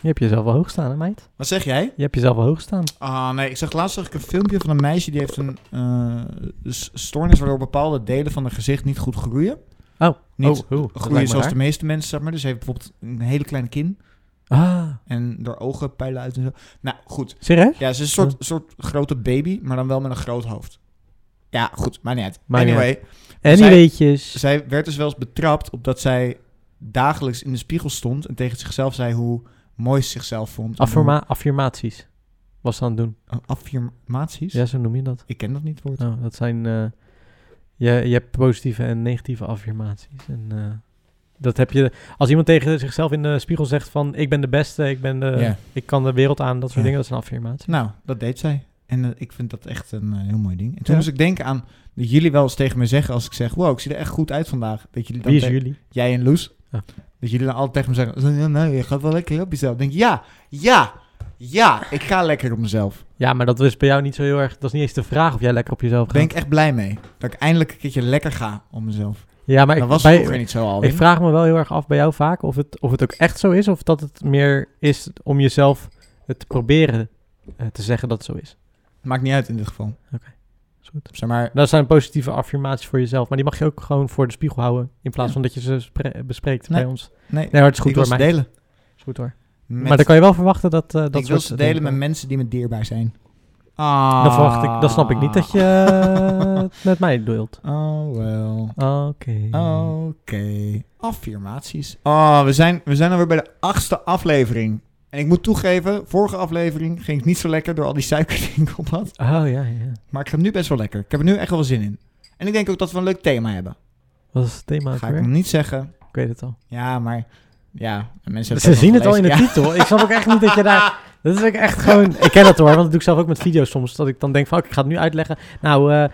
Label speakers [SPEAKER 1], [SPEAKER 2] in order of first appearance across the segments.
[SPEAKER 1] Je hebt jezelf wel hoog staan, hè, meid?
[SPEAKER 2] Wat zeg jij?
[SPEAKER 1] Je hebt jezelf wel hoog staan.
[SPEAKER 2] Ah, nee. Ik zag laatst zag ik een filmpje van een meisje die heeft een eh, s- stoornis waardoor bepaalde delen van haar gezicht niet goed groeien.
[SPEAKER 1] Oh,
[SPEAKER 2] Niet
[SPEAKER 1] oh, oh, dat
[SPEAKER 2] groeien
[SPEAKER 1] lijkt me
[SPEAKER 2] zoals
[SPEAKER 1] raar.
[SPEAKER 2] de meeste mensen, zeg maar. Dus ze heeft bijvoorbeeld een hele kleine kin
[SPEAKER 1] Ah,
[SPEAKER 2] en door ogen pijlen uit en zo. Nou, goed.
[SPEAKER 1] serieus?
[SPEAKER 2] Ja, ze is een soort, soort grote baby, maar dan wel met een groot hoofd. Ja, goed. Maar niet uit.
[SPEAKER 1] Maakt niet
[SPEAKER 2] anyway,
[SPEAKER 1] En die
[SPEAKER 2] Zij-
[SPEAKER 1] weetjes.
[SPEAKER 2] zij werd dus wel eens betrapt op dat zij dagelijks in de spiegel stond en tegen zichzelf zei hoe mooi ze zichzelf vond. en hoe-
[SPEAKER 1] Affirma affirmaties. Was ze aan het doen.
[SPEAKER 2] Oh, Affirmaties?
[SPEAKER 1] Ja, zo noem je dat.
[SPEAKER 2] Ik ken dat niet woord.
[SPEAKER 1] Nou, dat zijn... eh, je, je hebt positieve en negatieve affirmaties. En eh, dat heb je... Als iemand tegen zichzelf in de spiegel zegt van... Ik ben de beste, ik, ben de,
[SPEAKER 2] Ja.
[SPEAKER 1] ik kan de wereld aan. Dat soort
[SPEAKER 2] Ja.
[SPEAKER 1] dingen, dat is een affirmatie.
[SPEAKER 2] Nou, dat deed zij. En eh, ik vind dat echt een eh, heel mooi ding. En
[SPEAKER 1] Ja.
[SPEAKER 2] toen moest ik denken aan dat jullie wel eens tegen me zeggen als ik zeg... Wow, ik zie er echt goed uit vandaag. Dat jullie dan
[SPEAKER 1] Wie is
[SPEAKER 2] tegen-
[SPEAKER 1] jullie?
[SPEAKER 2] Jij en Loes.
[SPEAKER 1] Ja.
[SPEAKER 2] Dat jullie dan altijd tegen me zeggen... "Zo, ja, Nou, je gaat wel lekker op jezelf. Dan denk ik, ja, ja, ja, ik ga lekker op mezelf.
[SPEAKER 1] Ja, maar dat is bij jou niet zo heel erg... Dat is niet eens de vraag of jij lekker op jezelf
[SPEAKER 2] Daar
[SPEAKER 1] gaat.
[SPEAKER 2] ben ik echt blij mee. Dat ik eindelijk een keertje lekker ga om mezelf.
[SPEAKER 1] ja, maar ik,
[SPEAKER 2] dat was
[SPEAKER 1] bij-
[SPEAKER 2] vroeger niet zo al.
[SPEAKER 1] Ik vraag me wel heel erg af bij jou vaak of het, of het ook echt zo is, of dat het meer is om jezelf het te proberen eh, te zeggen dat het zo is.
[SPEAKER 2] Maakt niet uit in dit geval.
[SPEAKER 1] Oké, is goed.
[SPEAKER 2] Zeg maar,
[SPEAKER 1] Dat zijn positieve affirmaties voor jezelf, maar die mag je ook gewoon voor de spiegel houden, in plaats
[SPEAKER 2] Ja.
[SPEAKER 1] van dat je ze spre- bespreekt
[SPEAKER 2] Nee.
[SPEAKER 1] bij ons.
[SPEAKER 2] nee,
[SPEAKER 1] Nee, hoor, het is goed
[SPEAKER 2] ik wil
[SPEAKER 1] hoor,
[SPEAKER 2] ze
[SPEAKER 1] mij.
[SPEAKER 2] delen.
[SPEAKER 1] Is goed hoor.
[SPEAKER 2] Met-
[SPEAKER 1] Maar dan kan je wel verwachten dat eh, dat
[SPEAKER 2] ik wil
[SPEAKER 1] soort
[SPEAKER 2] ze
[SPEAKER 1] dingen
[SPEAKER 2] delen met
[SPEAKER 1] komen.
[SPEAKER 2] mensen die me dierbaar zijn. Ah.
[SPEAKER 1] Dan verwacht ik, dan snap ik niet dat je eh, het met mij deelt.
[SPEAKER 2] Oh, wel.
[SPEAKER 1] Oké.
[SPEAKER 2] Oké. Affirmaties. Oh, we zijn, we zijn alweer bij de achtste aflevering. En ik moet toegeven, vorige aflevering ging het niet zo lekker door al die suiker die ik op had.
[SPEAKER 1] Oh ja, ja.
[SPEAKER 2] Maar ik ga nu best wel lekker. Ik heb er nu echt wel zin in. En ik denk ook dat we een leuk thema hebben.
[SPEAKER 1] Wat is het thema? ook
[SPEAKER 2] Ga ik
[SPEAKER 1] weer?
[SPEAKER 2] nog niet zeggen.
[SPEAKER 1] Ik weet het al.
[SPEAKER 2] Ja, maar... Ja, mensen hebben
[SPEAKER 1] Ze zien het al in de
[SPEAKER 2] gelezen. Ja.
[SPEAKER 1] titel. Ik snap ook echt niet dat je daar... Dat is ook echt gewoon... Ik ken dat hoor, want dat doe ik zelf ook met video's soms. Dat ik dan denk van, oké, ik ga het nu uitleggen. Nou, eh,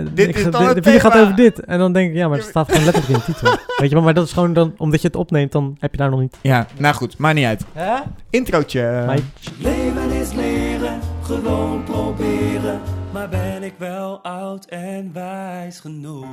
[SPEAKER 1] eh,
[SPEAKER 2] Dit
[SPEAKER 1] ik
[SPEAKER 2] is
[SPEAKER 1] ga-
[SPEAKER 2] dan
[SPEAKER 1] de,
[SPEAKER 2] het
[SPEAKER 1] de video gaat
[SPEAKER 2] thema.
[SPEAKER 1] over dit. En dan denk ik, ja, maar het staat gewoon letterlijk in de titel. Weet je, maar, maar dat is gewoon dan... Omdat je het opneemt, dan heb je daar nog niet...
[SPEAKER 2] Ja, nou goed. Maakt niet uit.
[SPEAKER 1] Hè?
[SPEAKER 2] Introotje.
[SPEAKER 1] Maar
[SPEAKER 3] Leven is leren, gewoon proberen. Maar ben ik wel oud en wijs genoeg?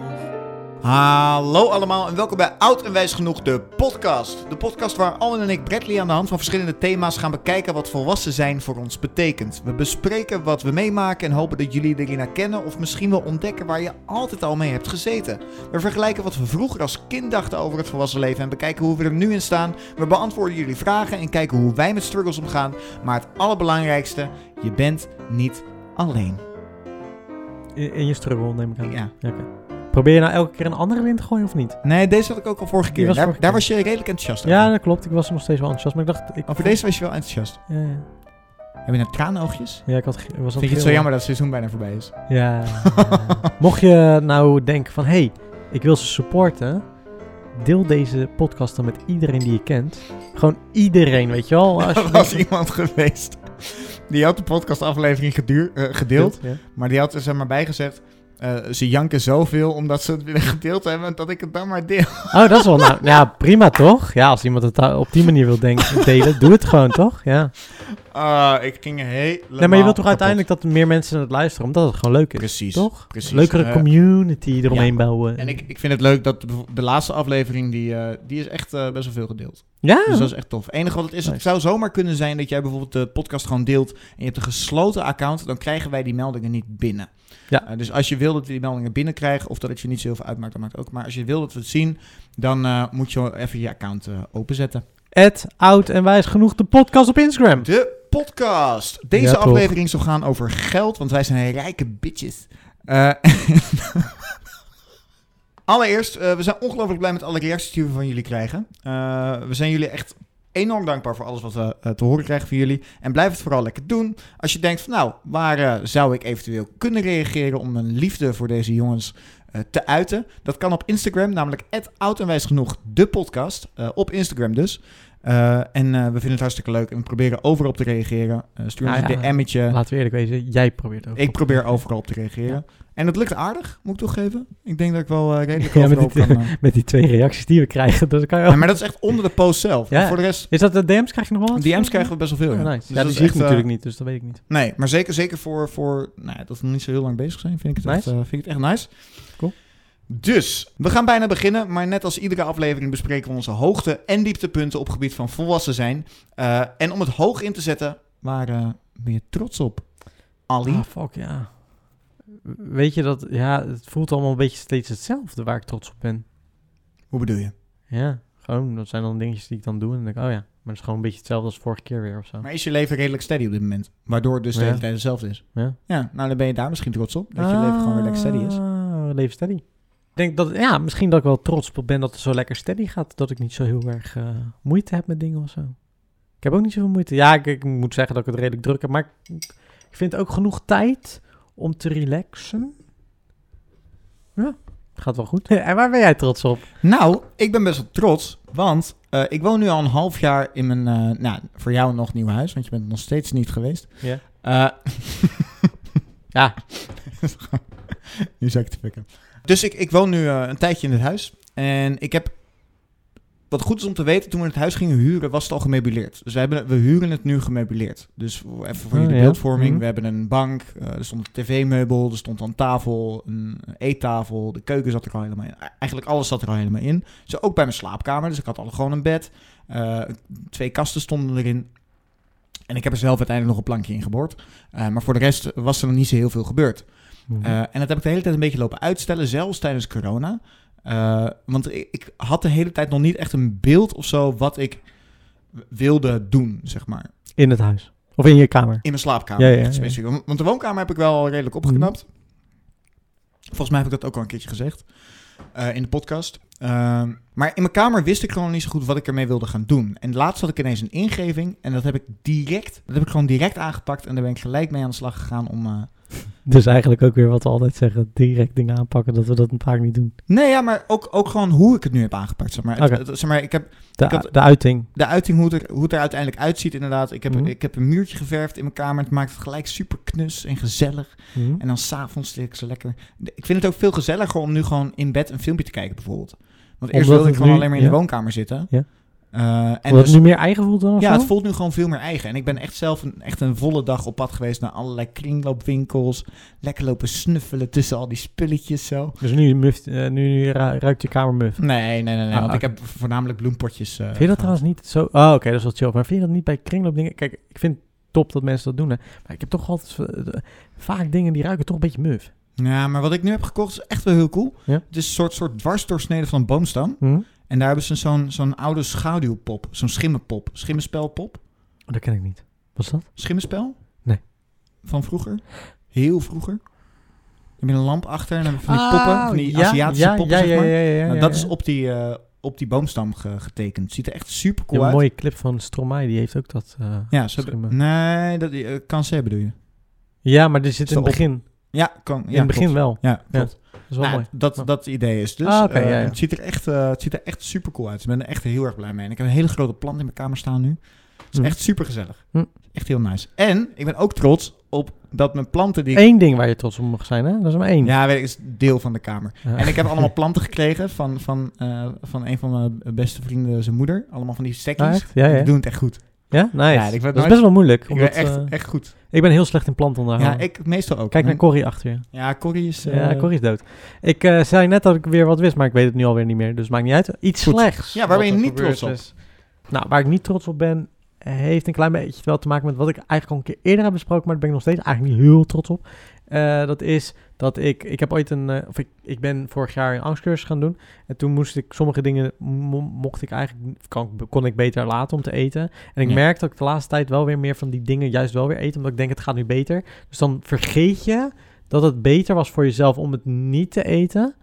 [SPEAKER 2] Hallo allemaal en welkom bij Oud en Wijs Genoeg, de podcast. De podcast waar Alwin en ik Bradley aan de hand van verschillende thema's gaan bekijken wat volwassen zijn voor ons betekent. We bespreken wat we meemaken en hopen dat jullie erin herkennen of misschien wel ontdekken waar je altijd al mee hebt gezeten. We vergelijken wat we vroeger als kind dachten over het volwassen leven en bekijken hoe we er nu in staan. We beantwoorden jullie vragen en kijken hoe wij met struggles omgaan. Maar het allerbelangrijkste, je bent niet alleen.
[SPEAKER 1] in, in je struggle neem ik aan.
[SPEAKER 2] Ja.
[SPEAKER 1] Oké. Probeer je nou elke keer een andere win te gooien of niet?
[SPEAKER 2] Nee, deze had ik ook al vorige
[SPEAKER 1] Die
[SPEAKER 2] keer.
[SPEAKER 1] was
[SPEAKER 2] daar,
[SPEAKER 1] vorige
[SPEAKER 2] daar
[SPEAKER 1] keer.
[SPEAKER 2] was je redelijk enthousiast over.
[SPEAKER 1] Ja, dat klopt. Ik was nog steeds wel enthousiast, maar ik dacht... Ik
[SPEAKER 2] Over deze was je wel enthousiast.
[SPEAKER 1] Ja, ja.
[SPEAKER 2] Heb je nou tranenoogjes?
[SPEAKER 1] Ja, ik had, ge- ik was aan
[SPEAKER 2] Vind je het zo
[SPEAKER 1] gillen.
[SPEAKER 2] jammer dat het seizoen bijna voorbij is?
[SPEAKER 1] Ja. Mocht je nou denken van, hé, hey, ik wil ze supporten. Deel deze podcast dan met iedereen die je kent. Gewoon iedereen, weet je wel. Als je
[SPEAKER 2] Er was iemand geweest die had de podcastaflevering geduur- eh, gedeeld,
[SPEAKER 1] Ja.
[SPEAKER 2] maar die had er zeg maar bijgezegd... eh, ze janken zoveel omdat ze het willen gedeeld hebben dat ik het dan maar deel.
[SPEAKER 1] Oh, dat is wel nou. Ja, prima toch? Ja, als iemand het da- op die manier wil denken, delen, doe het gewoon toch? Ja.
[SPEAKER 2] Ah, ik ging helemaal
[SPEAKER 1] Nee, maar je wilt toch
[SPEAKER 2] kapot.
[SPEAKER 1] uiteindelijk dat meer mensen het luisteren, omdat het gewoon leuk is.
[SPEAKER 2] Precies.
[SPEAKER 1] Toch?
[SPEAKER 2] precies.
[SPEAKER 1] Leukere
[SPEAKER 2] Eh,
[SPEAKER 1] community eromheen bouwen.
[SPEAKER 2] En ik, ik vind het leuk dat de, de laatste aflevering, die, eh, die is echt eh, best wel veel gedeeld.
[SPEAKER 1] ja,
[SPEAKER 2] Dus dat is echt tof. enige wat het is, het
[SPEAKER 1] Nice.
[SPEAKER 2] zou zomaar kunnen zijn dat jij bijvoorbeeld de podcast gewoon deelt en je hebt een gesloten account, dan krijgen wij die meldingen niet binnen.
[SPEAKER 1] Ja.
[SPEAKER 2] Eh, dus als je wil dat we die meldingen binnenkrijgen, of dat het je niet zo heel veel uitmaakt, dat maakt ook. Maar als je wil dat we het zien, dan eh, moet je wel even je account eh, openzetten.
[SPEAKER 1] Ed, oud en wijs genoeg, de podcast op Instagram.
[SPEAKER 2] De podcast! Deze
[SPEAKER 1] Ja, toch.
[SPEAKER 2] aflevering zal gaan over geld, want wij zijn rijke bitches. Eh, Allereerst, eh, we zijn ongelooflijk blij met alle reacties die we van jullie krijgen. Eh, we zijn jullie echt enorm dankbaar voor alles wat we eh, te horen krijgen van jullie. En blijf het vooral lekker doen. Als je denkt van nou, waar eh, zou ik eventueel kunnen reageren om mijn liefde voor deze jongens eh, te uiten? Dat kan op Instagram, namelijk oud en wijs genoeg, de podcast. eh, op Instagram dus. Eh, en eh, we vinden het hartstikke leuk en we proberen overal op te reageren. Eh, stuur ons
[SPEAKER 1] Nou ja,
[SPEAKER 2] een DM'tje.
[SPEAKER 1] Laten we eerlijk wezen, jij probeert ook.
[SPEAKER 2] Ik probeer overal op te reageren. En het lukt aardig, moet ik toegeven. Ik denk dat ik wel eh, redelijk
[SPEAKER 1] Ja, maar
[SPEAKER 2] overal op
[SPEAKER 1] dit-
[SPEAKER 2] kan... eh,
[SPEAKER 1] Met die twee reacties die we krijgen, dus dan kan je
[SPEAKER 2] Ja, maar dat is echt onder de post zelf.
[SPEAKER 1] Ja.
[SPEAKER 2] En Voor de rest,
[SPEAKER 1] Is dat de DM's? Krijg je nog wel wat?
[SPEAKER 2] DM's krijgen we best wel veel.
[SPEAKER 1] Oh,
[SPEAKER 2] Ja,
[SPEAKER 1] nice.
[SPEAKER 2] Dus
[SPEAKER 1] ja,
[SPEAKER 2] dat
[SPEAKER 1] die
[SPEAKER 2] is
[SPEAKER 1] zie ik
[SPEAKER 2] echt, eh,
[SPEAKER 1] natuurlijk niet, dus dat weet ik niet.
[SPEAKER 2] Nee, maar zeker, zeker voor, voor nou, ja, dat we nog niet zo heel lang bezig zijn, vind ik het, echt,
[SPEAKER 1] Nice.
[SPEAKER 2] eh, vind ik het echt nice.
[SPEAKER 1] Cool.
[SPEAKER 2] Dus, we gaan bijna beginnen, maar net als iedere aflevering bespreken we onze hoogte- en dieptepunten op gebied van volwassen zijn. Eh, en om het hoog in te zetten, waren we weer trots op. Ali,
[SPEAKER 1] Ah, fuck, ja. Weet je dat, ja, het voelt allemaal een beetje steeds hetzelfde waar ik trots op ben.
[SPEAKER 2] hoe bedoel je?
[SPEAKER 1] Ja, gewoon, dat zijn dan dingetjes die ik dan doe en dan denk ik, oh ja, maar het is gewoon een beetje hetzelfde als vorige keer weer of zo.
[SPEAKER 2] Maar is je leven redelijk steady op dit moment? Waardoor het dus de
[SPEAKER 1] Ja.
[SPEAKER 2] hele tijd hetzelfde is.
[SPEAKER 1] Ja.
[SPEAKER 2] Ja, nou dan ben je daar misschien trots op. Dat je leven gewoon redelijk steady is.
[SPEAKER 1] Ah, leven steady. Ik denk dat, ja, misschien dat ik wel trots op ben dat het zo lekker steady gaat. Dat ik niet zo heel erg eh, moeite heb met dingen of zo. Ik heb ook niet zoveel moeite. Ja, ik, ik moet zeggen dat ik het redelijk druk heb. Maar ik, ik vind ook genoeg tijd om te relaxen. Ja, gaat wel goed. en waar ben jij trots op?
[SPEAKER 2] Nou, ik ben best wel trots, want eh, ik woon nu al een half jaar in mijn, eh, nou, voor jou nog nieuw huis, want je bent nog steeds niet geweest.
[SPEAKER 1] Ja.
[SPEAKER 2] Eh,
[SPEAKER 1] Ja,
[SPEAKER 2] nu zou ik te fucken. Dus ik, ik woon nu eh, een tijdje in het huis en ik heb, wat goed is om te weten, toen we het huis gingen huren was het al gemeubileerd. Dus we, hebben, we huren het nu gemeubileerd. Dus voor- even voor
[SPEAKER 1] Oh,
[SPEAKER 2] jullie
[SPEAKER 1] ja.
[SPEAKER 2] beeldvorming,
[SPEAKER 1] Mhm.
[SPEAKER 2] we hebben een bank, eh, er stond een tv-meubel, er stond een tafel, een eettafel, de keuken zat er al helemaal in. E-, Eigenlijk alles zat er al helemaal in. Zo ook bij mijn slaapkamer, dus ik had al gewoon een bed. Eh, twee kasten stonden erin. En ik heb er zelf uiteindelijk nog een plankje in geboord. Eh, maar voor de rest was er nog niet zo heel veel gebeurd.
[SPEAKER 1] Hmm. Mhm.
[SPEAKER 2] Eh, en dat heb ik de hele tijd een beetje lopen uitstellen, zelfs tijdens corona. Eh, want ik, ik had de hele tijd nog niet echt een beeld of zo wat ik wilde doen, zeg maar.
[SPEAKER 1] in het huis. Of in je kamer.
[SPEAKER 2] In mijn slaapkamer.
[SPEAKER 1] Ja, ja,
[SPEAKER 2] echt
[SPEAKER 1] ja. Mhm.
[SPEAKER 2] specifiek. Want- Want de woonkamer heb ik wel redelijk opgeknapt. Volgens mij heb ik dat ook al een keertje gezegd eh, in de podcast. Ehm, maar in mijn kamer wist ik gewoon niet zo goed wat ik ermee wilde gaan doen. En laatst had ik ineens een ingeving en dat heb ik direct, dat heb ik gewoon direct aangepakt. En daar ben ik gelijk mee aan de slag gegaan om. eh,
[SPEAKER 1] Dus eigenlijk ook weer wat we altijd zeggen. Direct dingen aanpakken, dat we dat vaak niet doen.
[SPEAKER 2] Nee, ja, maar ook, ook gewoon hoe ik het nu heb aangepakt. Zeg maar. Het-
[SPEAKER 1] Oké.
[SPEAKER 2] het- zeg maar ik heb
[SPEAKER 1] De,
[SPEAKER 2] Ik had-
[SPEAKER 1] de uiting.
[SPEAKER 2] de uiting, hoe het, er, hoe het er uiteindelijk uitziet, inderdaad. Ik heb,
[SPEAKER 1] Mhm.
[SPEAKER 2] ik heb een muurtje geverfd in mijn kamer. Het maakt het gelijk super knus en gezellig.
[SPEAKER 1] Mhm.
[SPEAKER 2] En dan s'avonds lig ik zo lekker. De- Ik vind het ook veel gezelliger om nu gewoon in bed een filmpje te kijken, bijvoorbeeld. Want eerst
[SPEAKER 1] Omdat
[SPEAKER 2] wilde ik
[SPEAKER 1] het
[SPEAKER 2] gewoon
[SPEAKER 1] nu-
[SPEAKER 2] alleen maar in de
[SPEAKER 1] ja.
[SPEAKER 2] woonkamer zitten.
[SPEAKER 1] Ja.
[SPEAKER 2] Eh, en
[SPEAKER 1] Omdat
[SPEAKER 2] dus-
[SPEAKER 1] het nu meer eigen voelt dan of
[SPEAKER 2] ja,
[SPEAKER 1] zo?
[SPEAKER 2] het voelt nu gewoon veel meer eigen. En ik ben echt zelf een, echt een volle dag op pad geweest naar allerlei kringloopwinkels. Lekker lopen snuffelen tussen al die spulletjes zo.
[SPEAKER 1] Dus nu, muft, eh, nu, nu ra- ruikt je kamer muf.
[SPEAKER 2] Nee, nee, nee. nee
[SPEAKER 1] Ah,
[SPEAKER 2] want ik
[SPEAKER 1] oké.
[SPEAKER 2] heb voornamelijk bloempotjes. eh,
[SPEAKER 1] Vind je dat
[SPEAKER 2] gehad.
[SPEAKER 1] trouwens niet zo... Oh, oké, dat is wel chill. Maar vind je dat niet bij kringloopdingen... Kijk, ik vind het top dat mensen dat doen, hè. Maar ik heb toch altijd... eh, de- vaak dingen die ruiken toch een beetje muf.
[SPEAKER 2] Ja, maar wat ik nu heb gekocht is echt wel heel cool.
[SPEAKER 1] Ja.
[SPEAKER 2] Het is een soort, soort dwarsdoorsnede van een boomstam.
[SPEAKER 1] Hm? Oh,
[SPEAKER 2] En daar hebben ze zo'n zo'n oude schaduwpop. Zo'n schimmenpop. Schimmenspelpop.
[SPEAKER 1] Oh, dat ken ik niet. Wat is dat?
[SPEAKER 2] Schimmenspel?
[SPEAKER 1] Nee.
[SPEAKER 2] Van vroeger? Heel vroeger? Dan heb je een lamp achter en dan heb je van die poppen. Van die Aziatische poppen,
[SPEAKER 1] Oh, ja,
[SPEAKER 2] zeg maar.
[SPEAKER 1] Ja, ja, ja,
[SPEAKER 2] nou,
[SPEAKER 1] ja,
[SPEAKER 2] dat
[SPEAKER 1] ja.
[SPEAKER 2] is op die, eh, op die boomstam ge- getekend. Ziet er echt super
[SPEAKER 1] Je hebt
[SPEAKER 2] cool uit.
[SPEAKER 1] een mooie clip van Stromae, die heeft ook dat. eh,
[SPEAKER 2] Ja, ze hebben-
[SPEAKER 1] schimmen.
[SPEAKER 2] Nee, dat eh, kan ze bedoel je?
[SPEAKER 1] ja, maar die zit in het
[SPEAKER 2] Stop.
[SPEAKER 1] begin.
[SPEAKER 2] Ja, kan. Ja,
[SPEAKER 1] in het begin
[SPEAKER 2] klopt.
[SPEAKER 1] wel.
[SPEAKER 2] Ja,
[SPEAKER 1] Ja,
[SPEAKER 2] klopt.
[SPEAKER 1] Dat is wel
[SPEAKER 2] Nou,
[SPEAKER 1] mooi.
[SPEAKER 2] Dat,
[SPEAKER 1] Ja.
[SPEAKER 2] dat idee is dus.
[SPEAKER 1] Ah, oké,
[SPEAKER 2] eh,
[SPEAKER 1] ja, ja.
[SPEAKER 2] Het, ziet er echt, eh, het ziet er echt super cool uit. Ik ben er echt heel erg blij mee. En ik heb een hele grote plant in mijn kamer staan nu. Het is
[SPEAKER 1] Hm.
[SPEAKER 2] echt super gezellig.
[SPEAKER 1] Hm.
[SPEAKER 2] Echt heel nice. En ik ben ook trots op dat mijn planten die... ik-
[SPEAKER 1] Eén ding waar je trots op mag zijn, hè? Dat is maar één.
[SPEAKER 2] Ja, weet ik, is deel van de kamer.
[SPEAKER 1] Ja.
[SPEAKER 2] En ik heb allemaal planten gekregen van, van, eh, van een van mijn beste vrienden, zijn moeder. Allemaal van die
[SPEAKER 1] Ah,
[SPEAKER 2] stekjes.
[SPEAKER 1] echt? Ja,
[SPEAKER 2] En
[SPEAKER 1] ja.
[SPEAKER 2] Die doen het echt goed.
[SPEAKER 1] Ja, nice.
[SPEAKER 2] Ja, ik
[SPEAKER 1] dat
[SPEAKER 2] vind het
[SPEAKER 1] eh, is
[SPEAKER 2] nooit-
[SPEAKER 1] best wel moeilijk.
[SPEAKER 2] Ik
[SPEAKER 1] Omdat,
[SPEAKER 2] ben
[SPEAKER 1] ik,
[SPEAKER 2] echt, echt goed.
[SPEAKER 1] ik ben heel slecht in plantonderhouden.
[SPEAKER 2] Ja, ik Hm. meestal ook.
[SPEAKER 1] Kijk naar Corrie achter je.
[SPEAKER 2] Ja, Corrie is... eh,
[SPEAKER 1] ja, Corrie is dood. Ik eh, zei net dat ik weer wat wist, maar ik weet het nu alweer niet meer. Dus maakt niet uit. Iets
[SPEAKER 2] Goed.
[SPEAKER 1] slechts.
[SPEAKER 2] Ja, waar ben
[SPEAKER 1] wat
[SPEAKER 2] je
[SPEAKER 1] er
[SPEAKER 2] niet
[SPEAKER 1] gebeurd
[SPEAKER 2] trots op?
[SPEAKER 1] is. Nou, waar ik niet trots op ben, heeft een klein beetje wel te maken met wat ik eigenlijk al een keer eerder heb besproken, maar daar ben ik nog steeds eigenlijk niet heel trots op. Eh, dat is dat ik, ik heb ooit een, eh, of ik, ik ben vorig jaar een angstcursus gaan doen. En toen moest ik sommige dingen, mo- mocht ik eigenlijk, kan, ik- kon ik beter laten om te eten. En ik
[SPEAKER 2] Ja.
[SPEAKER 1] merk dat ik de laatste tijd wel weer meer van die dingen juist wel weer eet, omdat ik denk het gaat nu beter. Dus dan vergeet je dat het beter was voor jezelf om het niet te eten.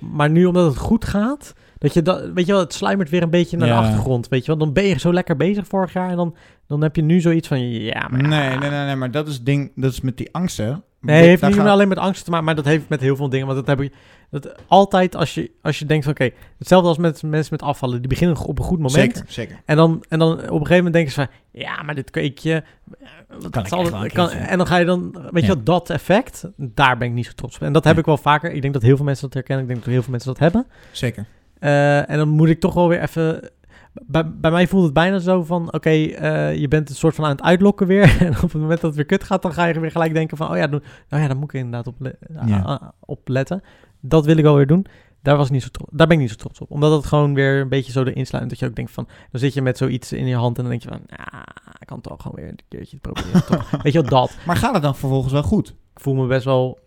[SPEAKER 1] Maar nu omdat het goed gaat, dat je dat, weet je wel, het sluimert weer een beetje naar
[SPEAKER 2] Ja.
[SPEAKER 1] de achtergrond, weet je wel. Dan ben je zo lekker bezig vorig jaar en dan, dan heb je nu zoiets van, ja, maar ja.
[SPEAKER 2] Nee, nee, nee, nee, maar dat is het ding, dat is met die angsten.
[SPEAKER 1] Nee, heeft
[SPEAKER 2] Daar
[SPEAKER 1] niet
[SPEAKER 2] gaan-
[SPEAKER 1] meer alleen met angst te maken, maar dat heeft met heel veel dingen. Want dat heb ik dat altijd als je, als je denkt van oké, hetzelfde als met mensen met afvallen. Die beginnen op een goed moment.
[SPEAKER 2] Zeker, zeker.
[SPEAKER 1] En dan, en dan op een gegeven moment denken ze van ja, maar dit kweekje. eh, wat
[SPEAKER 2] Kan ik
[SPEAKER 1] zal
[SPEAKER 2] echt
[SPEAKER 1] het-
[SPEAKER 2] wel een
[SPEAKER 1] kan-
[SPEAKER 2] keertje.
[SPEAKER 1] en dan ga je dan, weet
[SPEAKER 2] Ja.
[SPEAKER 1] je wel, dat effect, daar ben ik niet zo trots op. En dat heb
[SPEAKER 2] Ja.
[SPEAKER 1] ik wel vaker. Ik denk dat heel veel mensen dat herkennen. Ik denk dat heel veel mensen dat hebben.
[SPEAKER 2] Zeker.
[SPEAKER 1] Eh, en dan moet ik toch wel weer even. bij, bij mij voelt het bijna zo van, oké, eh, je bent het soort van aan het uitlokken weer. En op het moment dat het weer kut gaat, dan ga je weer gelijk denken van, oh ja, dan, nou ja, dan moet ik inderdaad op, le-
[SPEAKER 2] Ja.
[SPEAKER 1] a- a- op letten. Dat wil ik wel weer doen. Daar, was ik niet zo tro- daar ben ik niet zo trots op. Omdat het gewoon weer een beetje zo erin sluit. Dat je ook denkt van, dan zit je met zoiets in je hand en dan denk je van, ah, ik kan toch gewoon weer een keertje proberen. toch? Weet je wel, dat
[SPEAKER 2] Maar gaat het dan vervolgens wel goed?
[SPEAKER 1] ik voel me best wel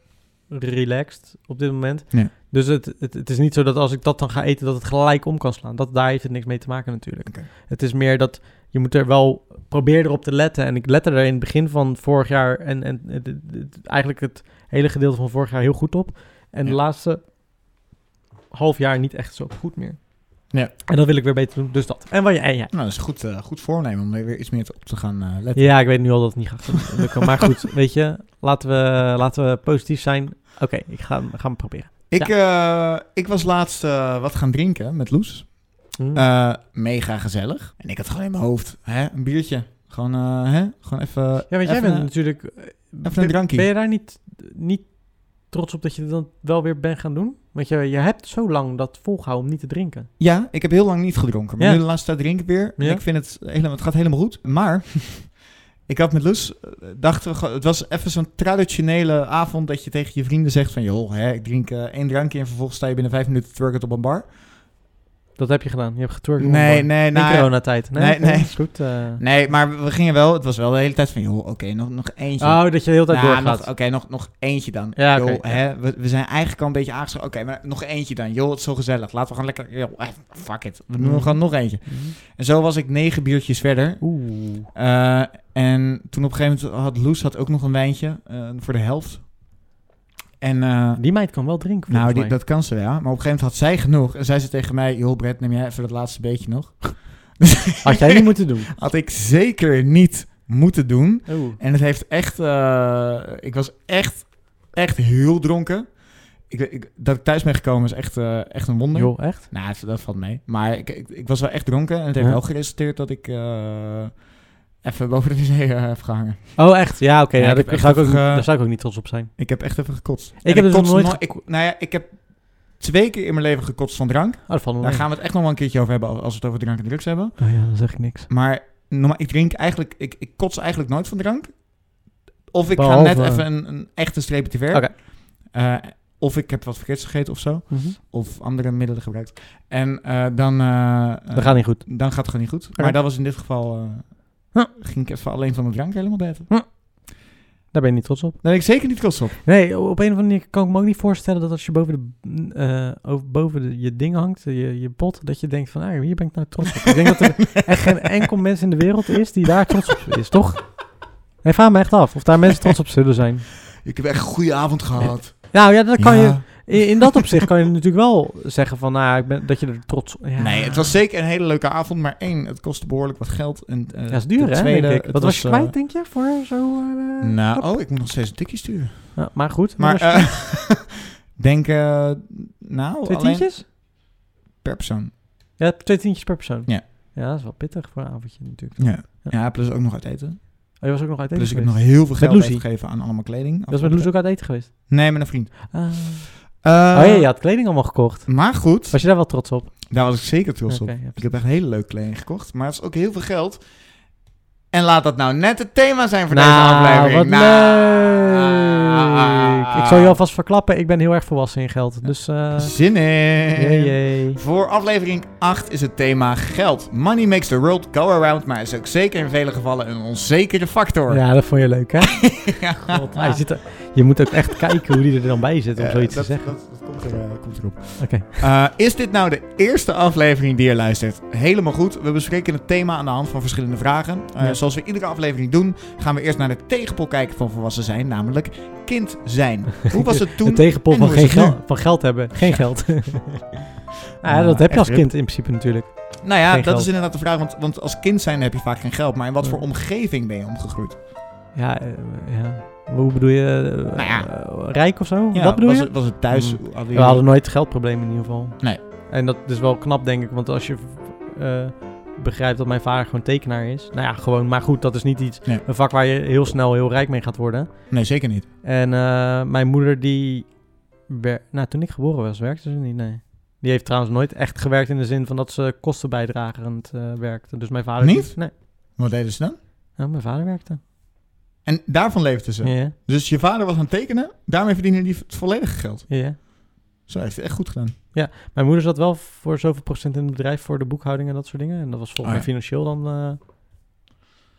[SPEAKER 1] relaxed op dit moment.
[SPEAKER 2] Ja.
[SPEAKER 1] Dus het, het, het is niet zo dat als ik dat dan ga eten, dat het gelijk om kan slaan. Dat, daar heeft het niks mee te maken natuurlijk.
[SPEAKER 2] Oké.
[SPEAKER 1] Het is meer dat je moet er wel probeer erop te letten. En ik lette er in het begin van vorig jaar en, en het- het- het- eigenlijk het hele gedeelte van vorig jaar heel goed op. En de
[SPEAKER 2] Ja.
[SPEAKER 1] laatste half jaar niet echt zo goed meer.
[SPEAKER 2] Ja.
[SPEAKER 1] En dat wil ik weer beter doen. Dus dat. En wat je en jij.
[SPEAKER 2] Nou, dat is een goed, eh, goed voornemen om er weer iets meer op te gaan eh, letten.
[SPEAKER 1] Ja, ik weet nu al dat het niet gaat lukken. Maar goed, weet je, laten we, laten we positief zijn. Oké, ik ga, hem- ga hem proberen.
[SPEAKER 2] Ik, eh, ik was laatst eh, wat gaan drinken met Loes.
[SPEAKER 1] Mm.
[SPEAKER 2] Eh, mega gezellig. En ik had gewoon in mijn hoofd hè, een biertje. Gewoon, eh, hè? gewoon even.
[SPEAKER 1] ja, want jij
[SPEAKER 2] even
[SPEAKER 1] bent
[SPEAKER 2] een-
[SPEAKER 1] natuurlijk... eh,
[SPEAKER 2] een
[SPEAKER 1] ben-
[SPEAKER 2] drankje.
[SPEAKER 1] Ben je daar niet, niet trots op dat je dat wel weer bent gaan doen? Want je, je hebt zo lang dat volgehouden om niet te drinken.
[SPEAKER 2] Ja, ik heb heel lang niet gedronken. Maar
[SPEAKER 1] Ja.
[SPEAKER 2] nu de laatste tijd drink ik weer. En
[SPEAKER 1] Ja.
[SPEAKER 2] ik vind het helemaal, het gaat helemaal goed. Maar ik had met Lus, eh, dachten we, gewoon- het was even zo'n traditionele avond dat je tegen je vrienden zegt van, joh, hè, ik drink eh, één drankje en vervolgens sta je binnen vijf minuten twerken op een bar.
[SPEAKER 1] Dat heb je gedaan. Je hebt getwerkt. op
[SPEAKER 2] Nee,
[SPEAKER 1] een bar.
[SPEAKER 2] nee,
[SPEAKER 1] In
[SPEAKER 2] nou,
[SPEAKER 1] coronatijd. Nee,
[SPEAKER 2] nee,
[SPEAKER 1] nee.
[SPEAKER 2] nee.
[SPEAKER 1] Is goed. eh.
[SPEAKER 2] nee, maar we gingen wel, het was wel de hele tijd van, joh, oké, nog, nog eentje.
[SPEAKER 1] Oh, dat je de hele tijd
[SPEAKER 2] Nou, nog-
[SPEAKER 1] doorgaat.
[SPEAKER 2] Oké, nog, nog eentje dan.
[SPEAKER 1] Ja,
[SPEAKER 2] Joh,
[SPEAKER 1] oké, ja.
[SPEAKER 2] hè, we, we zijn eigenlijk al een beetje aangeschoten. Oké, maar nog eentje dan. Joh, het is zo gezellig. Laten we gewoon lekker... Joh, eh, fuck it. We doen
[SPEAKER 1] Mm.
[SPEAKER 2] gewoon nog eentje. En zo was ik negen biertjes verder.
[SPEAKER 1] Oeh.
[SPEAKER 2] Eh, en toen op een gegeven moment had Loes had ook nog een wijntje eh, voor de helft. En eh,
[SPEAKER 1] Die meid kan wel drinken,
[SPEAKER 2] nou,
[SPEAKER 1] volgens mij.
[SPEAKER 2] die, dat kan ze wel. Maar op een gegeven moment had zij genoeg. En zei ze tegen mij, joh Brett, neem jij even dat laatste beetje nog. Dus
[SPEAKER 1] Had jij niet moeten doen.
[SPEAKER 2] had ik zeker niet moeten doen.
[SPEAKER 1] Oeh.
[SPEAKER 2] En het heeft echt, eh, ik was echt, echt heel dronken. Ik, ik- dat ik thuis ben gekomen is echt, eh, echt een wonder.
[SPEAKER 1] Joh, echt?
[SPEAKER 2] Nou, dat- dat valt mee. Maar ik, ik, ik was wel echt dronken en het heeft
[SPEAKER 1] Ja.
[SPEAKER 2] wel geresulteerd dat ik eh, even boven de wc eh, heb gehangen.
[SPEAKER 1] Oh, echt? Ja, oké.
[SPEAKER 2] Ja,
[SPEAKER 1] ja,
[SPEAKER 2] ik
[SPEAKER 1] daar,
[SPEAKER 2] heb echt
[SPEAKER 1] ga ik ook,
[SPEAKER 2] nog,
[SPEAKER 1] niet-
[SPEAKER 2] eh,
[SPEAKER 1] daar zou ik ook niet trots op zijn.
[SPEAKER 2] Ik heb echt even gekotst. En
[SPEAKER 1] heb dus nog
[SPEAKER 2] kots
[SPEAKER 1] nooit
[SPEAKER 2] ik, nou ja, ik heb twee keer in mijn leven gekotst van drank.
[SPEAKER 1] Oh, dat valt me
[SPEAKER 2] Daar
[SPEAKER 1] mee.
[SPEAKER 2] gaan we het echt nog wel een keertje over hebben als als we het over drank en drugs hebben.
[SPEAKER 1] Oh ja, dan zeg ik niks.
[SPEAKER 2] Maar normaal, ik drink eigenlijk, ik, ik kots eigenlijk nooit van drank. Of ik
[SPEAKER 1] Behalve-
[SPEAKER 2] ga net even een, een echte streepje te ver.
[SPEAKER 1] Oké.
[SPEAKER 2] Eh, of ik heb wat verkeerds gegeten of zo.
[SPEAKER 1] Mhm.
[SPEAKER 2] Of andere middelen gebruikt. En eh, dan, eh, eh,
[SPEAKER 1] Dat gaat niet goed.
[SPEAKER 2] dan gaat het gewoon niet goed.
[SPEAKER 1] Oké.
[SPEAKER 2] Maar dat was in dit geval... eh,
[SPEAKER 1] Huh.
[SPEAKER 2] Ging ik even alleen van de drank helemaal beter.
[SPEAKER 1] Daar ben je niet trots op.
[SPEAKER 2] Daar ben ik zeker niet kots op.
[SPEAKER 1] Nee, op een of andere manier kan ik me ook niet voorstellen dat als je boven, de, eh, over- boven de, je ding hangt, je, je pot, dat je denkt van, ah, hier ben ik nou trots op. Ik denk dat er echt geen enkel mens in de wereld is die daar trots op is, toch? Nee, vraag me echt af of daar mensen trots op zullen zijn.
[SPEAKER 2] Ik heb echt een goede avond
[SPEAKER 1] gehad. Nou ja, dan kan je, in, in dat opzicht kan je natuurlijk wel zeggen van, nou, ik ben, dat je er trots op... Ja.
[SPEAKER 2] Nee, het was zeker een hele leuke avond. Maar één, het kostte behoorlijk wat geld. En, eh,
[SPEAKER 1] Ja, is duur,
[SPEAKER 2] ten
[SPEAKER 1] hè,
[SPEAKER 2] tweede,
[SPEAKER 1] denk ik.
[SPEAKER 2] het
[SPEAKER 1] Wat was je
[SPEAKER 2] eh,
[SPEAKER 1] kwijt, denk je, voor zo... eh,
[SPEAKER 2] nou, oh, ik moet nog steeds een tikje sturen.
[SPEAKER 1] ja, maar goed.
[SPEAKER 2] Maar
[SPEAKER 1] wat was je-
[SPEAKER 2] eh, denk, eh, nou,
[SPEAKER 1] twee
[SPEAKER 2] alleen
[SPEAKER 1] tientjes?
[SPEAKER 2] per persoon.
[SPEAKER 1] Ja, twee tientjes per persoon.
[SPEAKER 2] Ja.
[SPEAKER 1] Ja, dat is wel pittig voor een avondje natuurlijk.
[SPEAKER 2] Ja.
[SPEAKER 1] Ja.
[SPEAKER 2] ja, plus ook nog uit eten.
[SPEAKER 1] Oh, je was ook nog uit eten
[SPEAKER 2] plus ik heb nog
[SPEAKER 1] geweest.
[SPEAKER 2] heel veel geld
[SPEAKER 1] Lucy.
[SPEAKER 2] uitgegeven aan allemaal kleding.
[SPEAKER 1] Dat is met Loes ook uit eten geweest.
[SPEAKER 2] Nee, met een vriend.
[SPEAKER 1] Ah.
[SPEAKER 2] Eh,
[SPEAKER 1] oh ja, je had kleding allemaal gekocht.
[SPEAKER 2] Maar goed,
[SPEAKER 1] Was je daar wel trots op?
[SPEAKER 2] daar was ik zeker trots op.
[SPEAKER 1] Oké, ja.
[SPEAKER 2] Ik heb echt hele leuke kleding gekocht, maar het is ook heel veel geld. En laat dat nou net het thema zijn voor deze
[SPEAKER 1] Nou,
[SPEAKER 2] aflevering.
[SPEAKER 1] wat
[SPEAKER 2] Nou.
[SPEAKER 1] leuk. Ik zal je alvast verklappen, ik ben heel erg volwassen in geld. Dus, eh
[SPEAKER 2] Zin in.
[SPEAKER 1] jee, jee.
[SPEAKER 2] Voor aflevering 8 is het thema geld. Money makes the world go around, maar is ook zeker in vele gevallen een onzekere factor.
[SPEAKER 1] Ja, dat vond je leuk, hè? God, hij zit er- je moet ook echt kijken hoe die er dan bij zit om
[SPEAKER 2] Eh,
[SPEAKER 1] zoiets
[SPEAKER 2] dat,
[SPEAKER 1] te zeggen.
[SPEAKER 2] Dat, dat komt, er, eh, komt erop.
[SPEAKER 1] Oké.
[SPEAKER 2] Eh, is dit nou de eerste aflevering die je luistert? Helemaal goed. We bespreken het thema aan de hand van verschillende vragen. Eh,
[SPEAKER 1] Ja.
[SPEAKER 2] Zoals we iedere aflevering doen, gaan we eerst naar de tegenpol kijken van volwassen zijn, namelijk kind zijn. Hoe was het
[SPEAKER 1] De
[SPEAKER 2] toen?
[SPEAKER 1] tegenpol
[SPEAKER 2] en
[SPEAKER 1] van,
[SPEAKER 2] hoe
[SPEAKER 1] geen
[SPEAKER 2] is het nu?
[SPEAKER 1] gel- van geld hebben. Geen geld. Nou ja,
[SPEAKER 2] Ah,
[SPEAKER 1] dat heb je
[SPEAKER 2] echt
[SPEAKER 1] als
[SPEAKER 2] rip.
[SPEAKER 1] kind in principe natuurlijk.
[SPEAKER 2] Nou ja,
[SPEAKER 1] Geen
[SPEAKER 2] dat
[SPEAKER 1] geld.
[SPEAKER 2] is inderdaad de vraag, want, want als kind zijn heb je vaak geen geld. Maar in wat voor omgeving ben je omgegroeid?
[SPEAKER 1] Ja, eh, ja. Hoe bedoel je? eh,
[SPEAKER 2] Nou ja.
[SPEAKER 1] eh, Rijk of zo?
[SPEAKER 2] Ja,
[SPEAKER 1] dat bedoel
[SPEAKER 2] was,
[SPEAKER 1] je?
[SPEAKER 2] Het, was het thuis?
[SPEAKER 1] Hmm.
[SPEAKER 2] Hadden jullie-
[SPEAKER 1] We hadden nooit geldproblemen in ieder geval.
[SPEAKER 2] Nee.
[SPEAKER 1] En dat is wel knap, denk ik. Want als je eh, begrijpt dat mijn vader gewoon tekenaar is. Nou ja, gewoon. Maar goed, dat is niet iets...
[SPEAKER 2] Nee.
[SPEAKER 1] Een vak waar je heel snel heel rijk mee gaat worden.
[SPEAKER 2] Nee, zeker niet.
[SPEAKER 1] En eh, mijn moeder die... wer- Nou, toen ik geboren was, werkte ze niet, nee. Die heeft trouwens nooit echt gewerkt in de zin van dat ze kostenbijdragerend eh, werkte. Dus mijn vader...
[SPEAKER 2] Niet?
[SPEAKER 1] Nee,
[SPEAKER 2] Wat deden ze dan?
[SPEAKER 1] Ja, mijn vader werkte.
[SPEAKER 2] En daarvan leefden ze.
[SPEAKER 1] Ja, ja.
[SPEAKER 2] Dus je vader was aan het tekenen, daarmee verdienen die het volledige geld.
[SPEAKER 1] ja.
[SPEAKER 2] Zo hij heeft het echt goed gedaan.
[SPEAKER 1] Mijn moeder zat wel voor zoveel procent in het bedrijf voor de boekhouding en dat soort dingen. En dat was volgens
[SPEAKER 2] Ah,
[SPEAKER 1] mij financieel dan eh,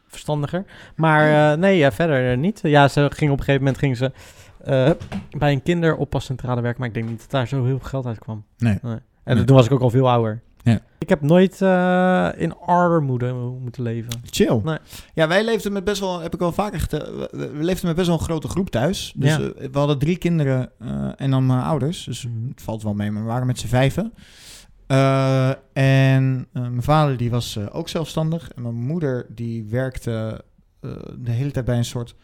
[SPEAKER 1] verstandiger. Maar eh, nee, ja, verder eh, niet. Ja, ze ging op een gegeven moment ging ze eh, bij een kinderoppascentrale werken. Maar ik denk niet dat daar zo heel veel geld uit kwam.
[SPEAKER 2] Nee.
[SPEAKER 1] En
[SPEAKER 2] Nee.
[SPEAKER 1] toen was ik ook al veel ouder.
[SPEAKER 2] Ja.
[SPEAKER 1] Ik heb nooit eh, in armoede moeten leven.
[SPEAKER 2] Chill.
[SPEAKER 1] Nee.
[SPEAKER 2] Ja, wij leefden met best wel, heb ik wel vaker gete- we- we we leefden met best wel een grote groep thuis. Dus
[SPEAKER 1] Ja.
[SPEAKER 2] eh, we hadden drie kinderen eh, en dan mijn ouders. Dus
[SPEAKER 1] Mhm.
[SPEAKER 2] het valt wel mee, maar we waren met z'n vijven. Eh, en eh, mijn vader die was eh, ook zelfstandig. En mijn moeder die werkte eh, de hele tijd bij een soort...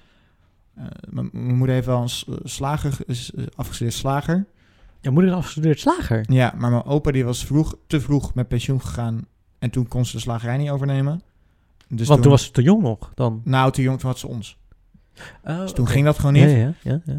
[SPEAKER 2] eh, mijn mijn moeder heeft wel een s- eh, slager, ge- is eh, afgestudeerd slager.
[SPEAKER 1] Je moeder is afgestudeerd slager.
[SPEAKER 2] Ja, maar mijn opa die was vroeg, te vroeg met pensioen gegaan. En toen kon ze de slagerij niet overnemen. Dus
[SPEAKER 1] Want toen was ze te jong nog dan.
[SPEAKER 2] Nou, toen jong, toen had ze ons.
[SPEAKER 1] Oh,
[SPEAKER 2] Dus toen ging dat gewoon niet.
[SPEAKER 1] Ja, ja, ja, ja.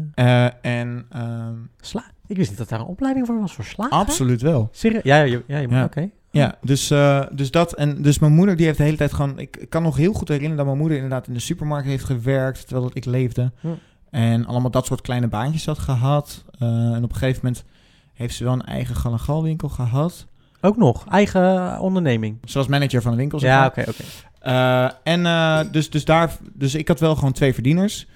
[SPEAKER 2] Eh, en ehm,
[SPEAKER 1] Sla ik wist niet dat daar een opleiding voor was voor slager.
[SPEAKER 2] absoluut wel.
[SPEAKER 1] Serieus? Ja, ja, je- ja, je moet-
[SPEAKER 2] Ja.
[SPEAKER 1] oké.
[SPEAKER 2] Ja, dus, eh, dus dat. En dus mijn moeder die heeft de hele tijd gewoon... Ik kan nog heel goed herinneren dat mijn moeder inderdaad in de supermarkt heeft gewerkt. Terwijl dat ik leefde.
[SPEAKER 1] Ja.
[SPEAKER 2] En allemaal dat soort kleine baantjes had gehad. Eh, en op een gegeven moment heeft ze wel een eigen gal en gal winkel gehad.
[SPEAKER 1] Ook nog, eigen onderneming.
[SPEAKER 2] Ze was manager van een winkel. zeg
[SPEAKER 1] Ja,
[SPEAKER 2] maar.
[SPEAKER 1] oké, oké.
[SPEAKER 2] Eh, en eh, dus, dus, daar, dus ik had wel gewoon twee verdieners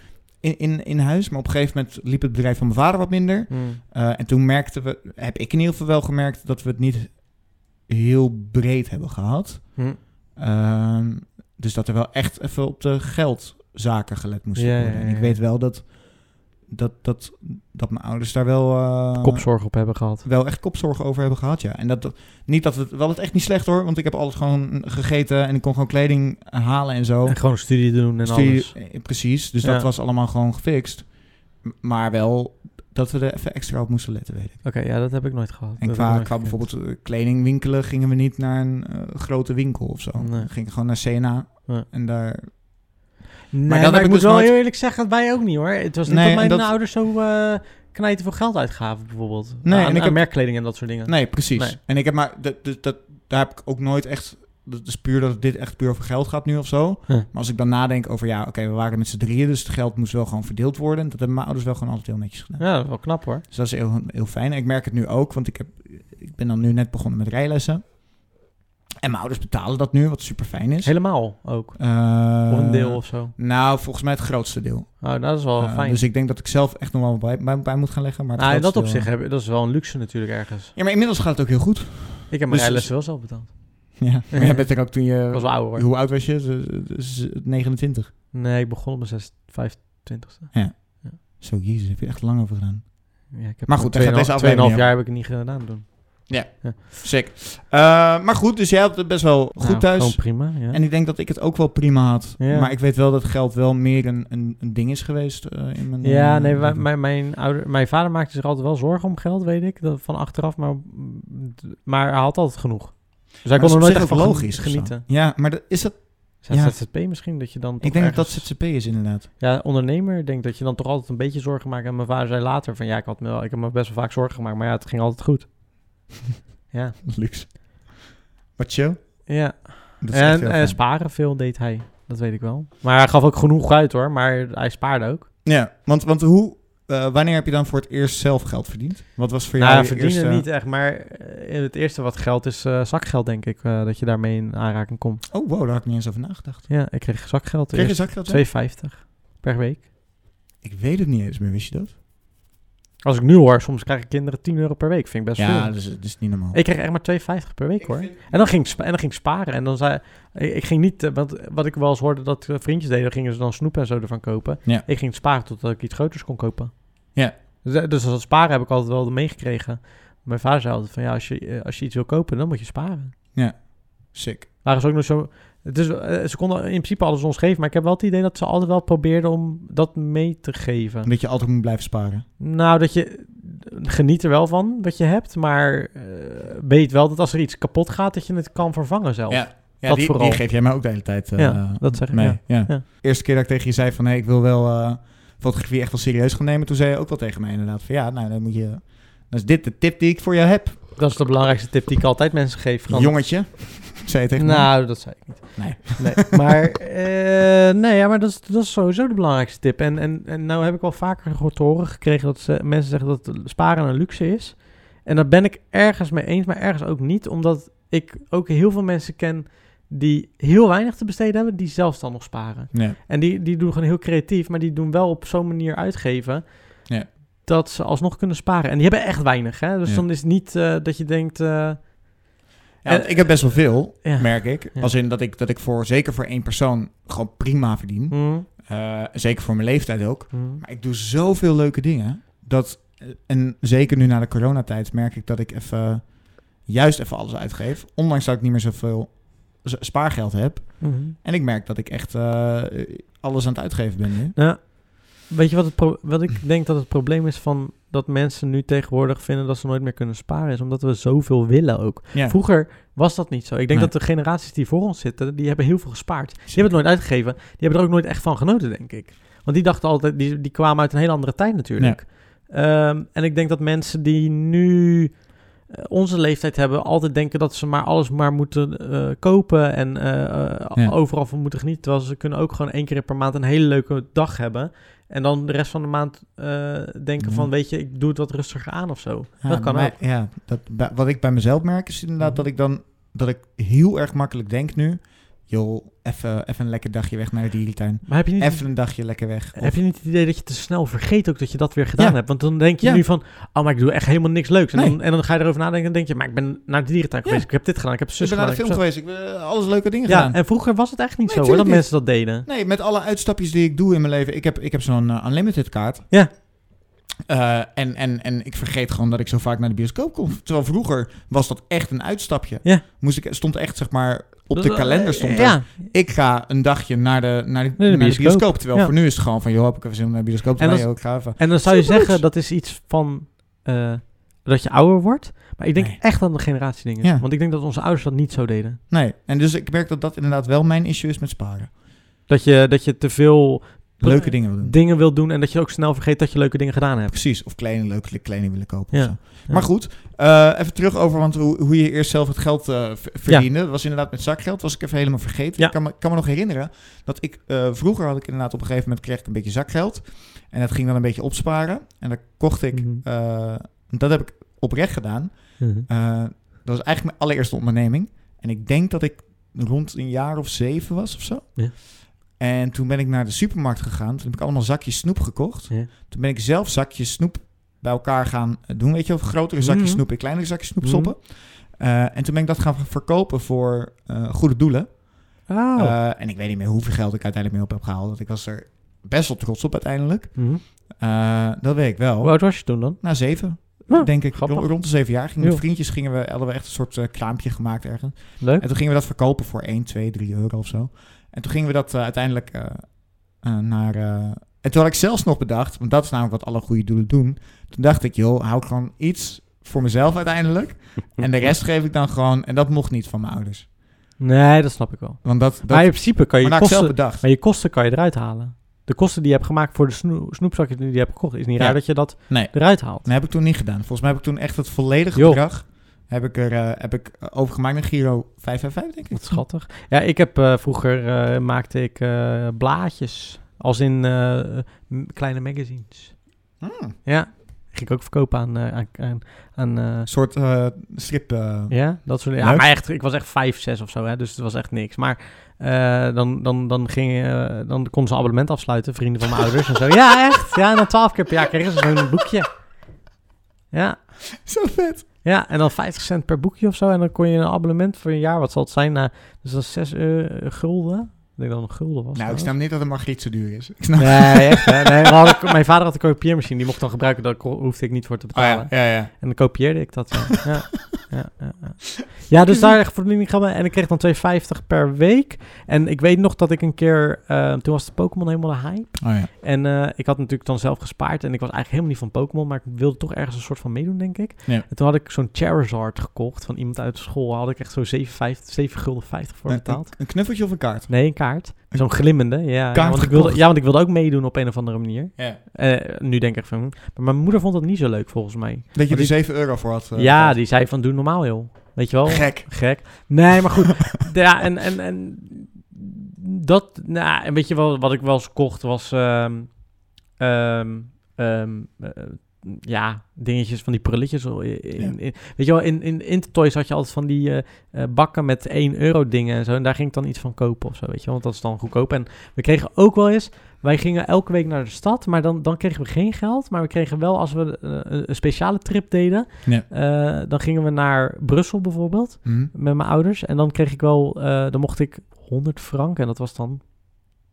[SPEAKER 2] in, in, in huis. Maar op een gegeven moment liep het bedrijf van mijn vader wat minder. Eh, en toen merkten we, heb ik in ieder geval wel gemerkt dat we het niet heel breed hebben gehad.
[SPEAKER 1] Hm.
[SPEAKER 2] Ehm, dus dat er wel echt even op de geldzaken gelet moest
[SPEAKER 1] Ja,
[SPEAKER 2] worden.
[SPEAKER 1] ja,
[SPEAKER 2] En
[SPEAKER 1] ja,
[SPEAKER 2] ik
[SPEAKER 1] ja.
[SPEAKER 2] weet wel dat, dat, dat, dat mijn ouders daar wel, eh,
[SPEAKER 1] Kopzorg op hebben gehad.
[SPEAKER 2] wel echt kopzorgen over hebben gehad. Ja. En dat, dat- niet dat het wel het echt niet slecht hoor, want ik heb altijd gewoon gegeten en ik kon gewoon kleding halen en zo.
[SPEAKER 1] En gewoon studie doen en
[SPEAKER 2] Oh. Studie-
[SPEAKER 1] alles.
[SPEAKER 2] eh, Precies, dus
[SPEAKER 1] Ja.
[SPEAKER 2] dat was allemaal gewoon gefixt. M- Maar wel dat we er even extra op moesten letten, weet ik.
[SPEAKER 1] Oké, ja, dat heb ik nooit gehad.
[SPEAKER 2] En
[SPEAKER 1] Dat
[SPEAKER 2] qua,
[SPEAKER 1] heb ik
[SPEAKER 2] qua
[SPEAKER 1] nooit gekend.
[SPEAKER 2] bijvoorbeeld eh, kleding winkelen gingen we niet naar een eh, grote winkel of zo.
[SPEAKER 1] Nee.
[SPEAKER 2] We gingen gewoon naar CNA.
[SPEAKER 1] Ja.
[SPEAKER 2] En daar...
[SPEAKER 1] Nee,
[SPEAKER 2] dat
[SPEAKER 1] maar,
[SPEAKER 2] heb ik
[SPEAKER 1] ik moet
[SPEAKER 2] dus
[SPEAKER 1] wel
[SPEAKER 2] nooit-
[SPEAKER 1] heel eerlijk zeggen, wij ook niet hoor. Het was niet
[SPEAKER 2] Nee,
[SPEAKER 1] dat mijn
[SPEAKER 2] en dat-
[SPEAKER 1] ouders zo eh knijten voor geld uitgaven bijvoorbeeld.
[SPEAKER 2] Nee,
[SPEAKER 1] aan,
[SPEAKER 2] en ik
[SPEAKER 1] aan
[SPEAKER 2] heb-
[SPEAKER 1] merkkleding en dat soort dingen.
[SPEAKER 2] Nee, precies.
[SPEAKER 1] Nee.
[SPEAKER 2] En ik heb maar... Dat, dat, dat- daar heb ik ook nooit echt... Dat is puur dat dit echt puur over geld gaat nu of zo.
[SPEAKER 1] Ja.
[SPEAKER 2] Maar als ik dan nadenk over... Ja, oké, we waren met z'n drieën, dus het geld moest wel gewoon verdeeld worden. Dat hebben mijn ouders wel gewoon altijd heel netjes gedaan.
[SPEAKER 1] Ja, dat is wel knap hoor.
[SPEAKER 2] Dus dat is heel, heel fijn. En ik merk het nu ook, want ik, heb, ik ben dan nu net begonnen met rijlessen. En mijn ouders betalen dat nu, wat super fijn is.
[SPEAKER 1] Helemaal ook.
[SPEAKER 2] Eh,
[SPEAKER 1] Of een deel of zo.
[SPEAKER 2] Nou, volgens mij het grootste deel.
[SPEAKER 1] Nou, dat is wel
[SPEAKER 2] Eh,
[SPEAKER 1] fijn.
[SPEAKER 2] Dus ik denk dat ik zelf echt nog wel bij, bij, bij moet gaan leggen. Maar het
[SPEAKER 1] Ah, in dat
[SPEAKER 2] grootste
[SPEAKER 1] opzicht
[SPEAKER 2] deel-
[SPEAKER 1] heb, dat is wel een luxe natuurlijk ergens.
[SPEAKER 2] Ja, maar inmiddels gaat het ook heel goed.
[SPEAKER 1] Ik heb mijn
[SPEAKER 2] Dus-
[SPEAKER 1] rijlessen wel zelf betaald.
[SPEAKER 2] Ja, maar jij bent er ook toen je...
[SPEAKER 1] Ik was wel ouder hoor.
[SPEAKER 2] Hoe oud was je? Z- z- z- 29.
[SPEAKER 1] Nee, ik begon op mijn 6, 25ste.
[SPEAKER 2] Zo, jezus, heb je echt lang over gedaan.
[SPEAKER 1] Ja, ik heb
[SPEAKER 2] Maar goed, daar gaat deze aflevering
[SPEAKER 1] 2,5
[SPEAKER 2] niet
[SPEAKER 1] jaar heb ik het niet gedaan toen.
[SPEAKER 2] Sick. maar goed, dus jij had het best wel goed
[SPEAKER 1] Nou, Gewoon
[SPEAKER 2] thuis.
[SPEAKER 1] prima, ja.
[SPEAKER 2] En ik denk dat ik het ook wel prima had.
[SPEAKER 1] Ja.
[SPEAKER 2] Maar ik weet wel dat geld wel meer een, een, een ding is geweest eh, in mijn...
[SPEAKER 1] Ja,
[SPEAKER 2] eh,
[SPEAKER 1] nee, wij-
[SPEAKER 2] leven.
[SPEAKER 1] mijn, mijn, ouder, mijn vader maakte zich altijd wel zorgen om geld, weet ik, dat, van achteraf, maar, maar hij had altijd genoeg. Dus hij kon
[SPEAKER 2] Maar
[SPEAKER 1] er
[SPEAKER 2] dat
[SPEAKER 1] nooit echt
[SPEAKER 2] is op zich
[SPEAKER 1] van
[SPEAKER 2] ook
[SPEAKER 1] logisch
[SPEAKER 2] of zo.
[SPEAKER 1] genieten.
[SPEAKER 2] Ja, maar dat, is dat...
[SPEAKER 1] Zijn
[SPEAKER 2] Ja.
[SPEAKER 1] ZZP misschien, dat je dan toch
[SPEAKER 2] Ik denk dat dat
[SPEAKER 1] ergens-
[SPEAKER 2] ZZP is inderdaad.
[SPEAKER 1] Ja, ondernemer, denk dat je dan toch altijd een beetje zorgen maakt. En mijn vader zei later van, ja, ik, had me, wel- ik heb me best wel vaak zorgen gemaakt, maar ja, het ging altijd goed. ja,
[SPEAKER 2] Luxe. Wat chill.
[SPEAKER 1] ja.
[SPEAKER 2] Dat is echt
[SPEAKER 1] En
[SPEAKER 2] heel
[SPEAKER 1] eh,
[SPEAKER 2] fijn.
[SPEAKER 1] sparen veel deed hij, dat weet ik wel. Maar hij gaf ook genoeg uit hoor, maar hij spaarde ook.
[SPEAKER 2] Ja, want, want hoe, eh, wanneer heb je dan voor het eerst zelf geld verdiend? Wat was voor jou
[SPEAKER 1] nou,
[SPEAKER 2] je
[SPEAKER 1] verdienen
[SPEAKER 2] eerste...
[SPEAKER 1] niet echt, maar eh, het eerste wat geld is eh, zakgeld, denk ik, eh, dat je daarmee in aanraking komt.
[SPEAKER 2] Oh, wow, daar had ik niet eens over nagedacht.
[SPEAKER 1] Ja, ik kreeg zakgeld
[SPEAKER 2] Kreeg je
[SPEAKER 1] eerst
[SPEAKER 2] zakgeld? ja?
[SPEAKER 1] 2,50 per week.
[SPEAKER 2] Ik weet het niet eens meer, wist je dat?
[SPEAKER 1] Als ik nu hoor, soms krijgen kinderen 10 euro per week, vind ik best
[SPEAKER 2] Ja,
[SPEAKER 1] veel.
[SPEAKER 2] dat is, dat is niet normaal.
[SPEAKER 1] Ik kreeg echt maar 2,50 per week hoor. En dan ging ik, spa- en dan ging ik sparen. En dan zei ik, ik ging niet, eh, want wat ik wel eens hoorde dat eh, vriendjes deden, gingen ze dan snoep en zo ervan kopen.
[SPEAKER 2] Ja.
[SPEAKER 1] Ik ging sparen totdat ik iets groters kon kopen.
[SPEAKER 2] Ja.
[SPEAKER 1] Dus, eh, dus dat sparen heb ik altijd wel meegekregen. Mijn vader zei altijd van ja, als je, eh, als je iets wil kopen, dan moet je sparen.
[SPEAKER 2] Sick.
[SPEAKER 1] Waren ze ook nog zo. Het is, eh, ze konden in principe alles ons geven, maar ik heb wel het idee dat ze altijd wel probeerden om dat mee te geven.
[SPEAKER 2] Dat je altijd moet blijven sparen.
[SPEAKER 1] Nou, dat je geniet er wel van wat je hebt, maar eh, weet wel dat als er iets kapot gaat, dat je het kan vervangen zelf.
[SPEAKER 2] Ja. Ja,
[SPEAKER 1] Dat
[SPEAKER 2] die,
[SPEAKER 1] vooral.
[SPEAKER 2] die geef jij mij ook de hele tijd eh,
[SPEAKER 1] Ja, dat zeg ik,
[SPEAKER 2] mee.
[SPEAKER 1] ja. Ja.
[SPEAKER 2] Eerste keer dat ik tegen je zei van... hé, ik wil wel eh, fotografie echt wel serieus gaan nemen... toen zei je ook wel tegen mij inderdaad van... ja, nou, dan moet je... dat is dit de tip die ik voor jou heb.
[SPEAKER 1] Dat is de belangrijkste tip die ik altijd mensen geef. Gewoon-
[SPEAKER 2] Jongetje, zei je tegen me.
[SPEAKER 1] Nou, dat zei ik niet.
[SPEAKER 2] Nee.
[SPEAKER 1] maar eh, nee, ja, maar dat is, dat is sowieso de belangrijkste tip. En, en, en nou heb ik wel vaker gehoord te horen gekregen dat ze, mensen zeggen dat sparen een luxe is. En daar ben ik ergens mee eens, maar ergens ook niet. Omdat ik ook heel veel mensen ken die heel weinig te besteden hebben, die zelfs dan nog sparen.
[SPEAKER 2] Nee.
[SPEAKER 1] En die, die doen gewoon heel creatief, maar die doen wel op zo'n manier uitgeven.
[SPEAKER 2] Ja.
[SPEAKER 1] Dat ze alsnog kunnen sparen. En die hebben echt weinig. Hè? Dus
[SPEAKER 2] Ja.
[SPEAKER 1] dan is het niet eh, dat je denkt. eh,
[SPEAKER 2] Ja, want ik heb best wel veel,
[SPEAKER 1] Ja.
[SPEAKER 2] merk ik.
[SPEAKER 1] Ja.
[SPEAKER 2] Als in dat ik, dat ik voor, zeker voor één persoon gewoon prima verdien.
[SPEAKER 1] mm,
[SPEAKER 2] Eh, zeker voor mijn leeftijd ook.
[SPEAKER 1] mm.
[SPEAKER 2] Maar ik doe zoveel leuke dingen. Dat, eh, en zeker nu na de coronatijd merk ik dat ik even, juist even alles uitgeef. Ondanks dat ik niet meer zoveel z- spaargeld heb.
[SPEAKER 1] Mhm.
[SPEAKER 2] En ik merk dat ik echt eh, alles aan het uitgeven ben nu.
[SPEAKER 1] Nou, weet je wat, het pro- wat ik denk dat het probleem is van dat mensen nu tegenwoordig vinden dat ze nooit meer kunnen sparen, is omdat we zoveel willen ook.
[SPEAKER 2] Ja.
[SPEAKER 1] Vroeger was dat niet zo. Ik denk
[SPEAKER 2] Nee.
[SPEAKER 1] dat de generaties die voor ons zitten, die hebben heel veel gespaard. Die hebben het nooit uitgegeven. Die hebben er ook nooit echt van genoten, denk ik. Want die dachten altijd, die, die kwamen uit een hele andere tijd natuurlijk. Ehm, en ik denk dat mensen die nu eh, onze leeftijd hebben, altijd denken dat ze maar alles maar moeten eh, kopen en eh, eh,
[SPEAKER 2] Ja.
[SPEAKER 1] overal van moeten genieten. Terwijl ze kunnen ook gewoon één keer per maand een hele leuke dag hebben. En dan de rest van de maand eh, denken
[SPEAKER 2] Ja.
[SPEAKER 1] van, weet je, ik doe het wat rustiger aan of zo.
[SPEAKER 2] Ja,
[SPEAKER 1] dat kan
[SPEAKER 2] bij
[SPEAKER 1] ook. Hm.
[SPEAKER 2] mij- Ja, dat, bij- wat ik bij mezelf merk is inderdaad dat ik dan dat ik heel erg makkelijk denk nu. Joh, even even een lekker dagje weg naar de dierentuin.
[SPEAKER 1] Maar heb je niet
[SPEAKER 2] Even een dagje lekker weg. Of-
[SPEAKER 1] Heb je niet het idee dat je te snel vergeet ook dat je dat weer gedaan
[SPEAKER 2] Ja.
[SPEAKER 1] hebt? Want dan denk je
[SPEAKER 2] Ja.
[SPEAKER 1] nu van, oh, maar ik doe echt helemaal niks leuks. En,
[SPEAKER 2] Nee.
[SPEAKER 1] dan, en dan ga je erover nadenken en denk je, maar ik ben naar de dierentuin
[SPEAKER 2] Ja.
[SPEAKER 1] geweest. Ik heb dit gedaan, ik heb
[SPEAKER 2] ik
[SPEAKER 1] zus
[SPEAKER 2] ben naar
[SPEAKER 1] gedaan.
[SPEAKER 2] de film
[SPEAKER 1] ik heb
[SPEAKER 2] geweest. Ik ben alles leuke dingen
[SPEAKER 1] zo. Ja,
[SPEAKER 2] gedaan.
[SPEAKER 1] en vroeger was het echt niet
[SPEAKER 2] Nee,
[SPEAKER 1] zo hoor, dat
[SPEAKER 2] tuurlijk
[SPEAKER 1] mensen dat deden.
[SPEAKER 2] Nee, met alle uitstapjes die ik doe in mijn leven. Ik heb, ik heb zo'n eh, unlimited kaart.
[SPEAKER 1] Ja.
[SPEAKER 2] Eh, en, en, en ik vergeet gewoon dat ik zo vaak naar de bioscoop kom. Terwijl vroeger was dat echt een uitstapje.
[SPEAKER 1] Ja.
[SPEAKER 2] Moest ik, stond echt, zeg maar, op
[SPEAKER 1] Dat-
[SPEAKER 2] de kalender stond er,
[SPEAKER 1] Ja,
[SPEAKER 2] Ik ga een dagje naar de, naar de, naar de bioscoop.
[SPEAKER 1] bioscoop.
[SPEAKER 2] Terwijl
[SPEAKER 1] Ja.
[SPEAKER 2] voor nu is het gewoon van, joh, heb ik even zin om naar de bioscoop te
[SPEAKER 1] En
[SPEAKER 2] gaan.
[SPEAKER 1] als-
[SPEAKER 2] Joh, ik ga even.
[SPEAKER 1] en dan zou je
[SPEAKER 2] Superleuks.
[SPEAKER 1] zeggen, dat is iets van eh, dat je ouder wordt. Maar ik denk
[SPEAKER 2] Nee.
[SPEAKER 1] echt aan de generatie dingen.
[SPEAKER 2] Ja.
[SPEAKER 1] Want ik denk dat onze ouders dat niet zo deden.
[SPEAKER 2] Nee, en dus ik merk dat dat inderdaad wel mijn issue is met sparen.
[SPEAKER 1] Dat je, dat je te veel
[SPEAKER 2] Leuke dingen willen doen.
[SPEAKER 1] dingen wilt doen en dat je ook snel vergeet dat je leuke dingen gedaan hebt.
[SPEAKER 2] Precies, of kleding, leuke kleding willen kopen.
[SPEAKER 1] Ja,
[SPEAKER 2] of zo.
[SPEAKER 1] ja.
[SPEAKER 2] Maar goed, eh, even terug over want hoe, hoe je eerst zelf het geld eh, v- verdiende. Dat was inderdaad met zakgeld, was ik even helemaal vergeten.
[SPEAKER 1] Ja.
[SPEAKER 2] Ik kan me, kan me nog herinneren dat ik eh, vroeger had ik inderdaad op een gegeven moment kreeg ik een beetje zakgeld. En dat ging dan een beetje opsparen. En dan kocht ik,
[SPEAKER 1] Mhm.
[SPEAKER 2] eh, dat heb ik oprecht gedaan.
[SPEAKER 1] Mhm.
[SPEAKER 2] Eh, dat was eigenlijk mijn allereerste onderneming. En ik denk dat ik rond een jaar of zeven was of zo.
[SPEAKER 1] Ja.
[SPEAKER 2] En toen ben ik naar de supermarkt gegaan. Toen heb ik allemaal zakjes snoep gekocht.
[SPEAKER 1] Ja.
[SPEAKER 2] Toen ben ik zelf zakjes snoep bij elkaar gaan eh, doen. Weet je wel, grotere zakjes
[SPEAKER 1] Mhm.
[SPEAKER 2] snoep in kleinere zakjes snoep
[SPEAKER 1] Mhm.
[SPEAKER 2] stoppen. Eh, en toen ben ik dat gaan verkopen voor eh, goede doelen.
[SPEAKER 1] Oh.
[SPEAKER 2] Eh, en ik weet niet meer hoeveel geld ik uiteindelijk mee op heb gehaald. Want ik was er best wel trots op uiteindelijk.
[SPEAKER 1] Mhm.
[SPEAKER 2] Eh, dat weet ik wel.
[SPEAKER 1] Hoe oud was je toen dan?
[SPEAKER 2] Na zeven,
[SPEAKER 1] Nou,
[SPEAKER 2] denk ik.
[SPEAKER 1] grappig.
[SPEAKER 2] Rond- Rond de zeven jaar gingen met
[SPEAKER 1] Ja.
[SPEAKER 2] vriendjes, gingen we, hadden we echt een soort eh, kraampje gemaakt ergens.
[SPEAKER 1] Leuk.
[SPEAKER 2] En toen gingen we dat verkopen voor 1, 2, 3 euro of zo. En toen gingen we dat eh, uiteindelijk eh, eh, naar... eh, en toen had ik zelfs nog bedacht, want dat is namelijk wat alle goede doelen doen. Toen dacht ik, joh, hou ik gewoon iets voor mezelf uiteindelijk. En de rest geef ik dan gewoon... En dat mocht niet van mijn ouders.
[SPEAKER 1] Nee, dat snap ik wel.
[SPEAKER 2] Want dat... dat
[SPEAKER 1] maar in principe kan je
[SPEAKER 2] maar dat had ik zelf
[SPEAKER 1] kosten,
[SPEAKER 2] bedacht.
[SPEAKER 1] maar je kosten kan je eruit halen. De kosten die je hebt gemaakt voor de snoe, snoepzakjes die je hebt gekocht, is niet
[SPEAKER 2] Ja.
[SPEAKER 1] raar dat je dat
[SPEAKER 2] Nee.
[SPEAKER 1] eruit haalt.
[SPEAKER 2] Dat heb ik toen niet gedaan. Volgens mij heb ik toen echt het volledige
[SPEAKER 1] Joh.
[SPEAKER 2] bedrag... heb ik, er, eh, heb ik eh, overgemaakt naar Giro 555, denk ik.
[SPEAKER 1] Wat schattig. Ja, ik heb eh, vroeger eh, maakte ik eh, blaadjes, als in eh, m- kleine magazines.
[SPEAKER 2] Hmm,
[SPEAKER 1] Ja, ging ik ook verkopen aan, eh, aan, aan, aan, eh,
[SPEAKER 2] Een soort eh, strip... eh,
[SPEAKER 1] Ja, dat soort dingen. Ja,
[SPEAKER 2] Leuk.
[SPEAKER 1] maar echt, ik was echt vijf, zes of zo, hè, dus het was echt niks. Maar eh, dan, dan, dan, ging, eh, dan kon ze een abonnement afsluiten, vrienden van mijn ouders en zo. Ja, echt. Ja, en dan twaalf keer per jaar kregen ze zo'n boekje. Ja,
[SPEAKER 2] Zo vet.
[SPEAKER 1] ja, en dan 50 cent per boekje of zo. En dan kon je een abonnement voor een jaar, wat zal het zijn? Nou, dus dat is 6 gulden. Ik denk dat het een gulden was.
[SPEAKER 2] Nou, ik
[SPEAKER 1] trouwens.
[SPEAKER 2] snap niet dat een margriet zo duur is. Ik snap...
[SPEAKER 1] Nee, echt. Hè? Nee, we hadden- mijn vader had een kopieermachine, die mocht dan gebruiken, daar ko- hoefde ik niet voor te
[SPEAKER 2] Oh
[SPEAKER 1] betalen.
[SPEAKER 2] ja, ja, ja.
[SPEAKER 1] En dan kopieerde ik dat zo. Ja, ja, ja, ja. ja dus daar verdien ik geld mee. En ik kreeg dan 2,50 per week. En ik weet nog dat ik een keer... eh, toen was de Pokémon helemaal de hype.
[SPEAKER 2] Oh ja.
[SPEAKER 1] En eh, ik had natuurlijk dan zelf gespaard. En ik was eigenlijk helemaal niet van Pokémon. Maar ik wilde toch ergens een soort van meedoen, denk ik.
[SPEAKER 2] Ja.
[SPEAKER 1] En toen had ik zo'n Charizard gekocht van iemand uit school. Daar had ik echt zo 7,50 7,50 gulden 50 voor
[SPEAKER 2] Een-
[SPEAKER 1] betaald.
[SPEAKER 2] Een knuffeltje of een kaart?
[SPEAKER 1] Nee, een kaart. Zo'n glimmende, ja.
[SPEAKER 2] Kaart
[SPEAKER 1] Ja want, ik wilde,
[SPEAKER 2] gekocht.
[SPEAKER 1] ja, want ik wilde ook meedoen op een of andere manier.
[SPEAKER 2] Ja.
[SPEAKER 1] Eh, nu denk ik van... hm. Maar mijn moeder vond dat niet zo leuk, volgens mij.
[SPEAKER 2] Dat je
[SPEAKER 1] Maar
[SPEAKER 2] er
[SPEAKER 1] die-
[SPEAKER 2] 7 euro voor had. eh,
[SPEAKER 1] ja,
[SPEAKER 2] gehad.
[SPEAKER 1] die zei van, doe normaal, joh. Weet je wel?
[SPEAKER 2] Gek.
[SPEAKER 1] Gek. Nee, maar goed. ja, en, en, en dat, nou, en weet je wel, wat ik wel eens kocht was, ehm, ehm, ehm, eh, ja, dingetjes van die prulletjes. In, in- in- weet je wel, in, in Intertoys had je altijd van die eh, eh, bakken met 1 euro dingen en zo. En daar ging ik dan iets van kopen of zo, weet je wel, want dat is dan goedkoop. En we kregen ook wel eens, wij gingen elke week naar de stad, maar dan, dan kregen we geen geld. Maar we kregen wel, als we eh, een, een speciale trip deden,
[SPEAKER 2] Ja.
[SPEAKER 1] eh, dan gingen we naar Brussel bijvoorbeeld
[SPEAKER 2] Hm.
[SPEAKER 1] met mijn ouders. En dan kreeg ik wel, eh, dan mocht ik 100 frank en dat was dan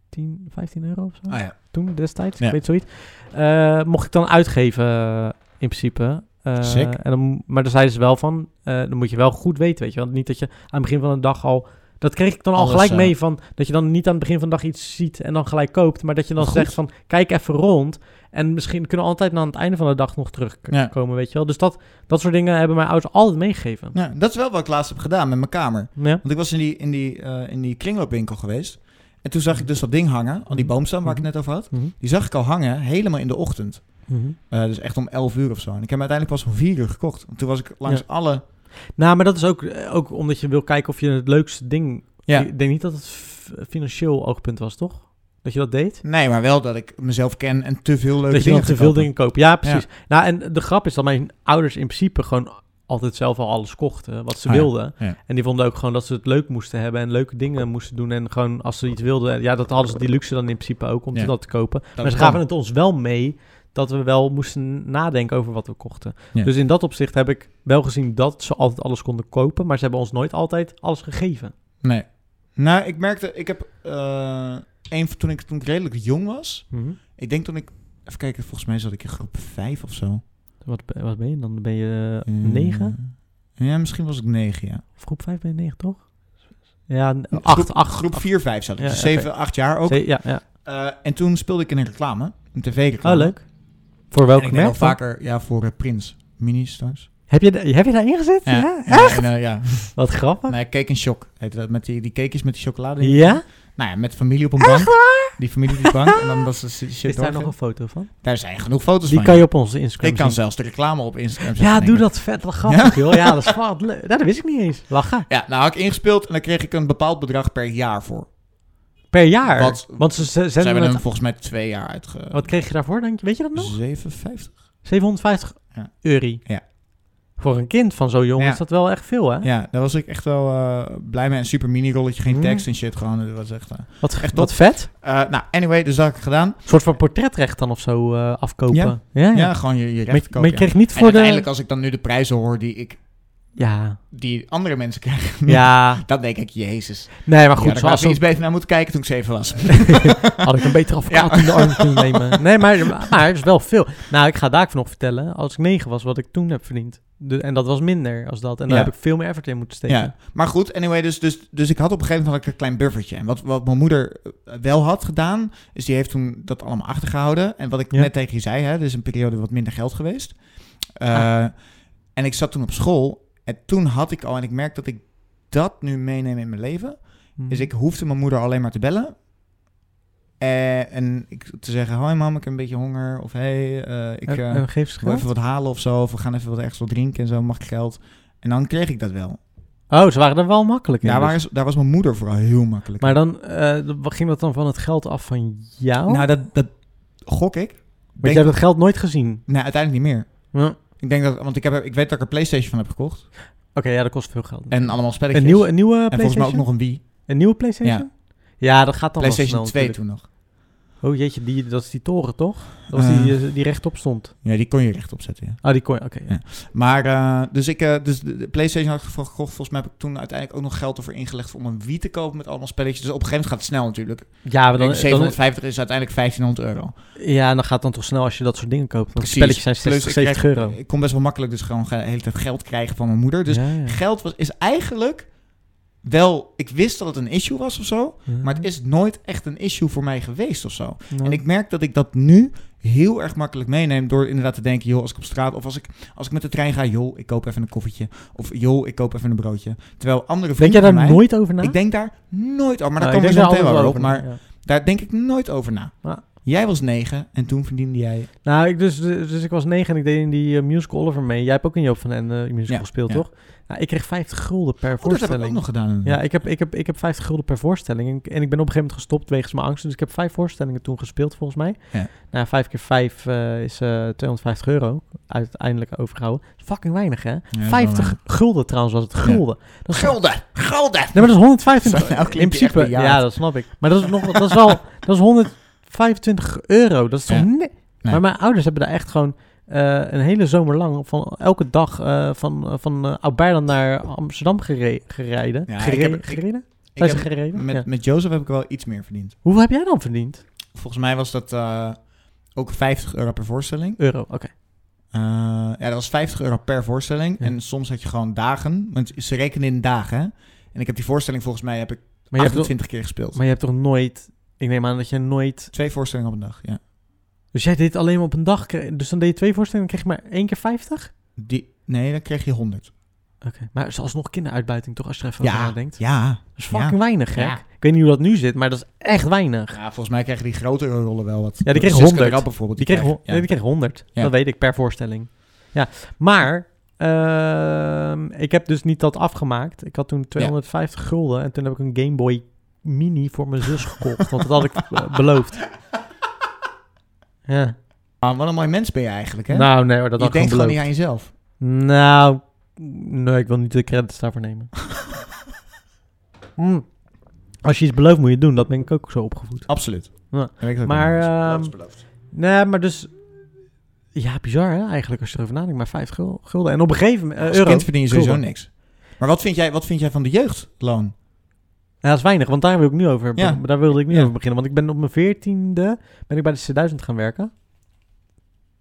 [SPEAKER 1] 10, 15 euro of zo.
[SPEAKER 2] Ah ja.
[SPEAKER 1] Toen destijds,
[SPEAKER 2] Ja.
[SPEAKER 1] ik weet zoiets. Eh, mocht ik dan uitgeven eh, in principe. Eh,
[SPEAKER 2] Sick.
[SPEAKER 1] En dan, maar dan zeiden ze wel van, eh, dan moet je wel goed weten, weet je. Want niet dat je aan het begin van de dag al... Dat kreeg ik dan al
[SPEAKER 2] Alles,
[SPEAKER 1] gelijk
[SPEAKER 2] eh,
[SPEAKER 1] mee van... Dat je dan niet aan het begin van de dag iets ziet en dan gelijk koopt. Maar dat je dan
[SPEAKER 2] Goed.
[SPEAKER 1] zegt van, kijk even rond. En misschien kunnen we altijd aan het einde van de dag nog
[SPEAKER 2] Ja.
[SPEAKER 1] terugkomen, weet je wel. Dus dat, dat soort dingen hebben mijn ouders altijd meegegeven.
[SPEAKER 2] Nou, dat is wel wat ik laatst heb gedaan met mijn kamer.
[SPEAKER 1] Ja.
[SPEAKER 2] Want ik was in die, in die, eh, in die kringloopwinkel geweest. En toen zag ik dus dat ding hangen, al die boomstam waar ik het net over had.
[SPEAKER 1] Mhm.
[SPEAKER 2] Die zag ik al hangen, helemaal in de ochtend.
[SPEAKER 1] Mhm.
[SPEAKER 2] Eh, dus echt om 11 uur of zo. En ik heb hem uiteindelijk pas om 4 uur gekocht. Want toen was ik langs
[SPEAKER 1] Ja.
[SPEAKER 2] alle...
[SPEAKER 1] Nou, maar dat is ook, eh, ook omdat je wil kijken of je het leukste ding...
[SPEAKER 2] Ja.
[SPEAKER 1] Ik denk niet dat het f- financieel oogpunt was, toch? Dat je dat deed?
[SPEAKER 2] Nee, maar wel dat ik mezelf ken en te veel leuke
[SPEAKER 1] dat je
[SPEAKER 2] dingen
[SPEAKER 1] dan te
[SPEAKER 2] ga
[SPEAKER 1] veel
[SPEAKER 2] kopen.
[SPEAKER 1] dingen koopt. Ja, precies. Nou, en de grap is dat mijn ouders in principe gewoon altijd zelf al alles kochten wat ze
[SPEAKER 2] Ah, ja.
[SPEAKER 1] wilden.
[SPEAKER 2] Ja.
[SPEAKER 1] En die vonden ook gewoon dat ze het leuk moesten hebben en leuke dingen moesten doen. En gewoon als ze iets wilden, ja, dat hadden ze die luxe dan in principe ook om
[SPEAKER 2] Ja.
[SPEAKER 1] dat te kopen.
[SPEAKER 2] Dat
[SPEAKER 1] maar ze
[SPEAKER 2] kan.
[SPEAKER 1] gaven het ons wel mee dat we wel moesten nadenken over wat we kochten.
[SPEAKER 2] Ja.
[SPEAKER 1] Dus in dat opzicht heb ik wel gezien dat ze altijd alles konden kopen, maar ze hebben ons nooit altijd alles gegeven.
[SPEAKER 2] Nee. Nou, ik merkte... Ik heb... eh een, van- toen, ik, toen ik redelijk jong was... Ik denk toen ik... Even kijken, volgens mij zat ik in groep 5 of zo.
[SPEAKER 1] Wat, be- wat ben je dan? Dan ben je
[SPEAKER 2] Eh,
[SPEAKER 1] 9?
[SPEAKER 2] Ja, misschien was ik 9, ja.
[SPEAKER 1] Of groep 5 ben je 9, toch? Ja, 8, 8.
[SPEAKER 2] Groep 4, 5 zat ik.
[SPEAKER 1] Ja,
[SPEAKER 2] dus
[SPEAKER 1] oké.
[SPEAKER 2] 7, 8 jaar ook.
[SPEAKER 1] Ja, ja.
[SPEAKER 2] Eh, en toen speelde ik in een reclame. Een tv-reclame.
[SPEAKER 1] Oh, leuk. Voor
[SPEAKER 2] En ik
[SPEAKER 1] welke
[SPEAKER 2] ben wel
[SPEAKER 1] merk? dan?
[SPEAKER 2] vaker ja, voor eh, Prins. Mini's thuis.
[SPEAKER 1] Heb je, da- heb je daarin gezet? Ja.
[SPEAKER 2] Echt? En, eh, ja.
[SPEAKER 1] Wat grappig.
[SPEAKER 2] Nee, cake en shock. Heette dat, met die, die cakejes met die chocolade. in.
[SPEAKER 1] ja?
[SPEAKER 2] Nou ja, met familie op een bank. Die familie op de bank. En dan was ze shit
[SPEAKER 1] Is daar
[SPEAKER 2] doorgeven.
[SPEAKER 1] nog een foto van?
[SPEAKER 2] Daar zijn genoeg foto's
[SPEAKER 1] Die
[SPEAKER 2] van.
[SPEAKER 1] kan
[SPEAKER 2] ja.
[SPEAKER 1] je op onze Instagram
[SPEAKER 2] Ik kan
[SPEAKER 1] zien.
[SPEAKER 2] zelfs de reclame op Instagram zetten.
[SPEAKER 1] Ja,
[SPEAKER 2] denk
[SPEAKER 1] doe
[SPEAKER 2] ik.
[SPEAKER 1] dat vet. Wat grappig, joh. Ja, dat is wat leuk. Nou, dat wist ik niet eens. Lachen.
[SPEAKER 2] Ja, nou had ik ingespeeld en dan kreeg ik een bepaald bedrag per jaar voor.
[SPEAKER 1] Per jaar.
[SPEAKER 2] Wat-
[SPEAKER 1] Want ze ze
[SPEAKER 2] Ze
[SPEAKER 1] zenden
[SPEAKER 2] hebben
[SPEAKER 1] het...
[SPEAKER 2] hem volgens mij twee jaar uitge...
[SPEAKER 1] Wat kreeg je daarvoor, denk je? Weet je dat nog?
[SPEAKER 2] 750?
[SPEAKER 1] 750
[SPEAKER 2] Ja.
[SPEAKER 1] euro.
[SPEAKER 2] Ja.
[SPEAKER 1] Voor een kind van zo jong
[SPEAKER 2] Ja.
[SPEAKER 1] is dat wel echt veel, hè?
[SPEAKER 2] Ja, daar was ik echt wel eh, blij mee. Een super mini-rolletje, geen
[SPEAKER 1] Mm.
[SPEAKER 2] tekst en shit. Gewoon, dat was echt... eh.
[SPEAKER 1] Wat,
[SPEAKER 2] Echt
[SPEAKER 1] wat vet.
[SPEAKER 2] Eh, nou, anyway, dus dat heb ik gedaan.
[SPEAKER 1] Een soort van portretrecht dan of zo eh, afkopen.
[SPEAKER 2] Ja.
[SPEAKER 1] Ja, ja.
[SPEAKER 2] Ja, gewoon je, je
[SPEAKER 1] Maar,
[SPEAKER 2] recht
[SPEAKER 1] je- maar je kreeg niet
[SPEAKER 2] En
[SPEAKER 1] voor
[SPEAKER 2] uiteindelijk
[SPEAKER 1] de...
[SPEAKER 2] als ik dan nu de prijzen hoor die ik...
[SPEAKER 1] Ja,
[SPEAKER 2] Die andere mensen krijgen.
[SPEAKER 1] ja.
[SPEAKER 2] Dan denk ik, jezus.
[SPEAKER 1] Nee, maar
[SPEAKER 2] Goed, ja,
[SPEAKER 1] goed,
[SPEAKER 2] daar had
[SPEAKER 1] zoals
[SPEAKER 2] ik iets beter naar moeten kijken toen ik zeven was.
[SPEAKER 1] had ik een betere advocaat
[SPEAKER 2] Ja.
[SPEAKER 1] in de arm kunnen nemen. Nee, maar, maar het is wel veel. Nou, ik ga Daak nog vertellen, als ik negen was, wat ik toen heb verdiend. De, en dat was minder als dat. En daar
[SPEAKER 2] Ja.
[SPEAKER 1] heb ik veel meer effort in moeten steken.
[SPEAKER 2] Ja, maar goed, anyway, dus, dus, dus ik had op een gegeven moment had ik een klein buffertje. En wat, wat mijn moeder eh, wel had gedaan, is die heeft toen dat allemaal achtergehouden. En wat ik
[SPEAKER 1] Ja.
[SPEAKER 2] net tegen je zei, hè, er is een periode wat minder geld geweest. Eh,
[SPEAKER 1] Ah.
[SPEAKER 2] En ik zat toen op school en toen had ik al, en ik merk dat ik dat nu meeneem in mijn leven,
[SPEAKER 1] Hm.
[SPEAKER 2] is Dus ik hoefde mijn moeder alleen maar te bellen. Eh, en ik, te zeggen, hoi mam, ik heb een beetje honger. Of hey, eh, ik...
[SPEAKER 1] En-
[SPEAKER 2] eh,
[SPEAKER 1] en geef ze
[SPEAKER 2] wil
[SPEAKER 1] geld?
[SPEAKER 2] even wat halen of zo. Of we gaan even wat ergens wat drinken en zo. Mag ik geld? En dan kreeg ik dat wel.
[SPEAKER 1] Oh, ze waren er wel makkelijk in.
[SPEAKER 2] Daar,
[SPEAKER 1] dus.
[SPEAKER 2] waren, ze- daar was mijn moeder vooral heel makkelijk.
[SPEAKER 1] Maar
[SPEAKER 2] in.
[SPEAKER 1] dan eh, wat ging dat dan van het geld af van jou?
[SPEAKER 2] Nou, dat, dat gok ik.
[SPEAKER 1] Want
[SPEAKER 2] Denk-
[SPEAKER 1] je hebt het geld nooit gezien.
[SPEAKER 2] Nee, uiteindelijk niet meer.
[SPEAKER 1] Ja. Oké,
[SPEAKER 2] Ik denk dat, want ik, heb, er- ik weet dat ik er PlayStation van heb gekocht.
[SPEAKER 1] ja, dat kost veel geld.
[SPEAKER 2] En allemaal spelletjes.
[SPEAKER 1] een nieuwe, een nieuwe
[SPEAKER 2] en volgens mij ook
[SPEAKER 1] PlayStation?
[SPEAKER 2] nog een Wii.
[SPEAKER 1] Een nieuwe PlayStation? Ja, dat gaat dan wel
[SPEAKER 2] PlayStation
[SPEAKER 1] snel
[SPEAKER 2] 2
[SPEAKER 1] natuurlijk.
[SPEAKER 2] toen nog.
[SPEAKER 1] Oh jeetje, die, dat is die toren toch? Dat was die, eh, die rechtop stond.
[SPEAKER 2] Ja, die kon je rechtop zetten, ja.
[SPEAKER 1] Ah, die kon je, oké.
[SPEAKER 2] Ja. Maar, eh, dus ik, eh, dus de, de PlayStation had ik voor gekocht. Volgens mij heb ik toen uiteindelijk ook nog geld ervoor ingelegd om een Wii te kopen met allemaal spelletjes. Dus op een gegeven moment gaat het snel natuurlijk.
[SPEAKER 1] Ja, maar
[SPEAKER 2] Ik
[SPEAKER 1] dan,
[SPEAKER 2] denk
[SPEAKER 1] dan,
[SPEAKER 2] 750 is uiteindelijk 1500 euro.
[SPEAKER 1] ja, en dan gaat het dan toch snel als je dat soort dingen koopt. Want
[SPEAKER 2] Precies.
[SPEAKER 1] spelletjes zijn 60,
[SPEAKER 2] Plus,
[SPEAKER 1] 70
[SPEAKER 2] ik, krijg- dus
[SPEAKER 1] euro.
[SPEAKER 2] ik kon best wel makkelijk dus gewoon ge- de hele tijd geld krijgen van mijn moeder. Dus
[SPEAKER 1] Ja, ja.
[SPEAKER 2] geld was, is eigenlijk wel, ik wist dat het een issue was of zo, maar het
[SPEAKER 1] Ja.
[SPEAKER 2] is nooit echt een issue voor mij geweest of zo.
[SPEAKER 1] Nou,
[SPEAKER 2] En ik merk dat ik dat nu heel erg makkelijk meeneem door inderdaad te denken, joh, als ik op straat of als ik, als ik met de trein ga, joh, ik koop even een koffietje of joh, ik koop even een broodje. Terwijl andere
[SPEAKER 1] Denk jij
[SPEAKER 2] vrienden
[SPEAKER 1] daar
[SPEAKER 2] van mij,
[SPEAKER 1] nooit over na?
[SPEAKER 2] ik denk daar nooit over, maar daar
[SPEAKER 1] Nou, ik
[SPEAKER 2] komen we zo
[SPEAKER 1] denk
[SPEAKER 2] meteen
[SPEAKER 1] daar
[SPEAKER 2] wel
[SPEAKER 1] altijd
[SPEAKER 2] over, maar
[SPEAKER 1] na, ja.
[SPEAKER 2] daar denk ik nooit over na.
[SPEAKER 1] Ja.
[SPEAKER 2] Jij was negen en toen verdiende jij... Oh,
[SPEAKER 1] Nou, ik dus, dus ik was negen en ik deed in die eh, musical Oliver mee. Jij hebt ook in Joop van Ende musical
[SPEAKER 2] Ja,
[SPEAKER 1] gespeeld,
[SPEAKER 2] ja.
[SPEAKER 1] toch? Nou, ik kreeg 50 gulden per
[SPEAKER 2] Oh, dat heb ik ook
[SPEAKER 1] voorstelling.
[SPEAKER 2] nog gedaan.
[SPEAKER 1] Ja, ik heb, ik, heb, ik heb 50 gulden per voorstelling. En ik- En ik ben op een gegeven moment gestopt wegens mijn angst. Dus ik heb vijf voorstellingen toen gespeeld, volgens mij.
[SPEAKER 2] Ja.
[SPEAKER 1] Nou, vijf keer vijf eh, is eh 250 euro uiteindelijk overgehouden. Dat is fucking weinig, hè?
[SPEAKER 2] Ja, dat is wel
[SPEAKER 1] 50
[SPEAKER 2] waar.
[SPEAKER 1] gulden trouwens was het. Gulden. Dat is
[SPEAKER 2] Gulden! Gulden!
[SPEAKER 1] Nee, maar dat is 125
[SPEAKER 2] Zo, nou
[SPEAKER 1] In
[SPEAKER 2] klinkt die echt
[SPEAKER 1] principe,
[SPEAKER 2] bejaard.
[SPEAKER 1] ja, dat snap ik. Maar dat is, nog, dat is wel... Dat is 125 euro. Dat is toch...
[SPEAKER 2] Ja.
[SPEAKER 1] ni- Maar mijn ouders hebben daar echt gewoon... eh, een hele zomer lang, van elke dag eh, van, van eh, Oud-Beijerland naar Amsterdam gere- gereden.
[SPEAKER 2] Ja, ik
[SPEAKER 1] Gere-
[SPEAKER 2] heb- ik-
[SPEAKER 1] gereden?
[SPEAKER 2] Ik
[SPEAKER 1] Zijn
[SPEAKER 2] heb-
[SPEAKER 1] ze gereden?
[SPEAKER 2] met,
[SPEAKER 1] Ja.
[SPEAKER 2] met Jozef heb ik wel iets meer verdiend.
[SPEAKER 1] Hoeveel heb jij dan verdiend?
[SPEAKER 2] Volgens mij was dat eh, ook 50 euro per voorstelling.
[SPEAKER 1] Euro, oké.
[SPEAKER 2] Eh, ja, dat was 50 euro per voorstelling.
[SPEAKER 1] Ja.
[SPEAKER 2] En soms had je gewoon dagen. Want ze rekenen in dagen. hè. En ik heb die voorstelling volgens mij heb ik
[SPEAKER 1] Maar, je hebt toch-
[SPEAKER 2] 28 keer gespeeld.
[SPEAKER 1] maar je hebt toch nooit... Ik neem aan dat je nooit...
[SPEAKER 2] Twee voorstellingen op een dag, ja.
[SPEAKER 1] Dus jij deed alleen maar op een dag. kre- Dus dan deed je twee voorstellingen en kreeg je maar één keer 50?
[SPEAKER 2] Die, nee, dan kreeg je 100.
[SPEAKER 1] Oké. Maar het is alsnog kinderuitbuiting toch, als je nou er even over nadenkt?
[SPEAKER 2] ja.
[SPEAKER 1] Dat is fucking weinig, hè?
[SPEAKER 2] Ja.
[SPEAKER 1] Ik weet niet hoe dat nu zit, maar dat is echt weinig.
[SPEAKER 2] Ja, volgens mij kregen die grotere rollen wel wat.
[SPEAKER 1] Ja, die kreeg
[SPEAKER 2] Siska de
[SPEAKER 1] 100.
[SPEAKER 2] Rap bijvoorbeeld.
[SPEAKER 1] Die kreeg, hon-
[SPEAKER 2] ja.
[SPEAKER 1] nee, die kreeg 100.
[SPEAKER 2] Ja.
[SPEAKER 1] Dat weet ik, per voorstelling. Ja, maar ehm, ik heb dus niet dat afgemaakt. Ik had toen 250 gulden en toen heb ik een Game Boy Mini voor mijn zus gekocht. want dat had ik eh, beloofd. Ja.
[SPEAKER 2] Ah, wat een mooi mens ben je eigenlijk, hè?
[SPEAKER 1] Nou, nee hoor, dat
[SPEAKER 2] je
[SPEAKER 1] had ik
[SPEAKER 2] denkt
[SPEAKER 1] gewoon
[SPEAKER 2] gewoon
[SPEAKER 1] beloofd.
[SPEAKER 2] niet aan jezelf.
[SPEAKER 1] Nou, nee, ik wil niet de credits daarvoor nemen. Mm. Als je iets belooft, moet je het doen. Dat ben ik ook zo opgevoed.
[SPEAKER 2] Absoluut.
[SPEAKER 1] Ja.
[SPEAKER 2] Dan weet ik dat ik
[SPEAKER 1] Maar,
[SPEAKER 2] ben.
[SPEAKER 1] ehm,
[SPEAKER 2] Beloofd is beloofd.
[SPEAKER 1] Nee, maar dus... Ja, bizar hè, eigenlijk als je erover nadenkt. Maar 50 gul- gulden. En op een gegeven moment... eh,
[SPEAKER 2] Als
[SPEAKER 1] euro.
[SPEAKER 2] kind verdien je sowieso
[SPEAKER 1] Gulden.
[SPEAKER 2] niks. Maar wat vind jij, wat vind jij van de jeugdloon?
[SPEAKER 1] Ja, dat is weinig, want daar wil ik nu over...
[SPEAKER 2] Ja.
[SPEAKER 1] Daar wilde ik nu
[SPEAKER 2] Ja.
[SPEAKER 1] over beginnen. Want ik ben op mijn veertiende... Ben ik bij de C1000 gaan werken.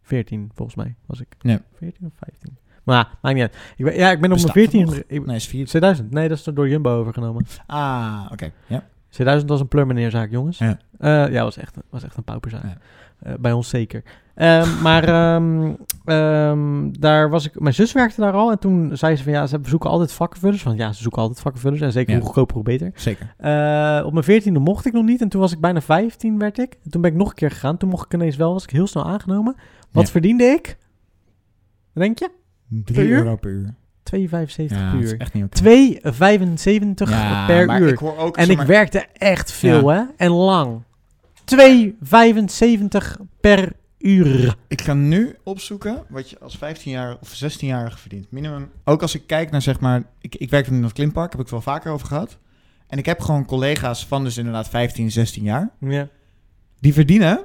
[SPEAKER 1] 14 volgens mij was ik.
[SPEAKER 2] Ja.
[SPEAKER 1] 14 of 15. Maar maakt niet uit. Ik ben, ja, ik ben op mijn
[SPEAKER 2] Bestaat dat
[SPEAKER 1] 14... Ik,
[SPEAKER 2] Nee, is vier.
[SPEAKER 1] C1000. Nee, dat is door Jumbo overgenomen.
[SPEAKER 2] Ah, oké. Ja.
[SPEAKER 1] C1000 was een pleurmeneerzaak, jongens.
[SPEAKER 2] Ja.
[SPEAKER 1] Eh, ja, was echt, was echt een pauperzaak.
[SPEAKER 2] Ja.
[SPEAKER 1] Eh, bij ons zeker. Ehm, maar ehm, ehm, daar was ik... Mijn zus werkte daar al. En toen zei ze van... Ja, ze zoeken altijd vakkenvullers. Want ja, ze zoeken altijd vakkenvullers. En zeker
[SPEAKER 2] Ja.
[SPEAKER 1] hoe goedkoper, hoe beter.
[SPEAKER 2] Zeker.
[SPEAKER 1] Eh, op mijn veertiende mocht ik nog niet. En toen was ik bijna 15 werd ik. En toen ben ik nog een keer gegaan. Toen mocht ik ineens wel. Was ik heel snel aangenomen. Wat
[SPEAKER 2] Ja.
[SPEAKER 1] verdiende ik? Wat Denk je?
[SPEAKER 2] 3
[SPEAKER 1] Per uur?
[SPEAKER 2] euro per uur.
[SPEAKER 1] 2,75
[SPEAKER 2] Ja,
[SPEAKER 1] per
[SPEAKER 2] dat is
[SPEAKER 1] uur.
[SPEAKER 2] echt niet oké.
[SPEAKER 1] 2,75
[SPEAKER 2] Ja,
[SPEAKER 1] per
[SPEAKER 2] maar
[SPEAKER 1] uur.
[SPEAKER 2] Ik hoor ook,
[SPEAKER 1] En
[SPEAKER 2] zeg
[SPEAKER 1] ik
[SPEAKER 2] maar,
[SPEAKER 1] werkte echt veel, hè? En lang. 2,75 per uur.
[SPEAKER 2] ik ga nu opzoeken wat je als 15-jarige of 16-jarige verdient. Minimum. Ook als ik kijk naar zeg maar... Ik, ik werkte in het klimpark, heb ik het wel vaker over gehad. En ik heb gewoon collega's van dus inderdaad 15, 16 jaar.
[SPEAKER 1] Ja.
[SPEAKER 2] Die verdienen...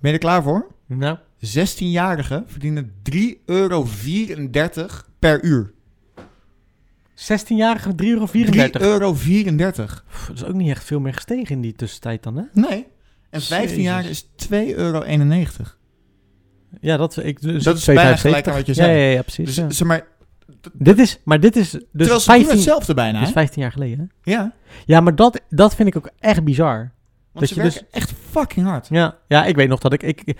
[SPEAKER 2] Ben je er klaar voor?
[SPEAKER 1] Nou.
[SPEAKER 2] 16-jarigen verdienen 3,34 euro per uur.
[SPEAKER 1] 16-jarige 3,34 euro.
[SPEAKER 2] 3,34 euro. 34.
[SPEAKER 1] Pff, dat is ook niet echt veel meer gestegen in die tussentijd dan, hè?
[SPEAKER 2] Nee. En 15 jaar is 2,91 euro.
[SPEAKER 1] Ja, dat, ik, dus
[SPEAKER 2] Dat is bijna
[SPEAKER 1] 2,75.
[SPEAKER 2] gelijk aan wat je
[SPEAKER 1] Ja,
[SPEAKER 2] zei.
[SPEAKER 1] ja, ja, precies.
[SPEAKER 2] Dus
[SPEAKER 1] ja.
[SPEAKER 2] zeg maar,
[SPEAKER 1] Dit is, maar dit is dus
[SPEAKER 2] terwijl ze
[SPEAKER 1] 15,
[SPEAKER 2] doen hetzelfde bijna.
[SPEAKER 1] dit is
[SPEAKER 2] hè?
[SPEAKER 1] 15 jaar geleden. hè?
[SPEAKER 2] Ja,
[SPEAKER 1] Ja, maar dat, dat vind ik ook echt bizar.
[SPEAKER 2] want
[SPEAKER 1] je
[SPEAKER 2] ze werken echt fucking hard.
[SPEAKER 1] Ja, ja ik weet nog dat ik, ik...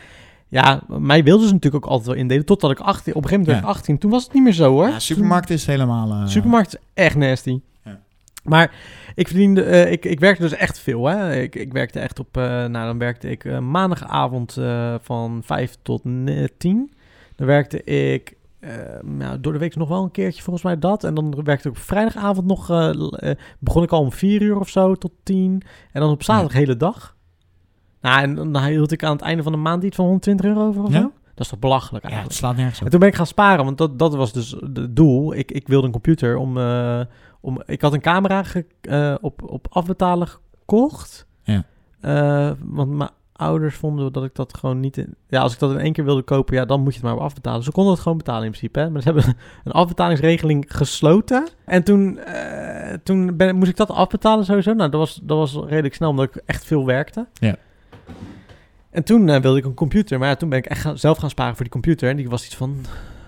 [SPEAKER 1] Ja, mij wilden ze natuurlijk ook altijd wel indelen. Totdat ik 18... Op een gegeven moment werd ik 18. Toen was het niet meer zo, hoor.
[SPEAKER 2] Ja, supermarkt is helemaal... eh,
[SPEAKER 1] Supermarkt is echt nasty.
[SPEAKER 2] Ja.
[SPEAKER 1] Maar ik verdiende, eh, ik, ik werkte dus echt veel. Hè? Ik, ik werkte echt op, eh, nou dan werkte ik eh, maandagavond eh, van 5 tot ne- 10. Dan werkte ik eh, nou, door de week nog wel een keertje volgens mij dat. En dan werkte ik op vrijdagavond nog, eh, l- eh, begon ik al om 4 uur of zo tot 10. En dan op zaterdag de hele dag. Nou, en dan hield ik aan het einde van de maand iets van 120 euro over of
[SPEAKER 2] Ja?
[SPEAKER 1] zo. Dat is toch belachelijk
[SPEAKER 2] Ja,
[SPEAKER 1] eigenlijk.
[SPEAKER 2] het slaat nergens
[SPEAKER 1] En
[SPEAKER 2] op.
[SPEAKER 1] toen ben ik gaan sparen, want dat, dat was dus het doel. Ik, ik wilde een computer om, eh, om... Ik had een camera ge- eh, op, op afbetalen gekocht.
[SPEAKER 2] Ja.
[SPEAKER 1] Eh, want mijn ouders vonden dat ik dat gewoon niet... In, ja, als ik dat in één keer wilde kopen, ja, dan moet je het maar op afbetalen. Ze konden het gewoon betalen in principe, hè. Maar ze hebben een afbetalingsregeling gesloten. En toen, eh, toen ben, moest ik dat afbetalen sowieso. Nou, dat was, dat was redelijk snel, omdat ik echt veel werkte.
[SPEAKER 2] Ja.
[SPEAKER 1] En toen eh, wilde ik een computer. Maar ja, toen ben ik echt gaan- zelf gaan sparen voor die computer. En die was iets van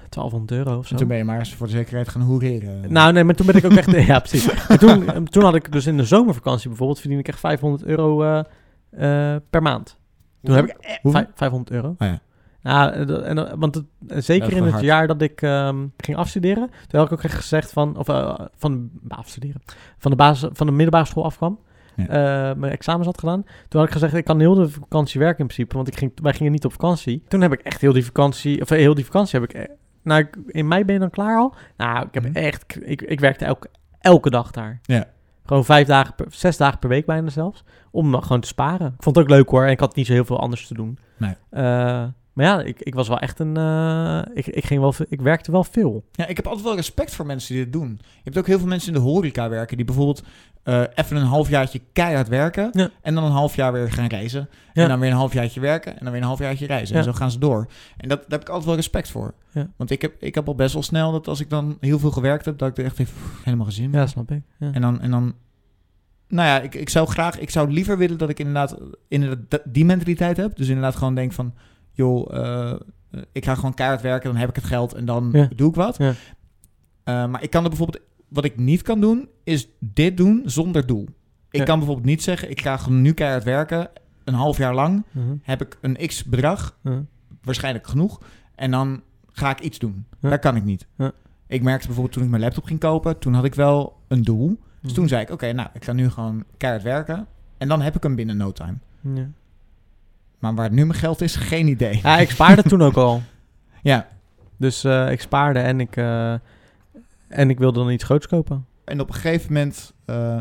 [SPEAKER 1] 1200 euro of zo.
[SPEAKER 2] En toen ben je maar eens voor de zekerheid gaan hoereren.
[SPEAKER 1] Nou, nee, maar toen ben ik ook echt... ja, precies. Maar toen, eh, toen had ik dus in de zomervakantie bijvoorbeeld... verdiende ik echt 500 euro eh, eh, per maand. Toen heb ik eh,
[SPEAKER 2] Hoeveel?
[SPEAKER 1] vij- 500 euro.
[SPEAKER 2] Oh ja.
[SPEAKER 1] Ja, en dat- en, dat- want het- en zeker
[SPEAKER 2] Dat is
[SPEAKER 1] in
[SPEAKER 2] wel
[SPEAKER 1] het
[SPEAKER 2] hard.
[SPEAKER 1] jaar dat ik ehm, ging afstuderen... toen had ik ook echt gezegd van... of eh, van bah, afstuderen... van de, basis, van de middelbare school afkwam...
[SPEAKER 2] Ja.
[SPEAKER 1] eh, mijn examens had gedaan. Toen had ik gezegd, ik kan heel de vakantie werken in principe. Want ik ging, wij gingen niet op vakantie. Toen heb ik echt heel die vakantie... Of eh, heel die vakantie heb ik... eh, Nou, ik- in mei ben je dan klaar al. Nou, ik heb
[SPEAKER 2] Mhm.
[SPEAKER 1] echt... Ik, ik werkte elke, elke dag daar.
[SPEAKER 2] Ja.
[SPEAKER 1] Gewoon vijf dagen, per, zes dagen per week bijna zelfs. Om dan gewoon te sparen. Ik vond het ook leuk hoor. En ik had niet zo heel veel anders te doen.
[SPEAKER 2] Nee.
[SPEAKER 1] Eh, maar ja, ik, ik was wel echt een... eh, ik, ik, ging wel, ve- ik werkte wel veel.
[SPEAKER 2] Ja, ik heb altijd wel respect voor mensen die dit doen. Je hebt ook heel veel mensen in de horeca werken die bijvoorbeeld eh, even een halfjaartje keihard werken
[SPEAKER 1] Ja.
[SPEAKER 2] en dan een halfjaar weer gaan reizen.
[SPEAKER 1] Ja.
[SPEAKER 2] En dan weer een halfjaartje werken en dan weer een halfjaartje reizen. En
[SPEAKER 1] Ja.
[SPEAKER 2] zo gaan ze door. En dat, daar heb ik altijd wel respect voor.
[SPEAKER 1] Ja.
[SPEAKER 2] Want ik heb, ik heb al best wel snel dat als ik dan heel veel gewerkt heb, dat ik er echt even pff, helemaal gezin ben.
[SPEAKER 1] Ja, snap ik. Ja.
[SPEAKER 2] En dan, en dan nou ja, ik, ik zou graag, ik zou liever willen dat ik inderdaad, inderdaad dat- die mentaliteit heb. Dus inderdaad gewoon denk van, joh, eh, ik ga gewoon keihard werken, dan heb ik het geld en dan
[SPEAKER 1] Ja.
[SPEAKER 2] doe ik wat.
[SPEAKER 1] Ja.
[SPEAKER 2] Eh, maar ik kan er bijvoorbeeld, wat ik niet kan doen, is dit doen zonder doel. Ik
[SPEAKER 1] Ja.
[SPEAKER 2] kan bijvoorbeeld niet zeggen, ik ga nu keihard werken, een half jaar lang
[SPEAKER 1] Mhm,
[SPEAKER 2] heb ik een x bedrag
[SPEAKER 1] mhm.
[SPEAKER 2] waarschijnlijk genoeg. En dan ga ik iets doen.
[SPEAKER 1] Ja.
[SPEAKER 2] Dat kan ik niet.
[SPEAKER 1] Ja.
[SPEAKER 2] Ik merkte bijvoorbeeld toen ik mijn laptop ging kopen, toen had ik wel een doel.
[SPEAKER 1] Hmm.
[SPEAKER 2] Dus toen zei ik, oké, nou, ik ga nu gewoon keihard werken. En dan heb ik hem binnen no time.
[SPEAKER 1] Ja.
[SPEAKER 2] Maar waar nu mijn geld is, geen idee.
[SPEAKER 1] Ja, ik spaarde toen ook al.
[SPEAKER 2] Ja.
[SPEAKER 1] Dus eh, ik spaarde en ik, eh, en ik wilde dan iets groots kopen.
[SPEAKER 2] En op een gegeven moment eh,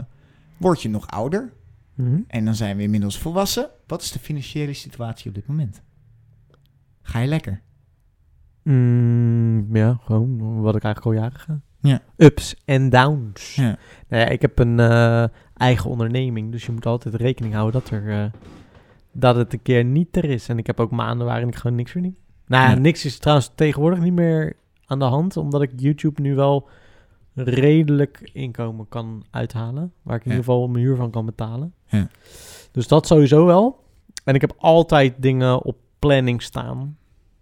[SPEAKER 2] word je nog ouder.
[SPEAKER 1] Mhm.
[SPEAKER 2] En dan zijn we inmiddels volwassen. Wat is de financiële situatie op dit moment? Ga je lekker?
[SPEAKER 1] Mm, ja, gewoon wat ik eigenlijk al jaren ga.
[SPEAKER 2] Ja.
[SPEAKER 1] Ups en downs.
[SPEAKER 2] Ja.
[SPEAKER 1] Nou ja, ik heb een eh, eigen onderneming, dus je moet altijd rekening houden dat, er, eh, dat het een keer niet er is. En ik heb ook maanden waarin ik gewoon niks meer doe. Nou ja,
[SPEAKER 2] Ja.
[SPEAKER 1] niks is trouwens tegenwoordig niet meer aan de hand, omdat ik YouTube nu wel redelijk inkomen kan uithalen. Waar ik in
[SPEAKER 2] Ja.
[SPEAKER 1] ieder geval mijn huur van kan betalen.
[SPEAKER 2] Ja.
[SPEAKER 1] Dus dat sowieso wel. En ik heb altijd dingen op planning staan.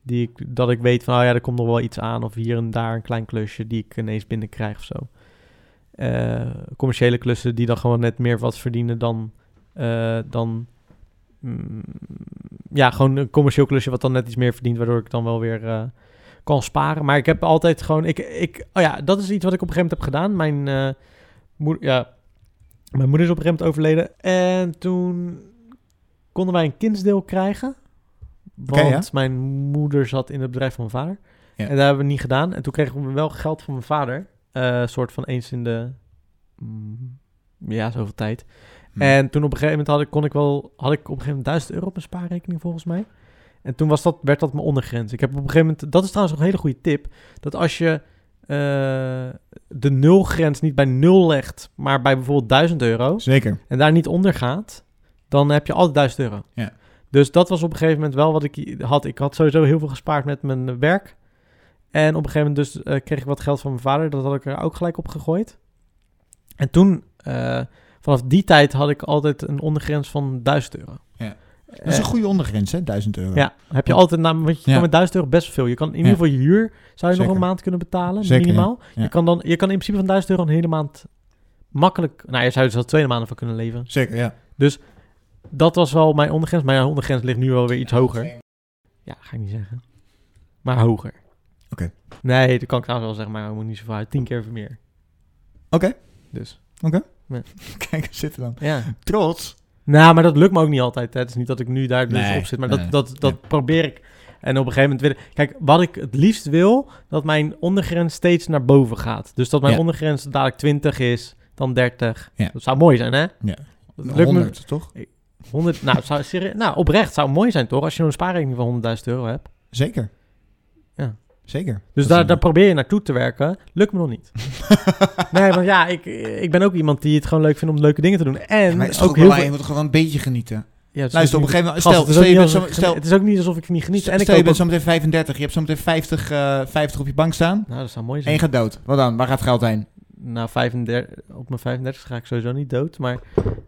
[SPEAKER 1] Die ik, dat ik weet van, oh ja, er komt nog wel iets aan. Of hier en daar een klein klusje die ik ineens binnenkrijg of zo. Eh, commerciële klussen die dan gewoon net meer wat verdienen dan... eh, dan mm, ja, gewoon een commercieel klusje wat dan net iets meer verdient. Waardoor ik dan wel weer eh, kan sparen. Maar ik heb altijd gewoon... Ik, ik, oh ja, dat is iets wat ik op een gegeven moment heb gedaan. Mijn, eh, moeder, ja, mijn moeder is op een gegeven moment overleden. En toen konden wij een kindsdeel krijgen.
[SPEAKER 2] Oké,
[SPEAKER 1] Want
[SPEAKER 2] ja.
[SPEAKER 1] mijn moeder zat in het bedrijf van mijn vader.
[SPEAKER 2] Ja.
[SPEAKER 1] En daar hebben we niet gedaan. En toen kregen we wel geld van mijn vader. Eh, soort van eens in de... mm, ja, zoveel tijd.
[SPEAKER 2] Hm.
[SPEAKER 1] En toen op een gegeven moment had ik, kon ik wel, had ik op een gegeven moment 1000 euro op mijn spaarrekening volgens mij. En toen was dat, werd dat mijn ondergrens. Ik heb op een gegeven moment, dat is trouwens nog een hele goede tip, dat als je eh, de nulgrens niet bij nul legt, maar bij bijvoorbeeld 1000 euro
[SPEAKER 2] Zeker.
[SPEAKER 1] en daar niet onder gaat, dan heb je altijd 1000 euro.
[SPEAKER 2] Ja.
[SPEAKER 1] Dus dat was op een gegeven moment wel wat ik had. Ik had sowieso heel veel gespaard met mijn werk. En op een gegeven moment dus, eh, kreeg ik wat geld van mijn vader. Dat had ik er ook gelijk op gegooid. En toen, eh, vanaf die tijd had ik altijd een ondergrens van 1000 euro.
[SPEAKER 2] Ja. Dat is een
[SPEAKER 1] Eh,
[SPEAKER 2] goede ondergrens, hè? 1000 euro.
[SPEAKER 1] ja, heb je altijd, nou, want je
[SPEAKER 2] Ja.
[SPEAKER 1] kan met 1000 euro best veel. Je kan in
[SPEAKER 2] Ja.
[SPEAKER 1] ieder geval je huur, zou je nog
[SPEAKER 2] Zeker.
[SPEAKER 1] een maand kunnen betalen,
[SPEAKER 2] Zeker, ja.
[SPEAKER 1] minimaal.
[SPEAKER 2] Ja.
[SPEAKER 1] Je, kan dan, je kan in principe van 1000 euro een hele maand makkelijk, nou je zou er zelfs twee maanden van kunnen leven.
[SPEAKER 2] Zeker, ja.
[SPEAKER 1] Dat was wel mijn ondergrens. Mijn ondergrens ligt nu wel weer iets hoger. Ja, ga ik niet zeggen. Maar hoger.
[SPEAKER 2] Oké.
[SPEAKER 1] Nee, dat kan ik trouwens wel zeggen, maar ik moet niet zo vaak. Tien keer meer.
[SPEAKER 2] Oké.
[SPEAKER 1] Dus.
[SPEAKER 2] Kijk, we zitten dan.
[SPEAKER 1] Ja.
[SPEAKER 2] Trots.
[SPEAKER 1] Nou, maar dat lukt me ook niet altijd. Hè. Het is niet dat ik nu daar dus
[SPEAKER 2] Nee,
[SPEAKER 1] op zit, maar
[SPEAKER 2] nee,
[SPEAKER 1] dat, dat, dat probeer ik. En op een gegeven moment wil ik... Kijk, wat ik het liefst wil, dat mijn ondergrens steeds naar boven gaat. Dus dat mijn
[SPEAKER 2] Ja.
[SPEAKER 1] ondergrens dadelijk 20 is, dan 30.
[SPEAKER 2] Ja.
[SPEAKER 1] Dat zou mooi zijn, hè?
[SPEAKER 2] Ja.
[SPEAKER 1] Dat lukt me-
[SPEAKER 2] 100, toch?
[SPEAKER 1] 100 nou, het zou, serie- nou, oprecht zou het mooi zijn, toch? Als je een spaarrekening van 100.000 euro hebt.
[SPEAKER 2] Zeker.
[SPEAKER 1] Ja.
[SPEAKER 2] Zeker.
[SPEAKER 1] Dus
[SPEAKER 2] Dat
[SPEAKER 1] daar,
[SPEAKER 2] is-
[SPEAKER 1] daar probeer je naartoe te werken. Lukt me nog niet. nee, want ja, ik, ik ben ook iemand die het gewoon leuk vindt om leuke dingen te doen. En
[SPEAKER 2] Ja, maar het is toch
[SPEAKER 1] ook
[SPEAKER 2] ook wel
[SPEAKER 1] heel
[SPEAKER 2] waar,
[SPEAKER 1] veel...
[SPEAKER 2] je moet toch gewoon een beetje genieten.
[SPEAKER 1] Ja, het is
[SPEAKER 2] Luister, op
[SPEAKER 1] ook
[SPEAKER 2] een
[SPEAKER 1] niet-
[SPEAKER 2] gegeven moment...
[SPEAKER 1] Gast,
[SPEAKER 2] Stel,
[SPEAKER 1] het, is ook
[SPEAKER 2] stel, je
[SPEAKER 1] niet
[SPEAKER 2] bent
[SPEAKER 1] alsof
[SPEAKER 2] zo,
[SPEAKER 1] ik geni-
[SPEAKER 2] stel,
[SPEAKER 1] het is ook niet alsof ik niet geniet. En ik
[SPEAKER 2] stel je
[SPEAKER 1] koop ook-
[SPEAKER 2] bent zometeen 35, je hebt zometeen 50, eh 50 op je bank staan
[SPEAKER 1] Nou, dat zou mooi
[SPEAKER 2] en
[SPEAKER 1] zijn.
[SPEAKER 2] je gaat dood. Wat dan? Waar gaat het geld heen?
[SPEAKER 1] na 35, op mijn 35 ga ik sowieso niet dood, maar...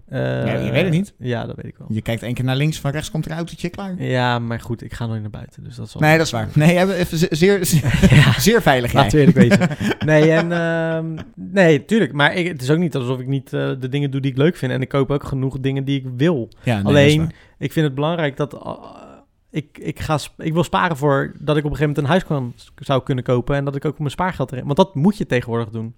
[SPEAKER 1] eh,
[SPEAKER 2] Ja, je weet het niet.
[SPEAKER 1] Ja, dat weet ik wel.
[SPEAKER 2] Je kijkt één keer naar links, van rechts komt er een autootje klaar.
[SPEAKER 1] Ja, maar goed, ik ga nooit naar buiten, dus dat zal...
[SPEAKER 2] Nee, dat is waar. Nee, jij bent even ze- zeer, zeer,
[SPEAKER 1] Ja.
[SPEAKER 2] zeer veilig jij.
[SPEAKER 1] Laten we eerlijk weten. Nee, en, ehm, nee, tuurlijk. Maar ik, het is ook niet alsof ik niet eh, de dingen doe die ik leuk vind. En ik koop ook genoeg dingen die ik wil.
[SPEAKER 2] Ja, nee, dat is
[SPEAKER 1] Alleen,
[SPEAKER 2] waar.
[SPEAKER 1] ik vind het belangrijk dat... ah, ik, ik, ga sp- ik wil sparen voor dat ik op een gegeven moment een huis kan, zou kunnen kopen. En dat ik ook mijn spaargeld erin... Want dat moet je tegenwoordig doen.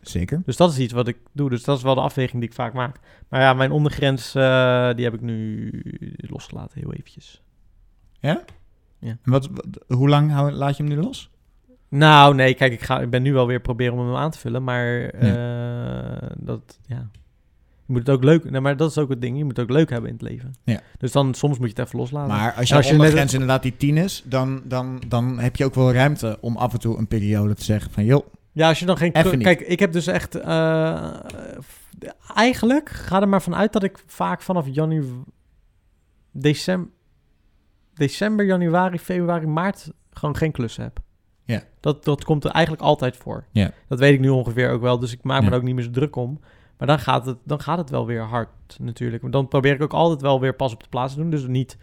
[SPEAKER 2] Zeker.
[SPEAKER 1] Dus dat is iets wat ik doe. Dus dat is wel de afweging die ik vaak maak. Maar ja, mijn ondergrens, eh, die heb ik nu losgelaten heel eventjes.
[SPEAKER 2] En wat, wat- hoe lang hou- laat je hem nu los?
[SPEAKER 1] Nou, nee, kijk, ik, ga, ik ben nu wel weer proberen om hem aan te vullen, maar eh, dat, ja. Je moet het ook leuk, nee, maar dat is ook het ding, je moet het ook leuk hebben in het leven.
[SPEAKER 2] Ja.
[SPEAKER 1] Dus dan, soms moet je het even loslaten.
[SPEAKER 2] Maar als
[SPEAKER 1] je
[SPEAKER 2] je,
[SPEAKER 1] Ah, als je net-
[SPEAKER 2] ondergrens inderdaad die 10 is, dan, dan, dan heb je ook wel ruimte om af en toe een periode te zeggen van... joh,
[SPEAKER 1] Ja, als je dan geen...
[SPEAKER 2] Even niet.
[SPEAKER 1] Kijk, ik heb dus echt... eh, f- eigenlijk ga er maar vanuit dat ik vaak vanaf januari... December, december, januari, februari, maart gewoon geen klussen heb.
[SPEAKER 2] Ja.
[SPEAKER 1] Dat, dat komt er eigenlijk altijd voor.
[SPEAKER 2] Ja.
[SPEAKER 1] Dat weet ik nu ongeveer ook wel, dus ik maak me
[SPEAKER 2] Ja.
[SPEAKER 1] er ook niet meer zo druk om. Maar dan gaat, het, dan gaat het wel weer hard natuurlijk. Want Dan probeer ik ook altijd wel weer pas op de plaats te doen. Dus niet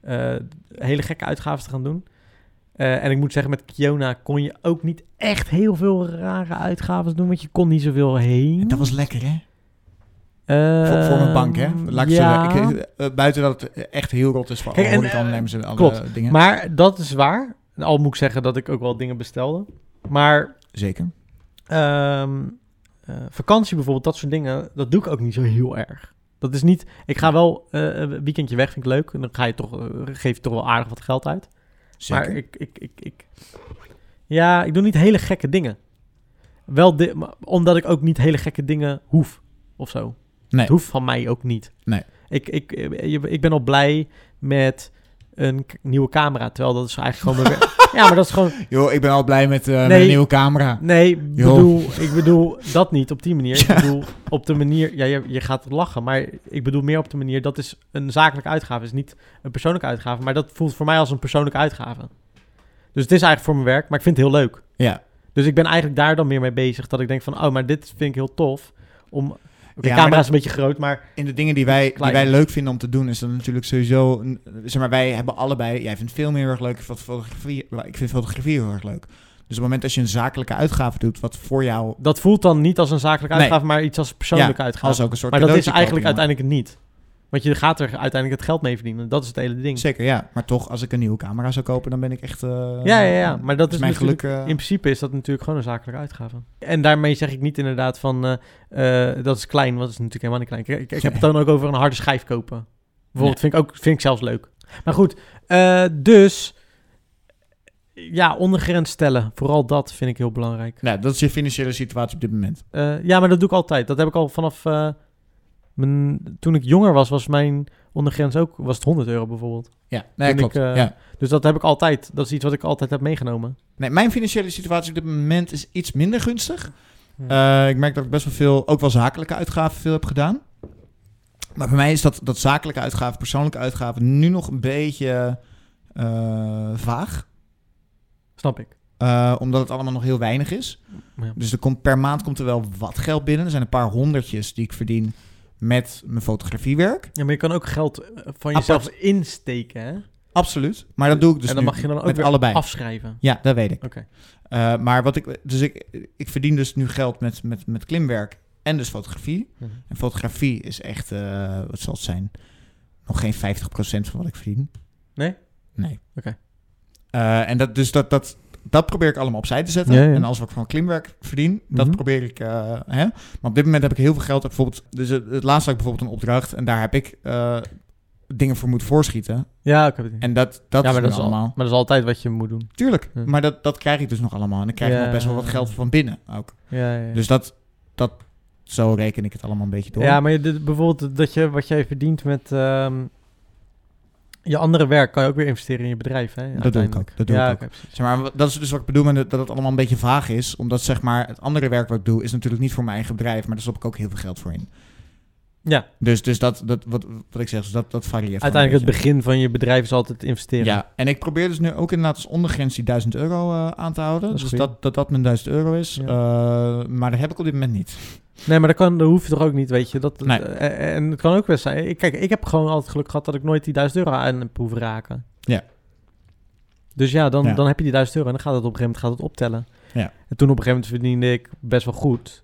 [SPEAKER 1] eh, hele gekke uitgaven te gaan doen. Eh, en ik moet zeggen, met Kiona kon je ook niet echt heel veel rare uitgaven doen, want je kon niet zoveel heen.
[SPEAKER 2] dat was lekker hè? Voor,
[SPEAKER 1] Eh,
[SPEAKER 2] voor mijn bank hè? Laat ik zo
[SPEAKER 1] ja,
[SPEAKER 2] zeggen. Ik- eh, buiten dat het echt heel rot is voor
[SPEAKER 1] Kijk,
[SPEAKER 2] alle
[SPEAKER 1] en, eh,
[SPEAKER 2] horecaondernemers en alle
[SPEAKER 1] klopt.
[SPEAKER 2] eh, dingen.
[SPEAKER 1] Maar dat is waar. Al moet ik zeggen dat ik ook wel dingen bestelde. Maar
[SPEAKER 2] Zeker.
[SPEAKER 1] ehm, eh, vakantie bijvoorbeeld, dat soort dingen, dat doe ik ook niet zo heel erg. Dat is niet, ik ga wel eh, een weekendje weg, vind ik leuk. En dan ga je toch, eh, geef je toch wel aardig wat geld uit.
[SPEAKER 2] Zeker.
[SPEAKER 1] Maar ik, ik, ik, ik... Ja, ik doe niet hele gekke dingen. Wel di- maar omdat ik ook niet hele gekke dingen hoef, of zo.
[SPEAKER 2] Nee.
[SPEAKER 1] Het hoeft van mij ook niet.
[SPEAKER 2] Nee.
[SPEAKER 1] Ik, ik, eh, je- ik ben al blij met een k- nieuwe camera, terwijl dat is eigenlijk gewoon... mijn wer- ja, maar dat is gewoon...
[SPEAKER 2] Joh, ik ben al blij met, eh, met
[SPEAKER 1] Nee.
[SPEAKER 2] een nieuwe camera.
[SPEAKER 1] Nee,
[SPEAKER 2] Joh.
[SPEAKER 1] bedoel, ik bedoel dat niet op die manier. Ik bedoel op de manier... Ja, je, je gaat lachen, maar ik bedoel meer op de manier... Dat is een zakelijke uitgave, is niet een persoonlijke uitgave. Maar dat voelt voor mij als een persoonlijke uitgave. Dus het is eigenlijk voor mijn werk, maar ik vind het heel leuk.
[SPEAKER 2] Ja.
[SPEAKER 1] Dus ik ben eigenlijk daar dan meer mee bezig. Dat ik denk van, oh, maar dit vind ik heel tof. Om, Oké,
[SPEAKER 2] Ja,
[SPEAKER 1] de camera
[SPEAKER 2] maar dat-
[SPEAKER 1] is een beetje groot, maar...
[SPEAKER 2] In de dingen die wij, die
[SPEAKER 1] Klein.
[SPEAKER 2] wij leuk vinden om te doen, is dan natuurlijk sowieso. een- Zeg maar, wij hebben allebei. Jij vindt film heel erg leuk. Ik vind fotografie, ik vind fotografie heel erg leuk. Dus op het moment als je een zakelijke uitgave doet, wat voor jou
[SPEAKER 1] Dat voelt dan niet als een zakelijke
[SPEAKER 2] Nee.
[SPEAKER 1] uitgave, maar iets als een persoonlijke uitgave.
[SPEAKER 2] als ook een soort.
[SPEAKER 1] maar dat is
[SPEAKER 2] cadeautje
[SPEAKER 1] eigenlijk
[SPEAKER 2] kopen,
[SPEAKER 1] uiteindelijk het niet. Want je gaat er uiteindelijk het geld mee verdienen. Dat is het hele ding.
[SPEAKER 2] maar- Zeker, ja. Maar toch, als ik een nieuwe camera zou kopen, dan ben ik echt. eh,
[SPEAKER 1] Ja, ja, ja. Maar dat is
[SPEAKER 2] mijn
[SPEAKER 1] natuurlijk-
[SPEAKER 2] geluk. eh,
[SPEAKER 1] In principe is dat natuurlijk gewoon een zakelijke uitgave. En daarmee zeg ik niet inderdaad van eh, eh, dat is klein, want dat is natuurlijk helemaal niet klein. Ik, ik, ik heb het dan ook over een harde schijf kopen. Bijvoorbeeld vind ik ook vind ik zelfs leuk. Maar goed, eh, dus ja, ondergrens stellen. Vooral dat vind ik heel belangrijk.
[SPEAKER 2] nou, dat is je financiële situatie op dit moment.
[SPEAKER 1] Eh, ja, maar dat doe ik altijd. Dat heb ik al vanaf eh, mijn, toen ik jonger was, was mijn ondergrens ook was het 100 euro bijvoorbeeld.
[SPEAKER 2] Ja, nee,
[SPEAKER 1] Toen ik,
[SPEAKER 2] klopt.
[SPEAKER 1] eh,
[SPEAKER 2] ja.
[SPEAKER 1] Dus dat heb ik altijd. Dat is iets wat ik altijd heb meegenomen.
[SPEAKER 2] Nee, mijn financiële situatie op dit moment is iets minder gunstig.
[SPEAKER 1] Ja.
[SPEAKER 2] Eh, ik merk dat ik best wel veel, ook wel zakelijke uitgaven veel heb gedaan. Maar bij mij is dat, dat zakelijke uitgaven, persoonlijke uitgaven, nu nog een beetje eh, vaag.
[SPEAKER 1] Snap ik.
[SPEAKER 2] Eh, omdat het allemaal nog heel weinig is.
[SPEAKER 1] Ja.
[SPEAKER 2] Dus er komt, per maand komt er wel wat geld binnen. Er zijn een paar honderdjes die ik verdien met mijn fotografiewerk.
[SPEAKER 1] Ja, maar je kan ook geld eh, van
[SPEAKER 2] Apart.
[SPEAKER 1] jezelf insteken, hè?
[SPEAKER 2] Absoluut. Maar dat doe ik dus
[SPEAKER 1] en dan
[SPEAKER 2] nu
[SPEAKER 1] mag je dan ook
[SPEAKER 2] met
[SPEAKER 1] weer
[SPEAKER 2] allebei.
[SPEAKER 1] afschrijven.
[SPEAKER 2] Ja, dat weet ik.
[SPEAKER 1] Oké.
[SPEAKER 2] Eh, maar wat ik, dus ik, ik verdien dus nu geld met, met, met klimwerk en dus fotografie.
[SPEAKER 1] Mhm.
[SPEAKER 2] En fotografie is echt, eh, wat zal het zijn, nog geen 50% van wat ik verdien.
[SPEAKER 1] Nee?
[SPEAKER 2] Nee.
[SPEAKER 1] Oké.
[SPEAKER 2] Eh, en dat, dus dat, dat, dat probeer ik allemaal opzij te zetten.
[SPEAKER 1] Ja, ja.
[SPEAKER 2] En alles wat ik van klimwerk verdien, dat
[SPEAKER 1] Mhm.
[SPEAKER 2] probeer ik. eh, hè? Maar op dit moment heb ik heel veel geld. Bijvoorbeeld, dus het, het laatste had ik bijvoorbeeld een opdracht en daar heb ik eh, dingen voor moeten voorschieten.
[SPEAKER 1] Ja, ik heb het idee.
[SPEAKER 2] En dat, dat
[SPEAKER 1] ja,
[SPEAKER 2] is,
[SPEAKER 1] maar
[SPEAKER 2] nu
[SPEAKER 1] dat, is al,
[SPEAKER 2] allemaal.
[SPEAKER 1] maar dat is altijd wat je moet doen.
[SPEAKER 2] Tuurlijk,
[SPEAKER 1] Ja.
[SPEAKER 2] maar dat, dat krijg ik dus nog allemaal. En dan krijg ik
[SPEAKER 1] Ja.
[SPEAKER 2] nog best wel wat geld van binnen ook.
[SPEAKER 1] Ja, ja, ja.
[SPEAKER 2] Dus dat, dat, zo reken ik het allemaal een beetje door.
[SPEAKER 1] ja maar je, dit- bijvoorbeeld dat je, wat jij verdient met ehm, je andere werk... kan je ook weer investeren in je bedrijf, hè?
[SPEAKER 2] doe ik
[SPEAKER 1] uiteindelijk.
[SPEAKER 2] ook, dat doe
[SPEAKER 1] ja,
[SPEAKER 2] ik ook.
[SPEAKER 1] oké, precies.
[SPEAKER 2] Zeg maar, dat is dus wat ik bedoel met het- dat het allemaal een beetje vaag is. Omdat zeg maar, het andere werk wat ik doe is natuurlijk niet voor mijn eigen bedrijf. Maar daar stop ik ook heel veel geld voor in.
[SPEAKER 1] Ja.
[SPEAKER 2] Dus, dus dat, dat, wat, wat ik zeg, dus dat, dat varieert. gewoon
[SPEAKER 1] Uiteindelijk het
[SPEAKER 2] een beetje.
[SPEAKER 1] begin van je bedrijf is altijd investeren.
[SPEAKER 2] Ja, en ik probeer dus nu ook inderdaad als ondergrens die 1000 euro eh, aan te houden.
[SPEAKER 1] Dat is
[SPEAKER 2] dus
[SPEAKER 1] goed.
[SPEAKER 2] dat, dat dat mijn 1000 euro is.
[SPEAKER 1] Ja.
[SPEAKER 2] Eh, maar dat heb ik op dit moment niet.
[SPEAKER 1] Nee, maar dat, kan, dat hoef je toch ook niet, weet je. Dat,
[SPEAKER 2] Nee.
[SPEAKER 1] eh, en het kan ook best zijn. Ik- Kijk, ik heb gewoon altijd geluk gehad dat ik nooit die 1000 euro aan heb hoeven raken.
[SPEAKER 2] Ja.
[SPEAKER 1] Dus ja dan,
[SPEAKER 2] Ja.
[SPEAKER 1] dan heb je die 1000 euro en dan gaat het op een gegeven moment gaat het optellen.
[SPEAKER 2] Ja.
[SPEAKER 1] En toen op een gegeven moment verdiende ik best wel goed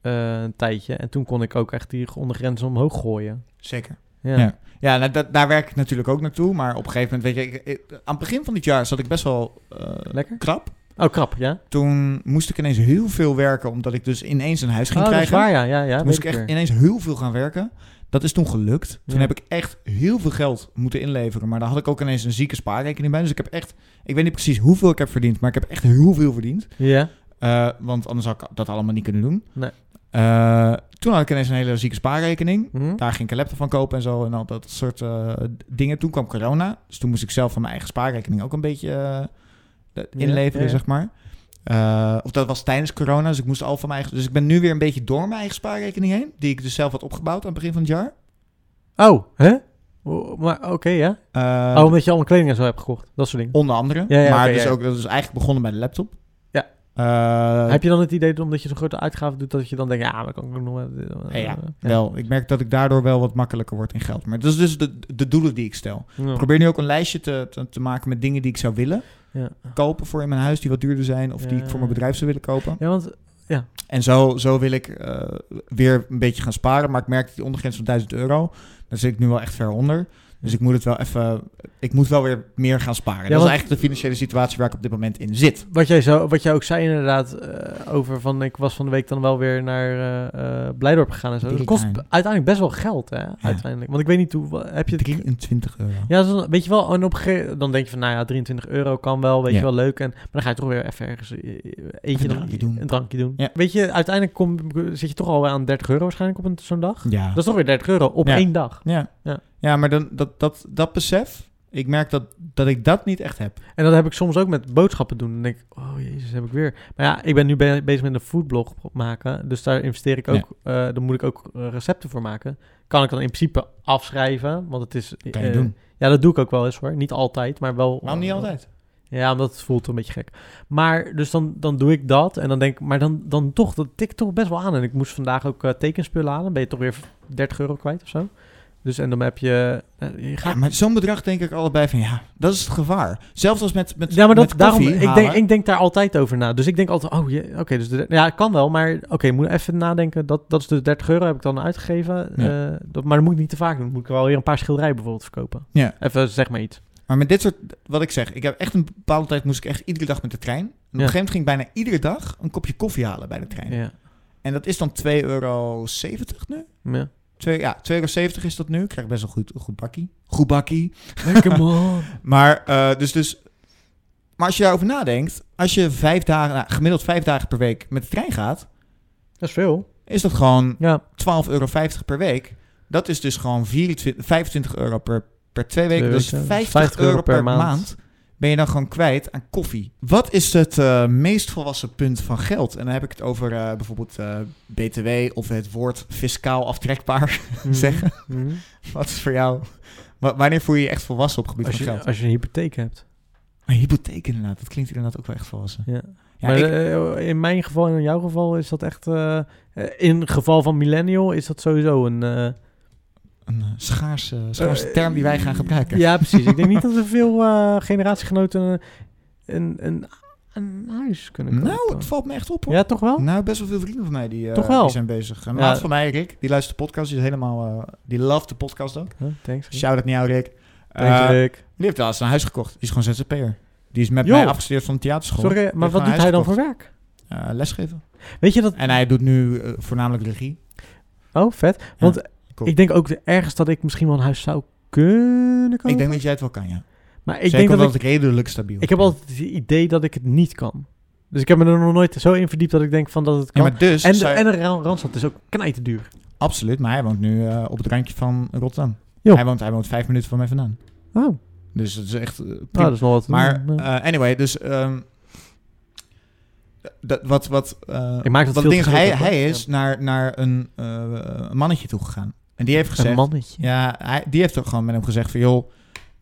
[SPEAKER 1] eh, een tijdje. En toen kon ik ook echt die ondergrenzen omhoog gooien.
[SPEAKER 2] Zeker.
[SPEAKER 1] Ja.
[SPEAKER 2] Ja. Ja, nou, dat, daar werk ik natuurlijk ook naartoe. Maar op een gegeven moment, weet je, ik- ik- aan het begin van dit jaar zat ik best wel eh,
[SPEAKER 1] Lekker?
[SPEAKER 2] krap.
[SPEAKER 1] Oh, krap, ja?
[SPEAKER 2] Toen moest ik ineens heel veel werken, omdat ik dus ineens een huis ging
[SPEAKER 1] oh, dat is
[SPEAKER 2] krijgen.
[SPEAKER 1] waar, ja. ja, ja
[SPEAKER 2] Toen
[SPEAKER 1] weet
[SPEAKER 2] moest ik
[SPEAKER 1] ik
[SPEAKER 2] echt
[SPEAKER 1] weer.
[SPEAKER 2] ineens heel veel gaan werken. Dat is toen gelukt. Toen
[SPEAKER 1] Ja.
[SPEAKER 2] heb ik echt heel veel geld moeten inleveren. Maar daar had ik ook ineens een zieke spaarrekening bij. Dus ik heb echt... Ik weet niet precies hoeveel ik heb verdiend. Maar ik heb echt heel veel verdiend.
[SPEAKER 1] Ja,
[SPEAKER 2] Eh, want anders had ik dat allemaal niet kunnen doen.
[SPEAKER 1] Nee.
[SPEAKER 2] Eh, toen had ik ineens een hele zieke spaarrekening.
[SPEAKER 1] hm?
[SPEAKER 2] Daar ging ik een laptop van kopen en zo. En al dat soort eh, dingen. Toen kwam corona. Dus toen moest ik zelf van mijn eigen spaarrekening ook een beetje eh, de-
[SPEAKER 1] Ja,
[SPEAKER 2] inleveren,
[SPEAKER 1] ja, ja.
[SPEAKER 2] zeg maar. Eh, of dat was tijdens corona, dus ik moest al van mijn eigen... Dus ik ben nu weer een beetje door mijn eigen spaarrekening heen. Die ik dus zelf had opgebouwd aan het begin van het jaar.
[SPEAKER 1] Oh, hè? Oh, Maar oké, ja.
[SPEAKER 2] Eh,
[SPEAKER 1] Oh, omdat je al een kleding en zo hebt gekocht. Dat soort dingen.
[SPEAKER 2] Onder andere.
[SPEAKER 1] Ja, ja,
[SPEAKER 2] maar
[SPEAKER 1] oké,
[SPEAKER 2] dus
[SPEAKER 1] ja.
[SPEAKER 2] ook, dat is eigenlijk begonnen bij de laptop.
[SPEAKER 1] Ja.
[SPEAKER 2] Eh,
[SPEAKER 1] Heb je dan het idee dat omdat je zo'n grote uitgave doet, dat je dan denkt, ja, maar kan ik ook nog wel...
[SPEAKER 2] Ja, ja, Wel, ik merk dat ik daardoor wel wat makkelijker word in geld. Maar dat is dus de, de doelen die ik stel. Ik probeer nu ook een lijstje te, te, te maken met dingen die ik zou willen
[SPEAKER 1] Ja.
[SPEAKER 2] kopen voor in mijn huis, die wat duurder zijn, of die ik voor mijn
[SPEAKER 1] Ja.
[SPEAKER 2] bedrijf zou willen kopen.
[SPEAKER 1] Ja, want...
[SPEAKER 2] En zo, zo wil ik eh, weer een beetje gaan sparen. Maar ik merk dat die ondergrens van 1000 euro, daar zit ik nu wel echt ver onder. Dus ik moet het wel even. Ik moet wel weer meer gaan sparen. dat is
[SPEAKER 1] want-
[SPEAKER 2] eigenlijk de financiële situatie waar ik op dit moment in zit.
[SPEAKER 1] Wat jij, zo, wat jij ook zei inderdaad eh, over van ik was van de week dan wel weer naar eh, eh, Blijdorp gegaan en zo. Dat kost
[SPEAKER 2] Drie-
[SPEAKER 1] uiteindelijk best wel geld, hè? Uiteindelijk. Want ik weet niet hoe wa- heb je het.
[SPEAKER 2] 23 euro.
[SPEAKER 1] Ja, dat is een- weet je wel, en op een gege- dan denk je van nou ja, 23 euro kan wel, weet
[SPEAKER 2] Ja.
[SPEAKER 1] je wel leuk. En, maar dan ga je toch weer even ergens eh, eentje
[SPEAKER 2] een drankje doen.
[SPEAKER 1] Een drankje doen.
[SPEAKER 2] Ja.
[SPEAKER 1] Weet je, uiteindelijk kom, zit je toch al aan 30 euro waarschijnlijk op een- zo'n dag.
[SPEAKER 2] Ja.
[SPEAKER 1] Dat is toch weer 30 euro op
[SPEAKER 2] Ja.
[SPEAKER 1] één dag.
[SPEAKER 2] Ja.
[SPEAKER 1] Ja.
[SPEAKER 2] ja. maar dan, dat, dat, dat besef, ik merk dat, dat ik dat niet echt heb.
[SPEAKER 1] En dat heb ik soms ook met boodschappen doen. Dan denk ik, oh jezus, heb ik weer. Maar ja, ik ben nu be- bezig met een foodblog maken. Dus daar investeer ik ook. eh daar moet ik ook eh, recepten voor maken. Kan ik dan in principe afschrijven. Want het is...
[SPEAKER 2] Kan je
[SPEAKER 1] eh,
[SPEAKER 2] doen.
[SPEAKER 1] Ja, dat doe ik ook wel eens hoor. Niet altijd, maar wel... eh,
[SPEAKER 2] Waarom niet altijd?
[SPEAKER 1] Ja, omdat het voelt een beetje gek. Maar dus dan, dan doe ik dat. En dan denk ik, maar dan, dan toch, dat tikt toch best wel aan. En ik moest vandaag ook eh, tekenspullen halen. Dan ben je toch weer 30 euro kwijt of zo. Dus en dan heb je... eh, je gaat
[SPEAKER 2] Ja, maar zo'n bedrag denk ik allebei van ja, dat is het gevaar. Zelfs als met, met
[SPEAKER 1] Ja, maar dat,
[SPEAKER 2] met
[SPEAKER 1] daarom,
[SPEAKER 2] koffie
[SPEAKER 1] ik, denk,
[SPEAKER 2] halen.
[SPEAKER 1] ik denk daar altijd over na. Dus ik denk altijd, oh, je- oké, dus de- ja, kan wel, maar oké, moet even nadenken. Dat, dat is dus 30 euro heb ik dan uitgegeven.
[SPEAKER 2] Ja.
[SPEAKER 1] eh, dat, maar dat moet ik niet te vaak doen. Moet ik wel weer een paar schilderijen bijvoorbeeld verkopen.
[SPEAKER 2] Ja.
[SPEAKER 1] Even zeg maar iets.
[SPEAKER 2] Maar met dit soort, wat ik zeg, ik heb echt een bepaalde tijd moest ik echt iedere dag met de trein. En op een gegeven moment ging ik bijna iedere dag een kopje koffie halen bij de trein.
[SPEAKER 1] Ja.
[SPEAKER 2] En dat is dan 2,70 euro nu.
[SPEAKER 1] Ja.
[SPEAKER 2] Twee, ja, 2,70 euro is dat nu. Ik krijg best wel goed, goed bakkie. Goed bakkie.
[SPEAKER 1] Lekker man.
[SPEAKER 2] Maar, eh, dus, dus, maar als je daarover nadenkt, als je vijf dagen, nou, gemiddeld vijf dagen per week met de trein gaat,
[SPEAKER 1] Dat is veel.
[SPEAKER 2] is dat gewoon 12,50
[SPEAKER 1] Ja.
[SPEAKER 2] euro per week. Dat is dus gewoon 24, 25 euro per, per twee weken.
[SPEAKER 1] Twee
[SPEAKER 2] dus
[SPEAKER 1] weken,
[SPEAKER 2] 50, euro per, maand. ben je dan gewoon kwijt aan koffie. Wat is het eh, meest volwassen punt van geld? En dan heb ik het over eh, bijvoorbeeld eh, BTW of het woord fiscaal aftrekbaar zeggen.
[SPEAKER 1] Mhm.
[SPEAKER 2] Wat is voor jou? wa- Wanneer voel je je echt volwassen op het gebied
[SPEAKER 1] Als,
[SPEAKER 2] van
[SPEAKER 1] je,
[SPEAKER 2] geld?
[SPEAKER 1] als je een hypotheek hebt.
[SPEAKER 2] Een hypotheek inderdaad, dat klinkt inderdaad ook wel echt volwassen.
[SPEAKER 1] Ja.
[SPEAKER 2] Ja,
[SPEAKER 1] maar
[SPEAKER 2] ik-
[SPEAKER 1] eh, in mijn geval en in jouw geval is dat echt... eh, eh, in het geval van millennial is dat sowieso een... eh,
[SPEAKER 2] een eh, schaarse, schaarse term die wij gaan gebruiken.
[SPEAKER 1] Ja, precies. Ik denk niet dat er veel eh, generatiegenoten een, een, een, een huis kunnen kopen.
[SPEAKER 2] Nou, het valt me echt op hoor.
[SPEAKER 1] ja, toch wel?
[SPEAKER 2] Nou, best wel veel vrienden van mij die, eh,
[SPEAKER 1] Oh. Toch wel?
[SPEAKER 2] die zijn bezig. Een
[SPEAKER 1] Ja.
[SPEAKER 2] maat van mij, Rick, die luistert de podcast. Die is helemaal, eh, die loves de podcast ook.
[SPEAKER 1] Huh, thanks. Rick.
[SPEAKER 2] Shout-out naar jou, Rick.
[SPEAKER 1] Thanks,
[SPEAKER 2] Eh,
[SPEAKER 1] Rick.
[SPEAKER 2] Die heeft wel eens een huis gekocht. Die is gewoon zzp'er. Die is met
[SPEAKER 1] Joh.
[SPEAKER 2] mij afgestudeerd van de theaterschool.
[SPEAKER 1] Sorry, maar wat
[SPEAKER 2] gewoon
[SPEAKER 1] doet
[SPEAKER 2] een
[SPEAKER 1] hij
[SPEAKER 2] huis
[SPEAKER 1] dan voor
[SPEAKER 2] gekocht.
[SPEAKER 1] werk?
[SPEAKER 2] Eh, lesgeven.
[SPEAKER 1] Weet je dat?
[SPEAKER 2] En hij doet nu eh, voornamelijk regie.
[SPEAKER 1] Oh, vet. Want
[SPEAKER 2] cool.
[SPEAKER 1] ik denk ook ergens dat ik misschien wel een huis zou kunnen kopen.
[SPEAKER 2] Ik denk dat jij het wel kan, ja.
[SPEAKER 1] maar Oh. ik
[SPEAKER 2] Zeker
[SPEAKER 1] denk dat
[SPEAKER 2] omdat
[SPEAKER 1] ik,
[SPEAKER 2] het redelijk stabiel
[SPEAKER 1] ik heb
[SPEAKER 2] is.
[SPEAKER 1] altijd het idee dat ik het niet kan. Dus ik heb me er nog nooit zo in verdiept dat ik denk van dat het
[SPEAKER 2] Ja,
[SPEAKER 1] kan.
[SPEAKER 2] maar dus...
[SPEAKER 1] en, de,
[SPEAKER 2] zou-
[SPEAKER 1] en de Ra- Randstad is ook knijterduur.
[SPEAKER 2] Absoluut, maar hij woont nu eh, op het randje van Rotterdam.
[SPEAKER 1] Joh.
[SPEAKER 2] Hij woont, hij woont vijf minuten van mij vandaan.
[SPEAKER 1] Oh, nou,
[SPEAKER 2] Dus het is echt eh, prima.
[SPEAKER 1] dat is nog wat.
[SPEAKER 2] Maar
[SPEAKER 1] Mm, eh.
[SPEAKER 2] eh, anyway, dus ehm, dat, wat, wat, eh,
[SPEAKER 1] Ik maak dat
[SPEAKER 2] wat
[SPEAKER 1] veel
[SPEAKER 2] ding
[SPEAKER 1] te
[SPEAKER 2] is, hij,
[SPEAKER 1] ingewikkeld,
[SPEAKER 2] hij
[SPEAKER 1] hoor.
[SPEAKER 2] is naar, naar een eh, mannetje toe gegaan. En die heeft
[SPEAKER 1] Een
[SPEAKER 2] gezegd...
[SPEAKER 1] mannetje.
[SPEAKER 2] Ja, hij, die heeft ook gewoon met hem gezegd van... joh,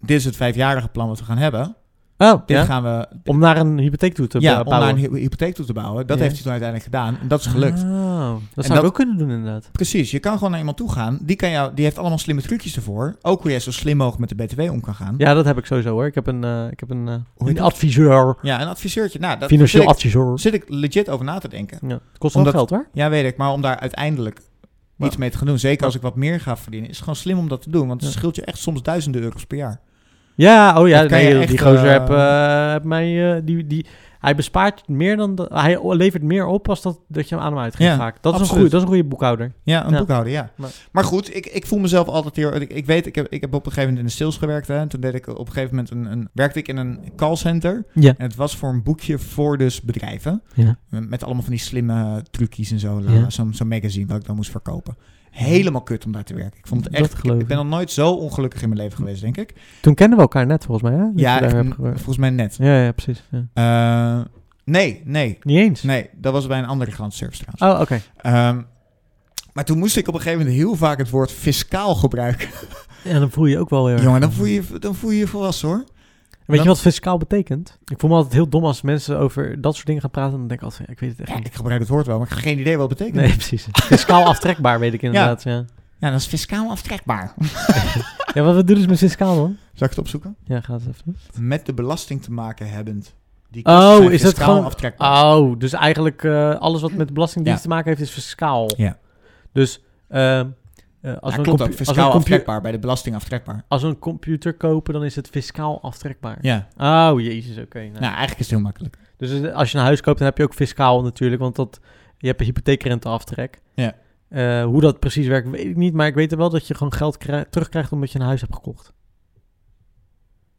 [SPEAKER 2] dit is het vijfjarige plan wat we gaan hebben.
[SPEAKER 1] Oh,
[SPEAKER 2] Dit
[SPEAKER 1] ja?
[SPEAKER 2] gaan we...
[SPEAKER 1] om naar een hypotheek toe te
[SPEAKER 2] ja,
[SPEAKER 1] bou-
[SPEAKER 2] om daar
[SPEAKER 1] bouwen.
[SPEAKER 2] een hy- hypotheek toe te bouwen. Dat
[SPEAKER 1] Ja.
[SPEAKER 2] heeft hij toen uiteindelijk gedaan. En dat is gelukt.
[SPEAKER 1] Ah, dat zou
[SPEAKER 2] dat-
[SPEAKER 1] ik ook kunnen doen inderdaad.
[SPEAKER 2] Precies, je kan gewoon naar iemand toe gaan. Die, kan jou, die heeft allemaal slimme trucjes ervoor. Ook hoe jij zo slim mogelijk met de BTW om kan gaan.
[SPEAKER 1] Ja, dat heb ik sowieso hoor. Ik heb een, eh, ik heb een, eh,
[SPEAKER 2] heet
[SPEAKER 1] een
[SPEAKER 2] dat?
[SPEAKER 1] adviseur,
[SPEAKER 2] Ja, een adviseurtje. Nou, dat
[SPEAKER 1] Eh, financieel
[SPEAKER 2] zit ik,
[SPEAKER 1] adviseur.
[SPEAKER 2] zit ik legit over na te denken.
[SPEAKER 1] Ja, het kost wel
[SPEAKER 2] Omdat-
[SPEAKER 1] geld hoor.
[SPEAKER 2] Ja, weet ik. Maar om daar uiteindelijk
[SPEAKER 1] Ja.
[SPEAKER 2] iets mee te gaan doen. Zeker als ik wat meer ga verdienen. Is het gewoon slim om dat te doen. Want het
[SPEAKER 1] Ja.
[SPEAKER 2] scheelt je echt soms duizenden euro's per jaar.
[SPEAKER 1] Ja, oh ja,
[SPEAKER 2] Dat kan
[SPEAKER 1] nee,
[SPEAKER 2] je
[SPEAKER 1] die
[SPEAKER 2] echt,
[SPEAKER 1] gozer
[SPEAKER 2] eh,
[SPEAKER 1] heb, eh, heb mij, eh, die, die, hij bespaart meer dan, dat- hij levert meer op als dat, dat je hem aan hem uitgeeft
[SPEAKER 2] Ja,
[SPEAKER 1] vaak. Dat is, een
[SPEAKER 2] absoluut.
[SPEAKER 1] goede, dat is een goede boekhouder.
[SPEAKER 2] Ja, een
[SPEAKER 1] Ja.
[SPEAKER 2] boekhouder, ja.
[SPEAKER 1] Maar-
[SPEAKER 2] Maar goed, ik, ik voel mezelf altijd heel... Ik, ik weet, ik heb, ik heb op een gegeven moment in de sales gewerkt. Hè, en toen deed ik op een gegeven moment een, een, werkte ik in een callcenter.
[SPEAKER 1] Ja.
[SPEAKER 2] En het was voor een boekje voor dus bedrijven.
[SPEAKER 1] Ja.
[SPEAKER 2] Met allemaal van die slimme trucjes en zo.
[SPEAKER 1] Ja.
[SPEAKER 2] Zo'n zo'n magazine wat ik dan moest verkopen. Helemaal kut om daar te werken. Ik vond het
[SPEAKER 1] Dat
[SPEAKER 2] echt...
[SPEAKER 1] geloof
[SPEAKER 2] Ik ben
[SPEAKER 1] ik.
[SPEAKER 2] nog nooit zo ongelukkig in mijn leven geweest, denk ik.
[SPEAKER 1] Toen kenden we elkaar net volgens mij, hè? Dat
[SPEAKER 2] Ja,
[SPEAKER 1] je daar
[SPEAKER 2] ik-
[SPEAKER 1] hebt gewerkt.
[SPEAKER 2] volgens mij net.
[SPEAKER 1] ja, ja, precies. ja.
[SPEAKER 2] Eh, nee, nee.
[SPEAKER 1] Niet eens?
[SPEAKER 2] Nee, dat was bij een andere grant service trouwens.
[SPEAKER 1] Oh, oké.
[SPEAKER 2] Ehm, maar toen moest ik op een gegeven moment heel vaak het woord fiscaal gebruiken.
[SPEAKER 1] Ja, dan voel je je ook wel weer...
[SPEAKER 2] Jongen, dan voel, je, dan voel je je volwassen hoor.
[SPEAKER 1] Weet je
[SPEAKER 2] dan-
[SPEAKER 1] wat fiscaal betekent? Ik voel me altijd heel dom als mensen over dat soort dingen gaan praten. Dan denk ik altijd, ja, ik weet het echt
[SPEAKER 2] Ja,
[SPEAKER 1] niet.
[SPEAKER 2] ik gebruik het woord wel, maar ik heb geen idee wat het betekent.
[SPEAKER 1] Nee, precies. Fiscaal aftrekbaar weet ik inderdaad, ja.
[SPEAKER 2] Ja, dat is fiscaal aftrekbaar.
[SPEAKER 1] Ja, wat, wat doen ze met fiscaal dan?
[SPEAKER 2] Zal ik het opzoeken?
[SPEAKER 1] Ja, gaat het even. doen.
[SPEAKER 2] Met de belasting te maken hebbend. Die
[SPEAKER 1] Oh,
[SPEAKER 2] kosten zijn
[SPEAKER 1] is dat
[SPEAKER 2] fiscaal
[SPEAKER 1] gewoon-
[SPEAKER 2] aftrekbaar?
[SPEAKER 1] Oh, dus eigenlijk eh, alles wat met belastingdienst
[SPEAKER 2] Ja.
[SPEAKER 1] te maken heeft is fiscaal.
[SPEAKER 2] Ja.
[SPEAKER 1] Dus ehm, eh, als,
[SPEAKER 2] Ja,
[SPEAKER 1] we een
[SPEAKER 2] klopt ook.
[SPEAKER 1] compu- als, we
[SPEAKER 2] Fiscaal
[SPEAKER 1] een compu-
[SPEAKER 2] aftrekbaar, bij de belasting aftrekbaar.
[SPEAKER 1] als we een computer kopen, dan is het fiscaal aftrekbaar.
[SPEAKER 2] Ja,
[SPEAKER 1] Oh, jezus, oké. nou.
[SPEAKER 2] nou eigenlijk is het heel makkelijk.
[SPEAKER 1] Dus eh, als je een huis koopt, dan heb je ook fiscaal natuurlijk, want dat, je hebt een hypotheekrenteaftrek.
[SPEAKER 2] Ja.
[SPEAKER 1] Eh, hoe dat precies werkt, weet ik niet, maar ik weet wel dat je gewoon geld krij- terugkrijgt omdat je een huis hebt gekocht.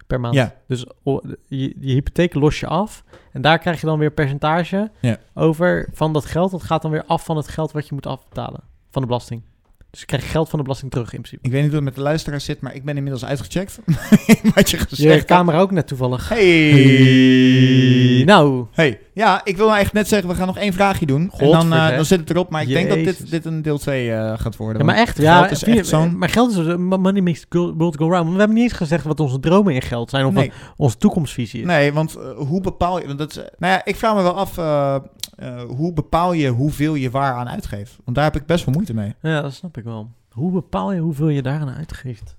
[SPEAKER 1] Per maand.
[SPEAKER 2] Ja.
[SPEAKER 1] Dus o- je, je hypotheek los je af en daar krijg je dan weer percentage
[SPEAKER 2] Ja.
[SPEAKER 1] over van dat geld. Dat gaat dan weer af van het geld wat je moet afbetalen van de belasting. Dus je krijgt geld van de belasting terug in principe.
[SPEAKER 2] Ik weet niet hoe het met de luisteraar zit, maar ik ben inmiddels uitgecheckt. wat je gezegd
[SPEAKER 1] Je
[SPEAKER 2] hebt.
[SPEAKER 1] camera ook net toevallig.
[SPEAKER 2] Hey.
[SPEAKER 1] Nou,
[SPEAKER 2] Hey, ja, ik wil nou echt net zeggen, we gaan nog één vraagje doen. en dan, eh,
[SPEAKER 1] Godvergek.
[SPEAKER 2] dan zit het erop, maar ik denk dat dit,
[SPEAKER 1] Jezus.
[SPEAKER 2] dit een deel 2 gaat worden.
[SPEAKER 1] Ja, maar
[SPEAKER 2] want
[SPEAKER 1] echt,
[SPEAKER 2] geld
[SPEAKER 1] ja,
[SPEAKER 2] is
[SPEAKER 1] vind je-
[SPEAKER 2] echt zo'n-
[SPEAKER 1] maar geld is eh, mo- money makes go- world go round. We hebben niet eens gezegd wat onze dromen in geld zijn of
[SPEAKER 2] nee,
[SPEAKER 1] eh, wat onze toekomstvisie is.
[SPEAKER 2] nee, want eh, hoe bepaal je... want Dat is, eh, nou ja, ik vraag me wel af, eh, eh, hoe bepaal je hoeveel je waar aan uitgeeft? Want daar heb ik best wel moeite mee.
[SPEAKER 1] Ja, dat snap ik wel. Hoe bepaal je hoeveel je daaraan uitgeeft?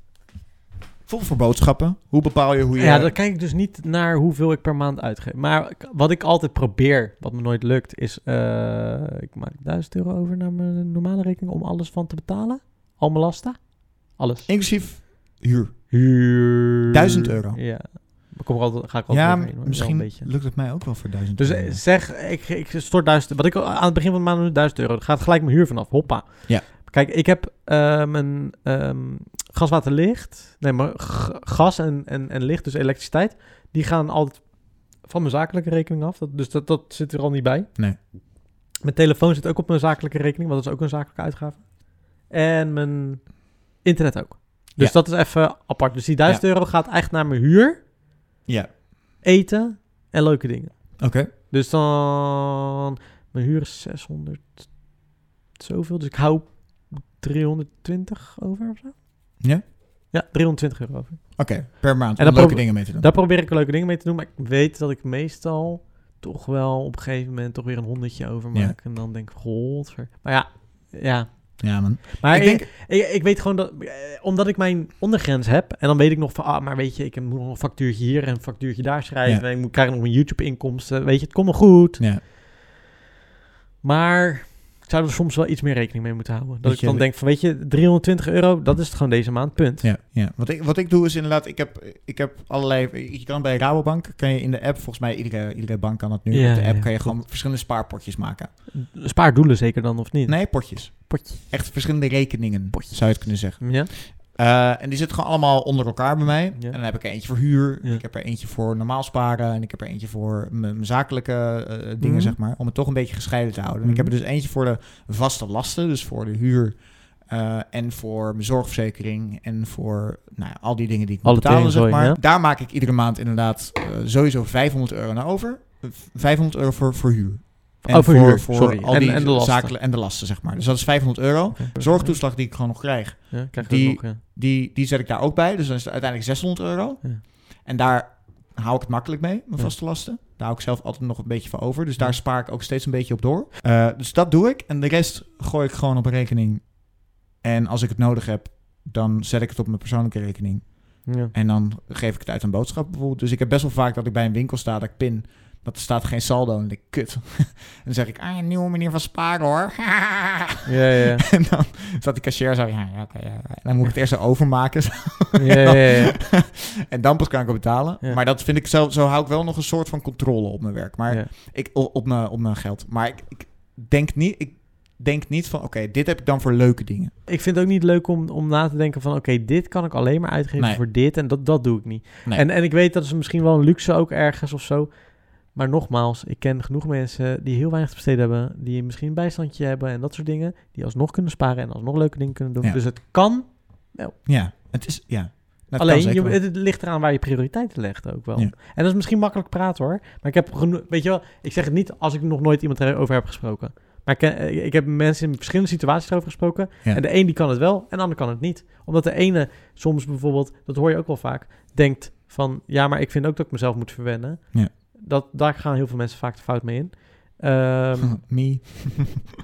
[SPEAKER 2] Bijvoorbeeld voor boodschappen. Hoe bepaal je hoe je...
[SPEAKER 1] Ja, dan kijk ik dus niet naar hoeveel ik per maand uitgeef. Maar ik- wat ik altijd probeer, wat me nooit lukt, is... eh, ik maak 1000 euro over naar mijn normale rekening om alles van te betalen. Al mijn lasten. Alles.
[SPEAKER 2] Inclusief huur.
[SPEAKER 1] Huur.
[SPEAKER 2] 1000 euro.
[SPEAKER 1] Ja. Ik Kom er altijd, ga ik altijd
[SPEAKER 2] Ja,
[SPEAKER 1] overheen, hoor. Wel
[SPEAKER 2] misschien
[SPEAKER 1] een beetje.
[SPEAKER 2] lukt het mij ook wel voor duizend
[SPEAKER 1] Dus
[SPEAKER 2] euro.
[SPEAKER 1] eh, zeg, ik, ik stort 1000. Wat ik al- aan het begin van de maand doe, 1000 euro. Dan gaat gelijk mijn huur vanaf. Hoppa.
[SPEAKER 2] Ja.
[SPEAKER 1] Kijk, ik heb ehm, mijn ehm, gas, water, licht. Nee, maar g- gas en, en, en licht, dus elektriciteit. Die gaan altijd van mijn zakelijke rekening af. Dat, dus dat, dat zit er al niet bij.
[SPEAKER 2] Nee.
[SPEAKER 1] Mijn telefoon zit ook op mijn zakelijke rekening, want dat is ook een zakelijke uitgave. En mijn internet ook. Dus
[SPEAKER 2] Ja.
[SPEAKER 1] dat is even apart. Dus die 1000 euro gaat echt naar mijn huur,
[SPEAKER 2] Ja,
[SPEAKER 1] eten en leuke dingen.
[SPEAKER 2] oké.
[SPEAKER 1] Dus dan... Mijn huur is 600 zoveel. Dus ik hou 320 over of zo.
[SPEAKER 2] Ja?
[SPEAKER 1] Ja, 320 euro over.
[SPEAKER 2] Oké, per
[SPEAKER 1] En
[SPEAKER 2] maand.
[SPEAKER 1] dan
[SPEAKER 2] Om leuke
[SPEAKER 1] probe-
[SPEAKER 2] dingen mee te doen.
[SPEAKER 1] Daar probeer ik leuke dingen mee te doen. Maar ik weet dat ik meestal toch wel op een gegeven moment toch weer een honderdje overmaak. En dan denk ik, godver. Maar ja, ja.
[SPEAKER 2] Ja, man.
[SPEAKER 1] Maar
[SPEAKER 2] Ik
[SPEAKER 1] ik,
[SPEAKER 2] denk-
[SPEAKER 1] ik, ik weet gewoon dat... eh, Omdat ik mijn ondergrens heb. En dan weet ik nog van... Ah, maar weet je, ik moet nog een factuurtje hier en een factuurtje daar schrijven.
[SPEAKER 2] Ja.
[SPEAKER 1] En ik moet krijgen nog mijn YouTube-inkomsten. Weet je, het komt wel goed.
[SPEAKER 2] Ja.
[SPEAKER 1] Maar ik zou er soms wel iets meer rekening mee moeten houden. Dat
[SPEAKER 2] Dat
[SPEAKER 1] ik
[SPEAKER 2] je-
[SPEAKER 1] dan denk van, weet je, 320 euro, dat is het gewoon deze maand, punt.
[SPEAKER 2] Ja, ja. Wat, ik, wat ik doe is inderdaad, ik heb, ik heb allerlei... Je kan bij Rabobank, kan je in de app, volgens mij iedere, iedere bank kan dat nu,
[SPEAKER 1] Ja,
[SPEAKER 2] op de app
[SPEAKER 1] ja,
[SPEAKER 2] kan je
[SPEAKER 1] klopt.
[SPEAKER 2] gewoon verschillende spaarpotjes maken.
[SPEAKER 1] Dus Spaardoelen zeker dan, of niet?
[SPEAKER 2] Nee, potjes.
[SPEAKER 1] Potje.
[SPEAKER 2] Echt verschillende rekeningen,
[SPEAKER 1] Potjes.
[SPEAKER 2] zou je het kunnen zeggen.
[SPEAKER 1] Ja?
[SPEAKER 2] Eh, en die zitten gewoon allemaal onder elkaar bij mij.
[SPEAKER 1] Ja.
[SPEAKER 2] En dan heb ik er eentje voor huur,
[SPEAKER 1] Ja.
[SPEAKER 2] ik heb er eentje voor normaal sparen... en ik heb er eentje voor mijn mijn zakelijke eh, dingen,
[SPEAKER 1] Mhm.
[SPEAKER 2] zeg maar. Om het toch een beetje gescheiden te houden. En
[SPEAKER 1] Mhm.
[SPEAKER 2] ik heb er dus eentje voor de vaste lasten, dus voor de huur... eh, en voor mijn zorgverzekering en voor nou, ja, al die dingen die ik moet
[SPEAKER 1] Alle
[SPEAKER 2] betalen, zeg
[SPEAKER 1] teringzooi,
[SPEAKER 2] maar.
[SPEAKER 1] ja.
[SPEAKER 2] Daar maak ik iedere maand inderdaad eh, sowieso 500 euro naar over. Eh, 500 euro voor, voor huur. En
[SPEAKER 1] Oh, voor huur,
[SPEAKER 2] voor
[SPEAKER 1] sorry.
[SPEAKER 2] al
[SPEAKER 1] En-
[SPEAKER 2] die
[SPEAKER 1] en de lasten.
[SPEAKER 2] zakelijke- en de lasten, zeg maar. Dus dat is 500 euro. Zorgtoeslag die ik gewoon nog krijg.
[SPEAKER 1] Ja, krijg je
[SPEAKER 2] Die-
[SPEAKER 1] ook nog, ja.
[SPEAKER 2] Die, die zet ik daar ook bij. Dus dan is het uiteindelijk 600 euro.
[SPEAKER 1] Ja.
[SPEAKER 2] En daar hou ik het makkelijk mee, mijn
[SPEAKER 1] Ja.
[SPEAKER 2] vaste lasten. Daar hou ik zelf altijd nog een beetje van over. Dus daar spaar ik ook steeds een beetje op door. Eh, dus dat doe ik. En de rest gooi ik gewoon op een rekening. En als ik het nodig heb, dan zet ik het op mijn persoonlijke rekening.
[SPEAKER 1] Ja.
[SPEAKER 2] En dan geef ik het uit een boodschap bijvoorbeeld. Dus ik heb best wel vaak dat ik bij een winkel sta, dat ik pin... Dat er staat geen saldo en dan denk ik, kut. en dan zeg ik, ah, een nieuwe manier van sparen hoor.
[SPEAKER 1] Ja, ja,
[SPEAKER 2] en dan zat de cashier zo, ja, ja, oké. ja, ja. En dan moet ik het eerst zo overmaken.
[SPEAKER 1] ja. ja, ja, ja.
[SPEAKER 2] en dan pas kan ik het betalen.
[SPEAKER 1] Ja.
[SPEAKER 2] Maar dat vind ik zo, zo hou ik wel nog een soort van controle op mijn werk. Maar
[SPEAKER 1] Ja.
[SPEAKER 2] ik, o- op, mijn, op mijn geld. Maar ik, ik denk niet, ik denk niet van, oké, dit heb ik dan voor leuke dingen.
[SPEAKER 1] Ik vind het ook niet leuk om, om na te denken van... oké, dit kan ik alleen maar uitgeven
[SPEAKER 2] Nee.
[SPEAKER 1] voor dit en dat, dat doe ik niet.
[SPEAKER 2] Nee.
[SPEAKER 1] En, en ik weet dat is misschien wel een luxe ook ergens of zo. Maar nogmaals, ik ken genoeg mensen die heel weinig te besteden hebben... die misschien een bijstandje hebben en dat soort dingen... die alsnog kunnen sparen en alsnog leuke dingen kunnen doen.
[SPEAKER 2] Ja.
[SPEAKER 1] Dus het kan,
[SPEAKER 2] Ja, het is, ja. Dat kan
[SPEAKER 1] alleen
[SPEAKER 2] zeker
[SPEAKER 1] je,
[SPEAKER 2] wel.
[SPEAKER 1] het, het ligt eraan waar je prioriteiten legt ook wel.
[SPEAKER 2] Ja.
[SPEAKER 1] En dat is misschien makkelijk praten hoor. Maar ik heb genoeg... Weet je wel, ik zeg het niet als ik nog nooit iemand erover heb gesproken... Maar ik, ken- eh, ik heb mensen in verschillende situaties erover gesproken.
[SPEAKER 2] Ja.
[SPEAKER 1] En de een die kan het wel en de ander kan het niet. Omdat de ene soms bijvoorbeeld, dat hoor je ook wel vaak, denkt van ja, maar ik vind ook dat ik mezelf moet verwennen.
[SPEAKER 2] Ja.
[SPEAKER 1] Dat, daar gaan heel veel mensen vaak de fout mee in. Ehm,
[SPEAKER 2] Me,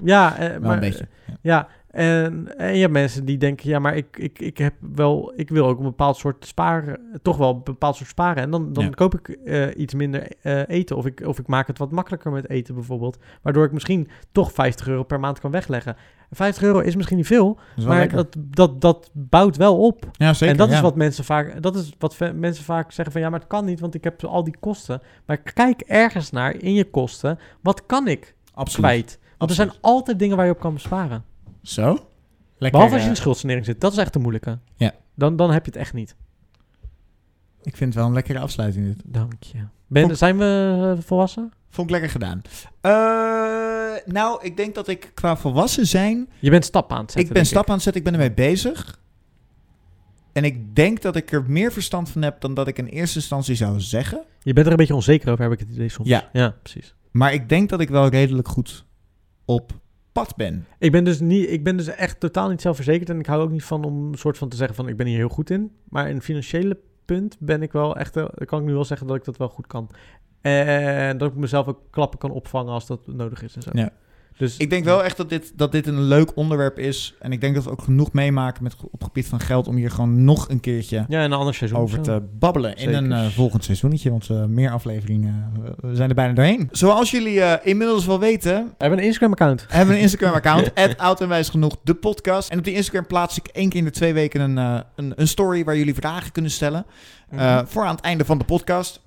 [SPEAKER 1] ja, eh,
[SPEAKER 2] wel
[SPEAKER 1] maar,
[SPEAKER 2] een beetje. Ja.
[SPEAKER 1] ja, en, en je hebt mensen die denken, ja, maar ik, ik, ik heb wel, ik wil ook een bepaald soort sparen, toch wel een bepaald soort sparen. En dan, dan
[SPEAKER 2] Ja.
[SPEAKER 1] koop ik eh, iets minder eh, eten. Of ik, of ik maak het wat makkelijker met eten bijvoorbeeld. Waardoor ik misschien toch 50 euro per maand kan wegleggen. 50 euro is misschien niet veel,
[SPEAKER 2] Dat is wel
[SPEAKER 1] maar
[SPEAKER 2] lekker.
[SPEAKER 1] dat, dat, dat bouwt wel op.
[SPEAKER 2] ja, zeker.
[SPEAKER 1] en dat is
[SPEAKER 2] ja.
[SPEAKER 1] wat mensen vaak. Dat is wat ve- mensen vaak zeggen van ja, maar het kan niet, want ik heb al die kosten. Maar kijk ergens naar in je kosten. Wat kan ik
[SPEAKER 2] Absoluut.
[SPEAKER 1] kwijt? Want er zijn altijd dingen waar je op kan besparen.
[SPEAKER 2] Zo? Lekker.
[SPEAKER 1] Behalve als je
[SPEAKER 2] eh,
[SPEAKER 1] in de schuldsanering zit. Dat is echt de moeilijke.
[SPEAKER 2] Ja.
[SPEAKER 1] Dan, dan heb je het echt niet.
[SPEAKER 2] Ik vind het wel een lekkere afsluiting dit.
[SPEAKER 1] Dank je. Ben,
[SPEAKER 2] Goed.
[SPEAKER 1] zijn we eh, volwassen?
[SPEAKER 2] Vond ik lekker gedaan. Eh, nou, ik denk dat ik qua volwassen zijn
[SPEAKER 1] Je bent stap aan het zetten.
[SPEAKER 2] ik ben
[SPEAKER 1] denk
[SPEAKER 2] stap aan het zetten, ik ben ermee bezig. En ik denk dat ik er meer verstand van heb dan dat ik in eerste instantie zou zeggen.
[SPEAKER 1] Je bent er een beetje onzeker over, heb ik het idee soms.
[SPEAKER 2] Ja.
[SPEAKER 1] Ja, precies.
[SPEAKER 2] Maar ik denk dat ik wel redelijk goed op pad ben.
[SPEAKER 1] Ik ben, dus niet, ik ben dus echt totaal niet zelfverzekerd. En ik hou ook niet van om een soort van te zeggen van ik ben hier heel goed in. Maar in financiële punt ben ik wel echt... eh, kan ik nu wel zeggen dat ik dat wel goed kan. En dat ik mezelf ook klappen kan opvangen als dat nodig is en zo.
[SPEAKER 2] Ja.
[SPEAKER 1] Dus
[SPEAKER 2] Ik denk wel echt dat dit, dat dit een leuk onderwerp is. En ik denk dat we ook genoeg meemaken met, op gebied van geld om hier gewoon nog een keertje
[SPEAKER 1] Ja, in een ander seizoen.
[SPEAKER 2] over
[SPEAKER 1] of
[SPEAKER 2] te
[SPEAKER 1] zo.
[SPEAKER 2] babbelen
[SPEAKER 1] Zeker.
[SPEAKER 2] in een eh, volgend seizoenetje. Want eh, meer afleveringen, eh, we zijn er bijna doorheen. Zoals jullie eh, inmiddels wel weten,
[SPEAKER 1] We hebben een Instagram-account.
[SPEAKER 2] We hebben een Instagram-account, oud en wijs genoeg, de podcast. En op die Instagram plaats ik één keer in de twee weken een, eh, een, een story waar jullie vragen kunnen stellen. eh,
[SPEAKER 1] Mhm.
[SPEAKER 2] Voor aan het einde van de podcast.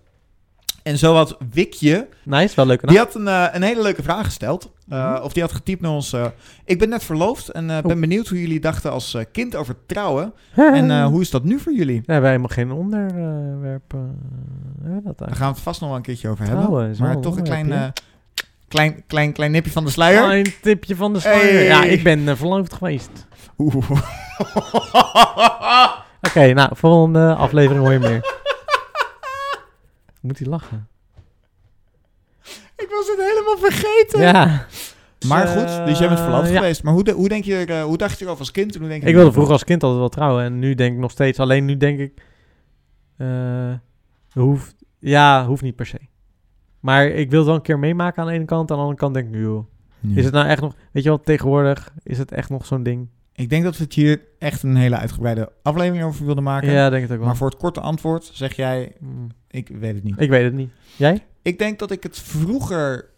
[SPEAKER 2] En zo had Wikje,
[SPEAKER 1] Nice, wel leuk.
[SPEAKER 2] die had een, eh, een hele leuke vraag gesteld. Eh,
[SPEAKER 1] Mhm.
[SPEAKER 2] Of die had getypt naar ons. eh, ik ben net verloofd en eh, ben
[SPEAKER 1] Oh.
[SPEAKER 2] benieuwd hoe jullie dachten als eh, kind over trouwen. En eh, hoe is dat nu voor jullie?
[SPEAKER 1] Ja, wij hebben helemaal geen onderwerp. eh, hebben we dat
[SPEAKER 2] Daar
[SPEAKER 1] eigenlijk?
[SPEAKER 2] gaan we het vast nog wel een keertje over hebben.
[SPEAKER 1] Trouwen is wel
[SPEAKER 2] maar toch een klein,
[SPEAKER 1] onderwerp,
[SPEAKER 2] eh, klein, klein, klein nipje van de sluier.
[SPEAKER 1] ja. Klein Ah, tipje van de sluier.
[SPEAKER 2] Hey.
[SPEAKER 1] Ja, ik ben eh, verloofd geweest.
[SPEAKER 2] Oeh.
[SPEAKER 1] Oké, nou, volgende aflevering hoor je meer. Moet hij lachen?
[SPEAKER 2] Ik was het helemaal vergeten.
[SPEAKER 1] Ja.
[SPEAKER 2] Maar
[SPEAKER 1] Eh,
[SPEAKER 2] goed, dus jij bent verloofd
[SPEAKER 1] ja.
[SPEAKER 2] geweest. Maar hoe, de- hoe, denk je, er, eh, hoe dacht je erover als kind? en Hoe denk je "Nou,
[SPEAKER 1] Ik wilde
[SPEAKER 2] er nu over?
[SPEAKER 1] vroeger als kind altijd wel trouwen. En nu denk ik nog steeds. Alleen nu denk ik... eh, hoeft... Ja, hoeft niet per se. Maar ik wil het wel een keer meemaken aan de ene kant. Aan de andere kant denk ik, joh.
[SPEAKER 2] Ja.
[SPEAKER 1] Is het nou echt nog... Weet je wel, tegenwoordig is het echt nog zo'n ding.
[SPEAKER 2] Ik denk dat we het hier echt een hele uitgebreide aflevering over wilden maken.
[SPEAKER 1] Ja, denk het ook wel.
[SPEAKER 2] Maar voor het korte antwoord zeg jij,
[SPEAKER 1] Mm.
[SPEAKER 2] ik weet het niet.
[SPEAKER 1] Ik weet het niet. Jij?
[SPEAKER 2] Ik denk dat ik het vroeger,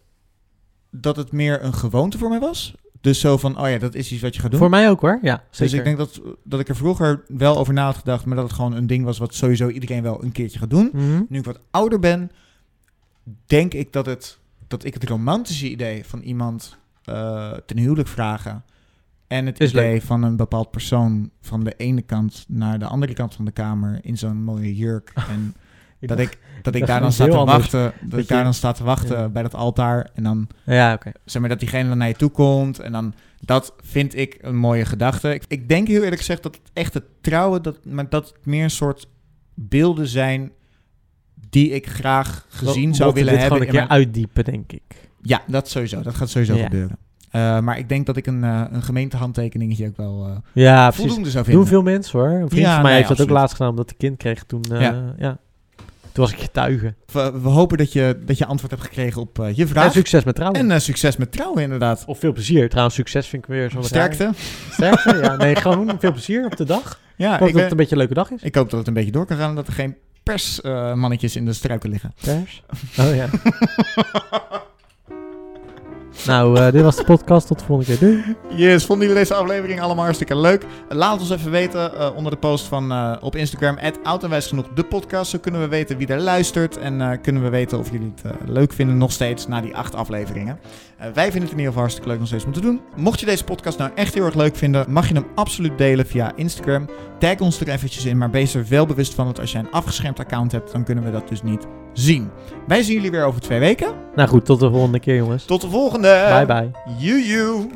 [SPEAKER 2] dat het meer een gewoonte voor mij was. Dus zo van, oh ja, dat is iets wat je gaat doen.
[SPEAKER 1] Voor mij ook hoor. Ja, zeker.
[SPEAKER 2] dus ik denk dat, dat ik er vroeger wel over na had gedacht, maar dat het gewoon een ding was wat sowieso iedereen wel een keertje gaat doen.
[SPEAKER 1] Mhm.
[SPEAKER 2] Nu ik wat ouder ben, denk ik dat, het, dat ik het romantische idee van iemand eh, ten huwelijk vragen. En het
[SPEAKER 1] Is
[SPEAKER 2] idee
[SPEAKER 1] leuk.
[SPEAKER 2] van een bepaald persoon van de ene kant naar de andere kant van de kamer in zo'n mooie jurk. En
[SPEAKER 1] Ik
[SPEAKER 2] dat
[SPEAKER 1] dacht-
[SPEAKER 2] ik, dat ik
[SPEAKER 1] dacht
[SPEAKER 2] daar dan
[SPEAKER 1] iets
[SPEAKER 2] sta te
[SPEAKER 1] heel anders.
[SPEAKER 2] wachten. Dat,
[SPEAKER 1] Dat
[SPEAKER 2] ik daar
[SPEAKER 1] je-
[SPEAKER 2] dan sta te wachten
[SPEAKER 1] Ja.
[SPEAKER 2] bij dat altaar. En dan
[SPEAKER 1] Ja, oké.
[SPEAKER 2] zeg maar dat diegene dan naar je toe komt. En dan dat vind ik een mooie gedachte. Ik, ik denk heel eerlijk gezegd dat het echte trouwen, dat, maar dat het meer een soort beelden zijn die ik graag gezien
[SPEAKER 1] We
[SPEAKER 2] zou
[SPEAKER 1] moeten
[SPEAKER 2] willen
[SPEAKER 1] dit
[SPEAKER 2] hebben.
[SPEAKER 1] gewoon een keer
[SPEAKER 2] in mijn-
[SPEAKER 1] uitdiepen, denk ik.
[SPEAKER 2] Ja, dat sowieso. Dat gaat sowieso
[SPEAKER 1] Ja.
[SPEAKER 2] gebeuren. Eh, maar ik denk dat ik een, eh een gemeentehandtekeningetje ook wel eh,
[SPEAKER 1] Ja, precies.
[SPEAKER 2] voldoende zou vinden.
[SPEAKER 1] Doen veel mensen hoor. Een vriend
[SPEAKER 2] Ja,
[SPEAKER 1] van mij
[SPEAKER 2] nee,
[SPEAKER 1] heeft dat ook
[SPEAKER 2] absoluut.
[SPEAKER 1] laatst gedaan omdat hij kind kreeg toen. eh,
[SPEAKER 2] Ja.
[SPEAKER 1] ja. Toen was ik getuige.
[SPEAKER 2] We, we hopen dat je, dat je antwoord hebt gekregen op eh, je
[SPEAKER 1] En
[SPEAKER 2] vraag.
[SPEAKER 1] succes met trouwen.
[SPEAKER 2] En eh, succes met trouwen, inderdaad.
[SPEAKER 1] of veel plezier. Trouwens, succes vind ik weer zo'n raar-
[SPEAKER 2] Sterkte.
[SPEAKER 1] Sterkte, ja. Nee, gewoon veel plezier op de dag. Ik
[SPEAKER 2] Ja,
[SPEAKER 1] hoop
[SPEAKER 2] ik,
[SPEAKER 1] dat
[SPEAKER 2] ben-
[SPEAKER 1] het een beetje een leuke dag is.
[SPEAKER 2] ik hoop dat het een beetje door kan gaan en dat er geen persmannetjes eh, in de struiken liggen.
[SPEAKER 1] Pers. Oh ja. nou, eh, dit was de podcast. Tot de volgende keer. Doei.
[SPEAKER 2] Yes, vonden jullie deze aflevering allemaal hartstikke leuk? Laat ons even weten eh, onder de post van, eh, op Instagram, genoeg de podcast. Zo kunnen we weten wie er luistert en eh, kunnen we weten of jullie het eh, leuk vinden nog steeds na die acht afleveringen. Eh, wij vinden het in ieder geval hartstikke leuk nog steeds om te doen. Mocht je deze podcast nou echt heel erg leuk vinden, mag je hem absoluut delen via Instagram. Tag ons er eventjes in, maar wees er wel bewust van dat als jij een afgeschermd account hebt, dan kunnen we dat dus niet zien. Wij zien jullie weer over twee weken.
[SPEAKER 1] Nou goed, tot de volgende keer jongens.
[SPEAKER 2] Tot de volgende!
[SPEAKER 1] Bye bye.
[SPEAKER 2] Joejoe.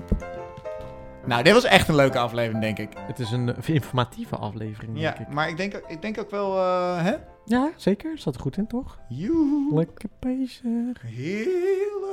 [SPEAKER 2] Nou, dit was echt een leuke aflevering, denk ik.
[SPEAKER 1] Het is een eh, informatieve aflevering,
[SPEAKER 2] Ja,
[SPEAKER 1] denk ik.
[SPEAKER 2] maar ik denk, ook- ik denk ook wel, eh hè?
[SPEAKER 1] Ja, zeker. Zat er goed in, toch?
[SPEAKER 2] Joehoe.
[SPEAKER 1] Lekker bezig.
[SPEAKER 2] Heerlijk.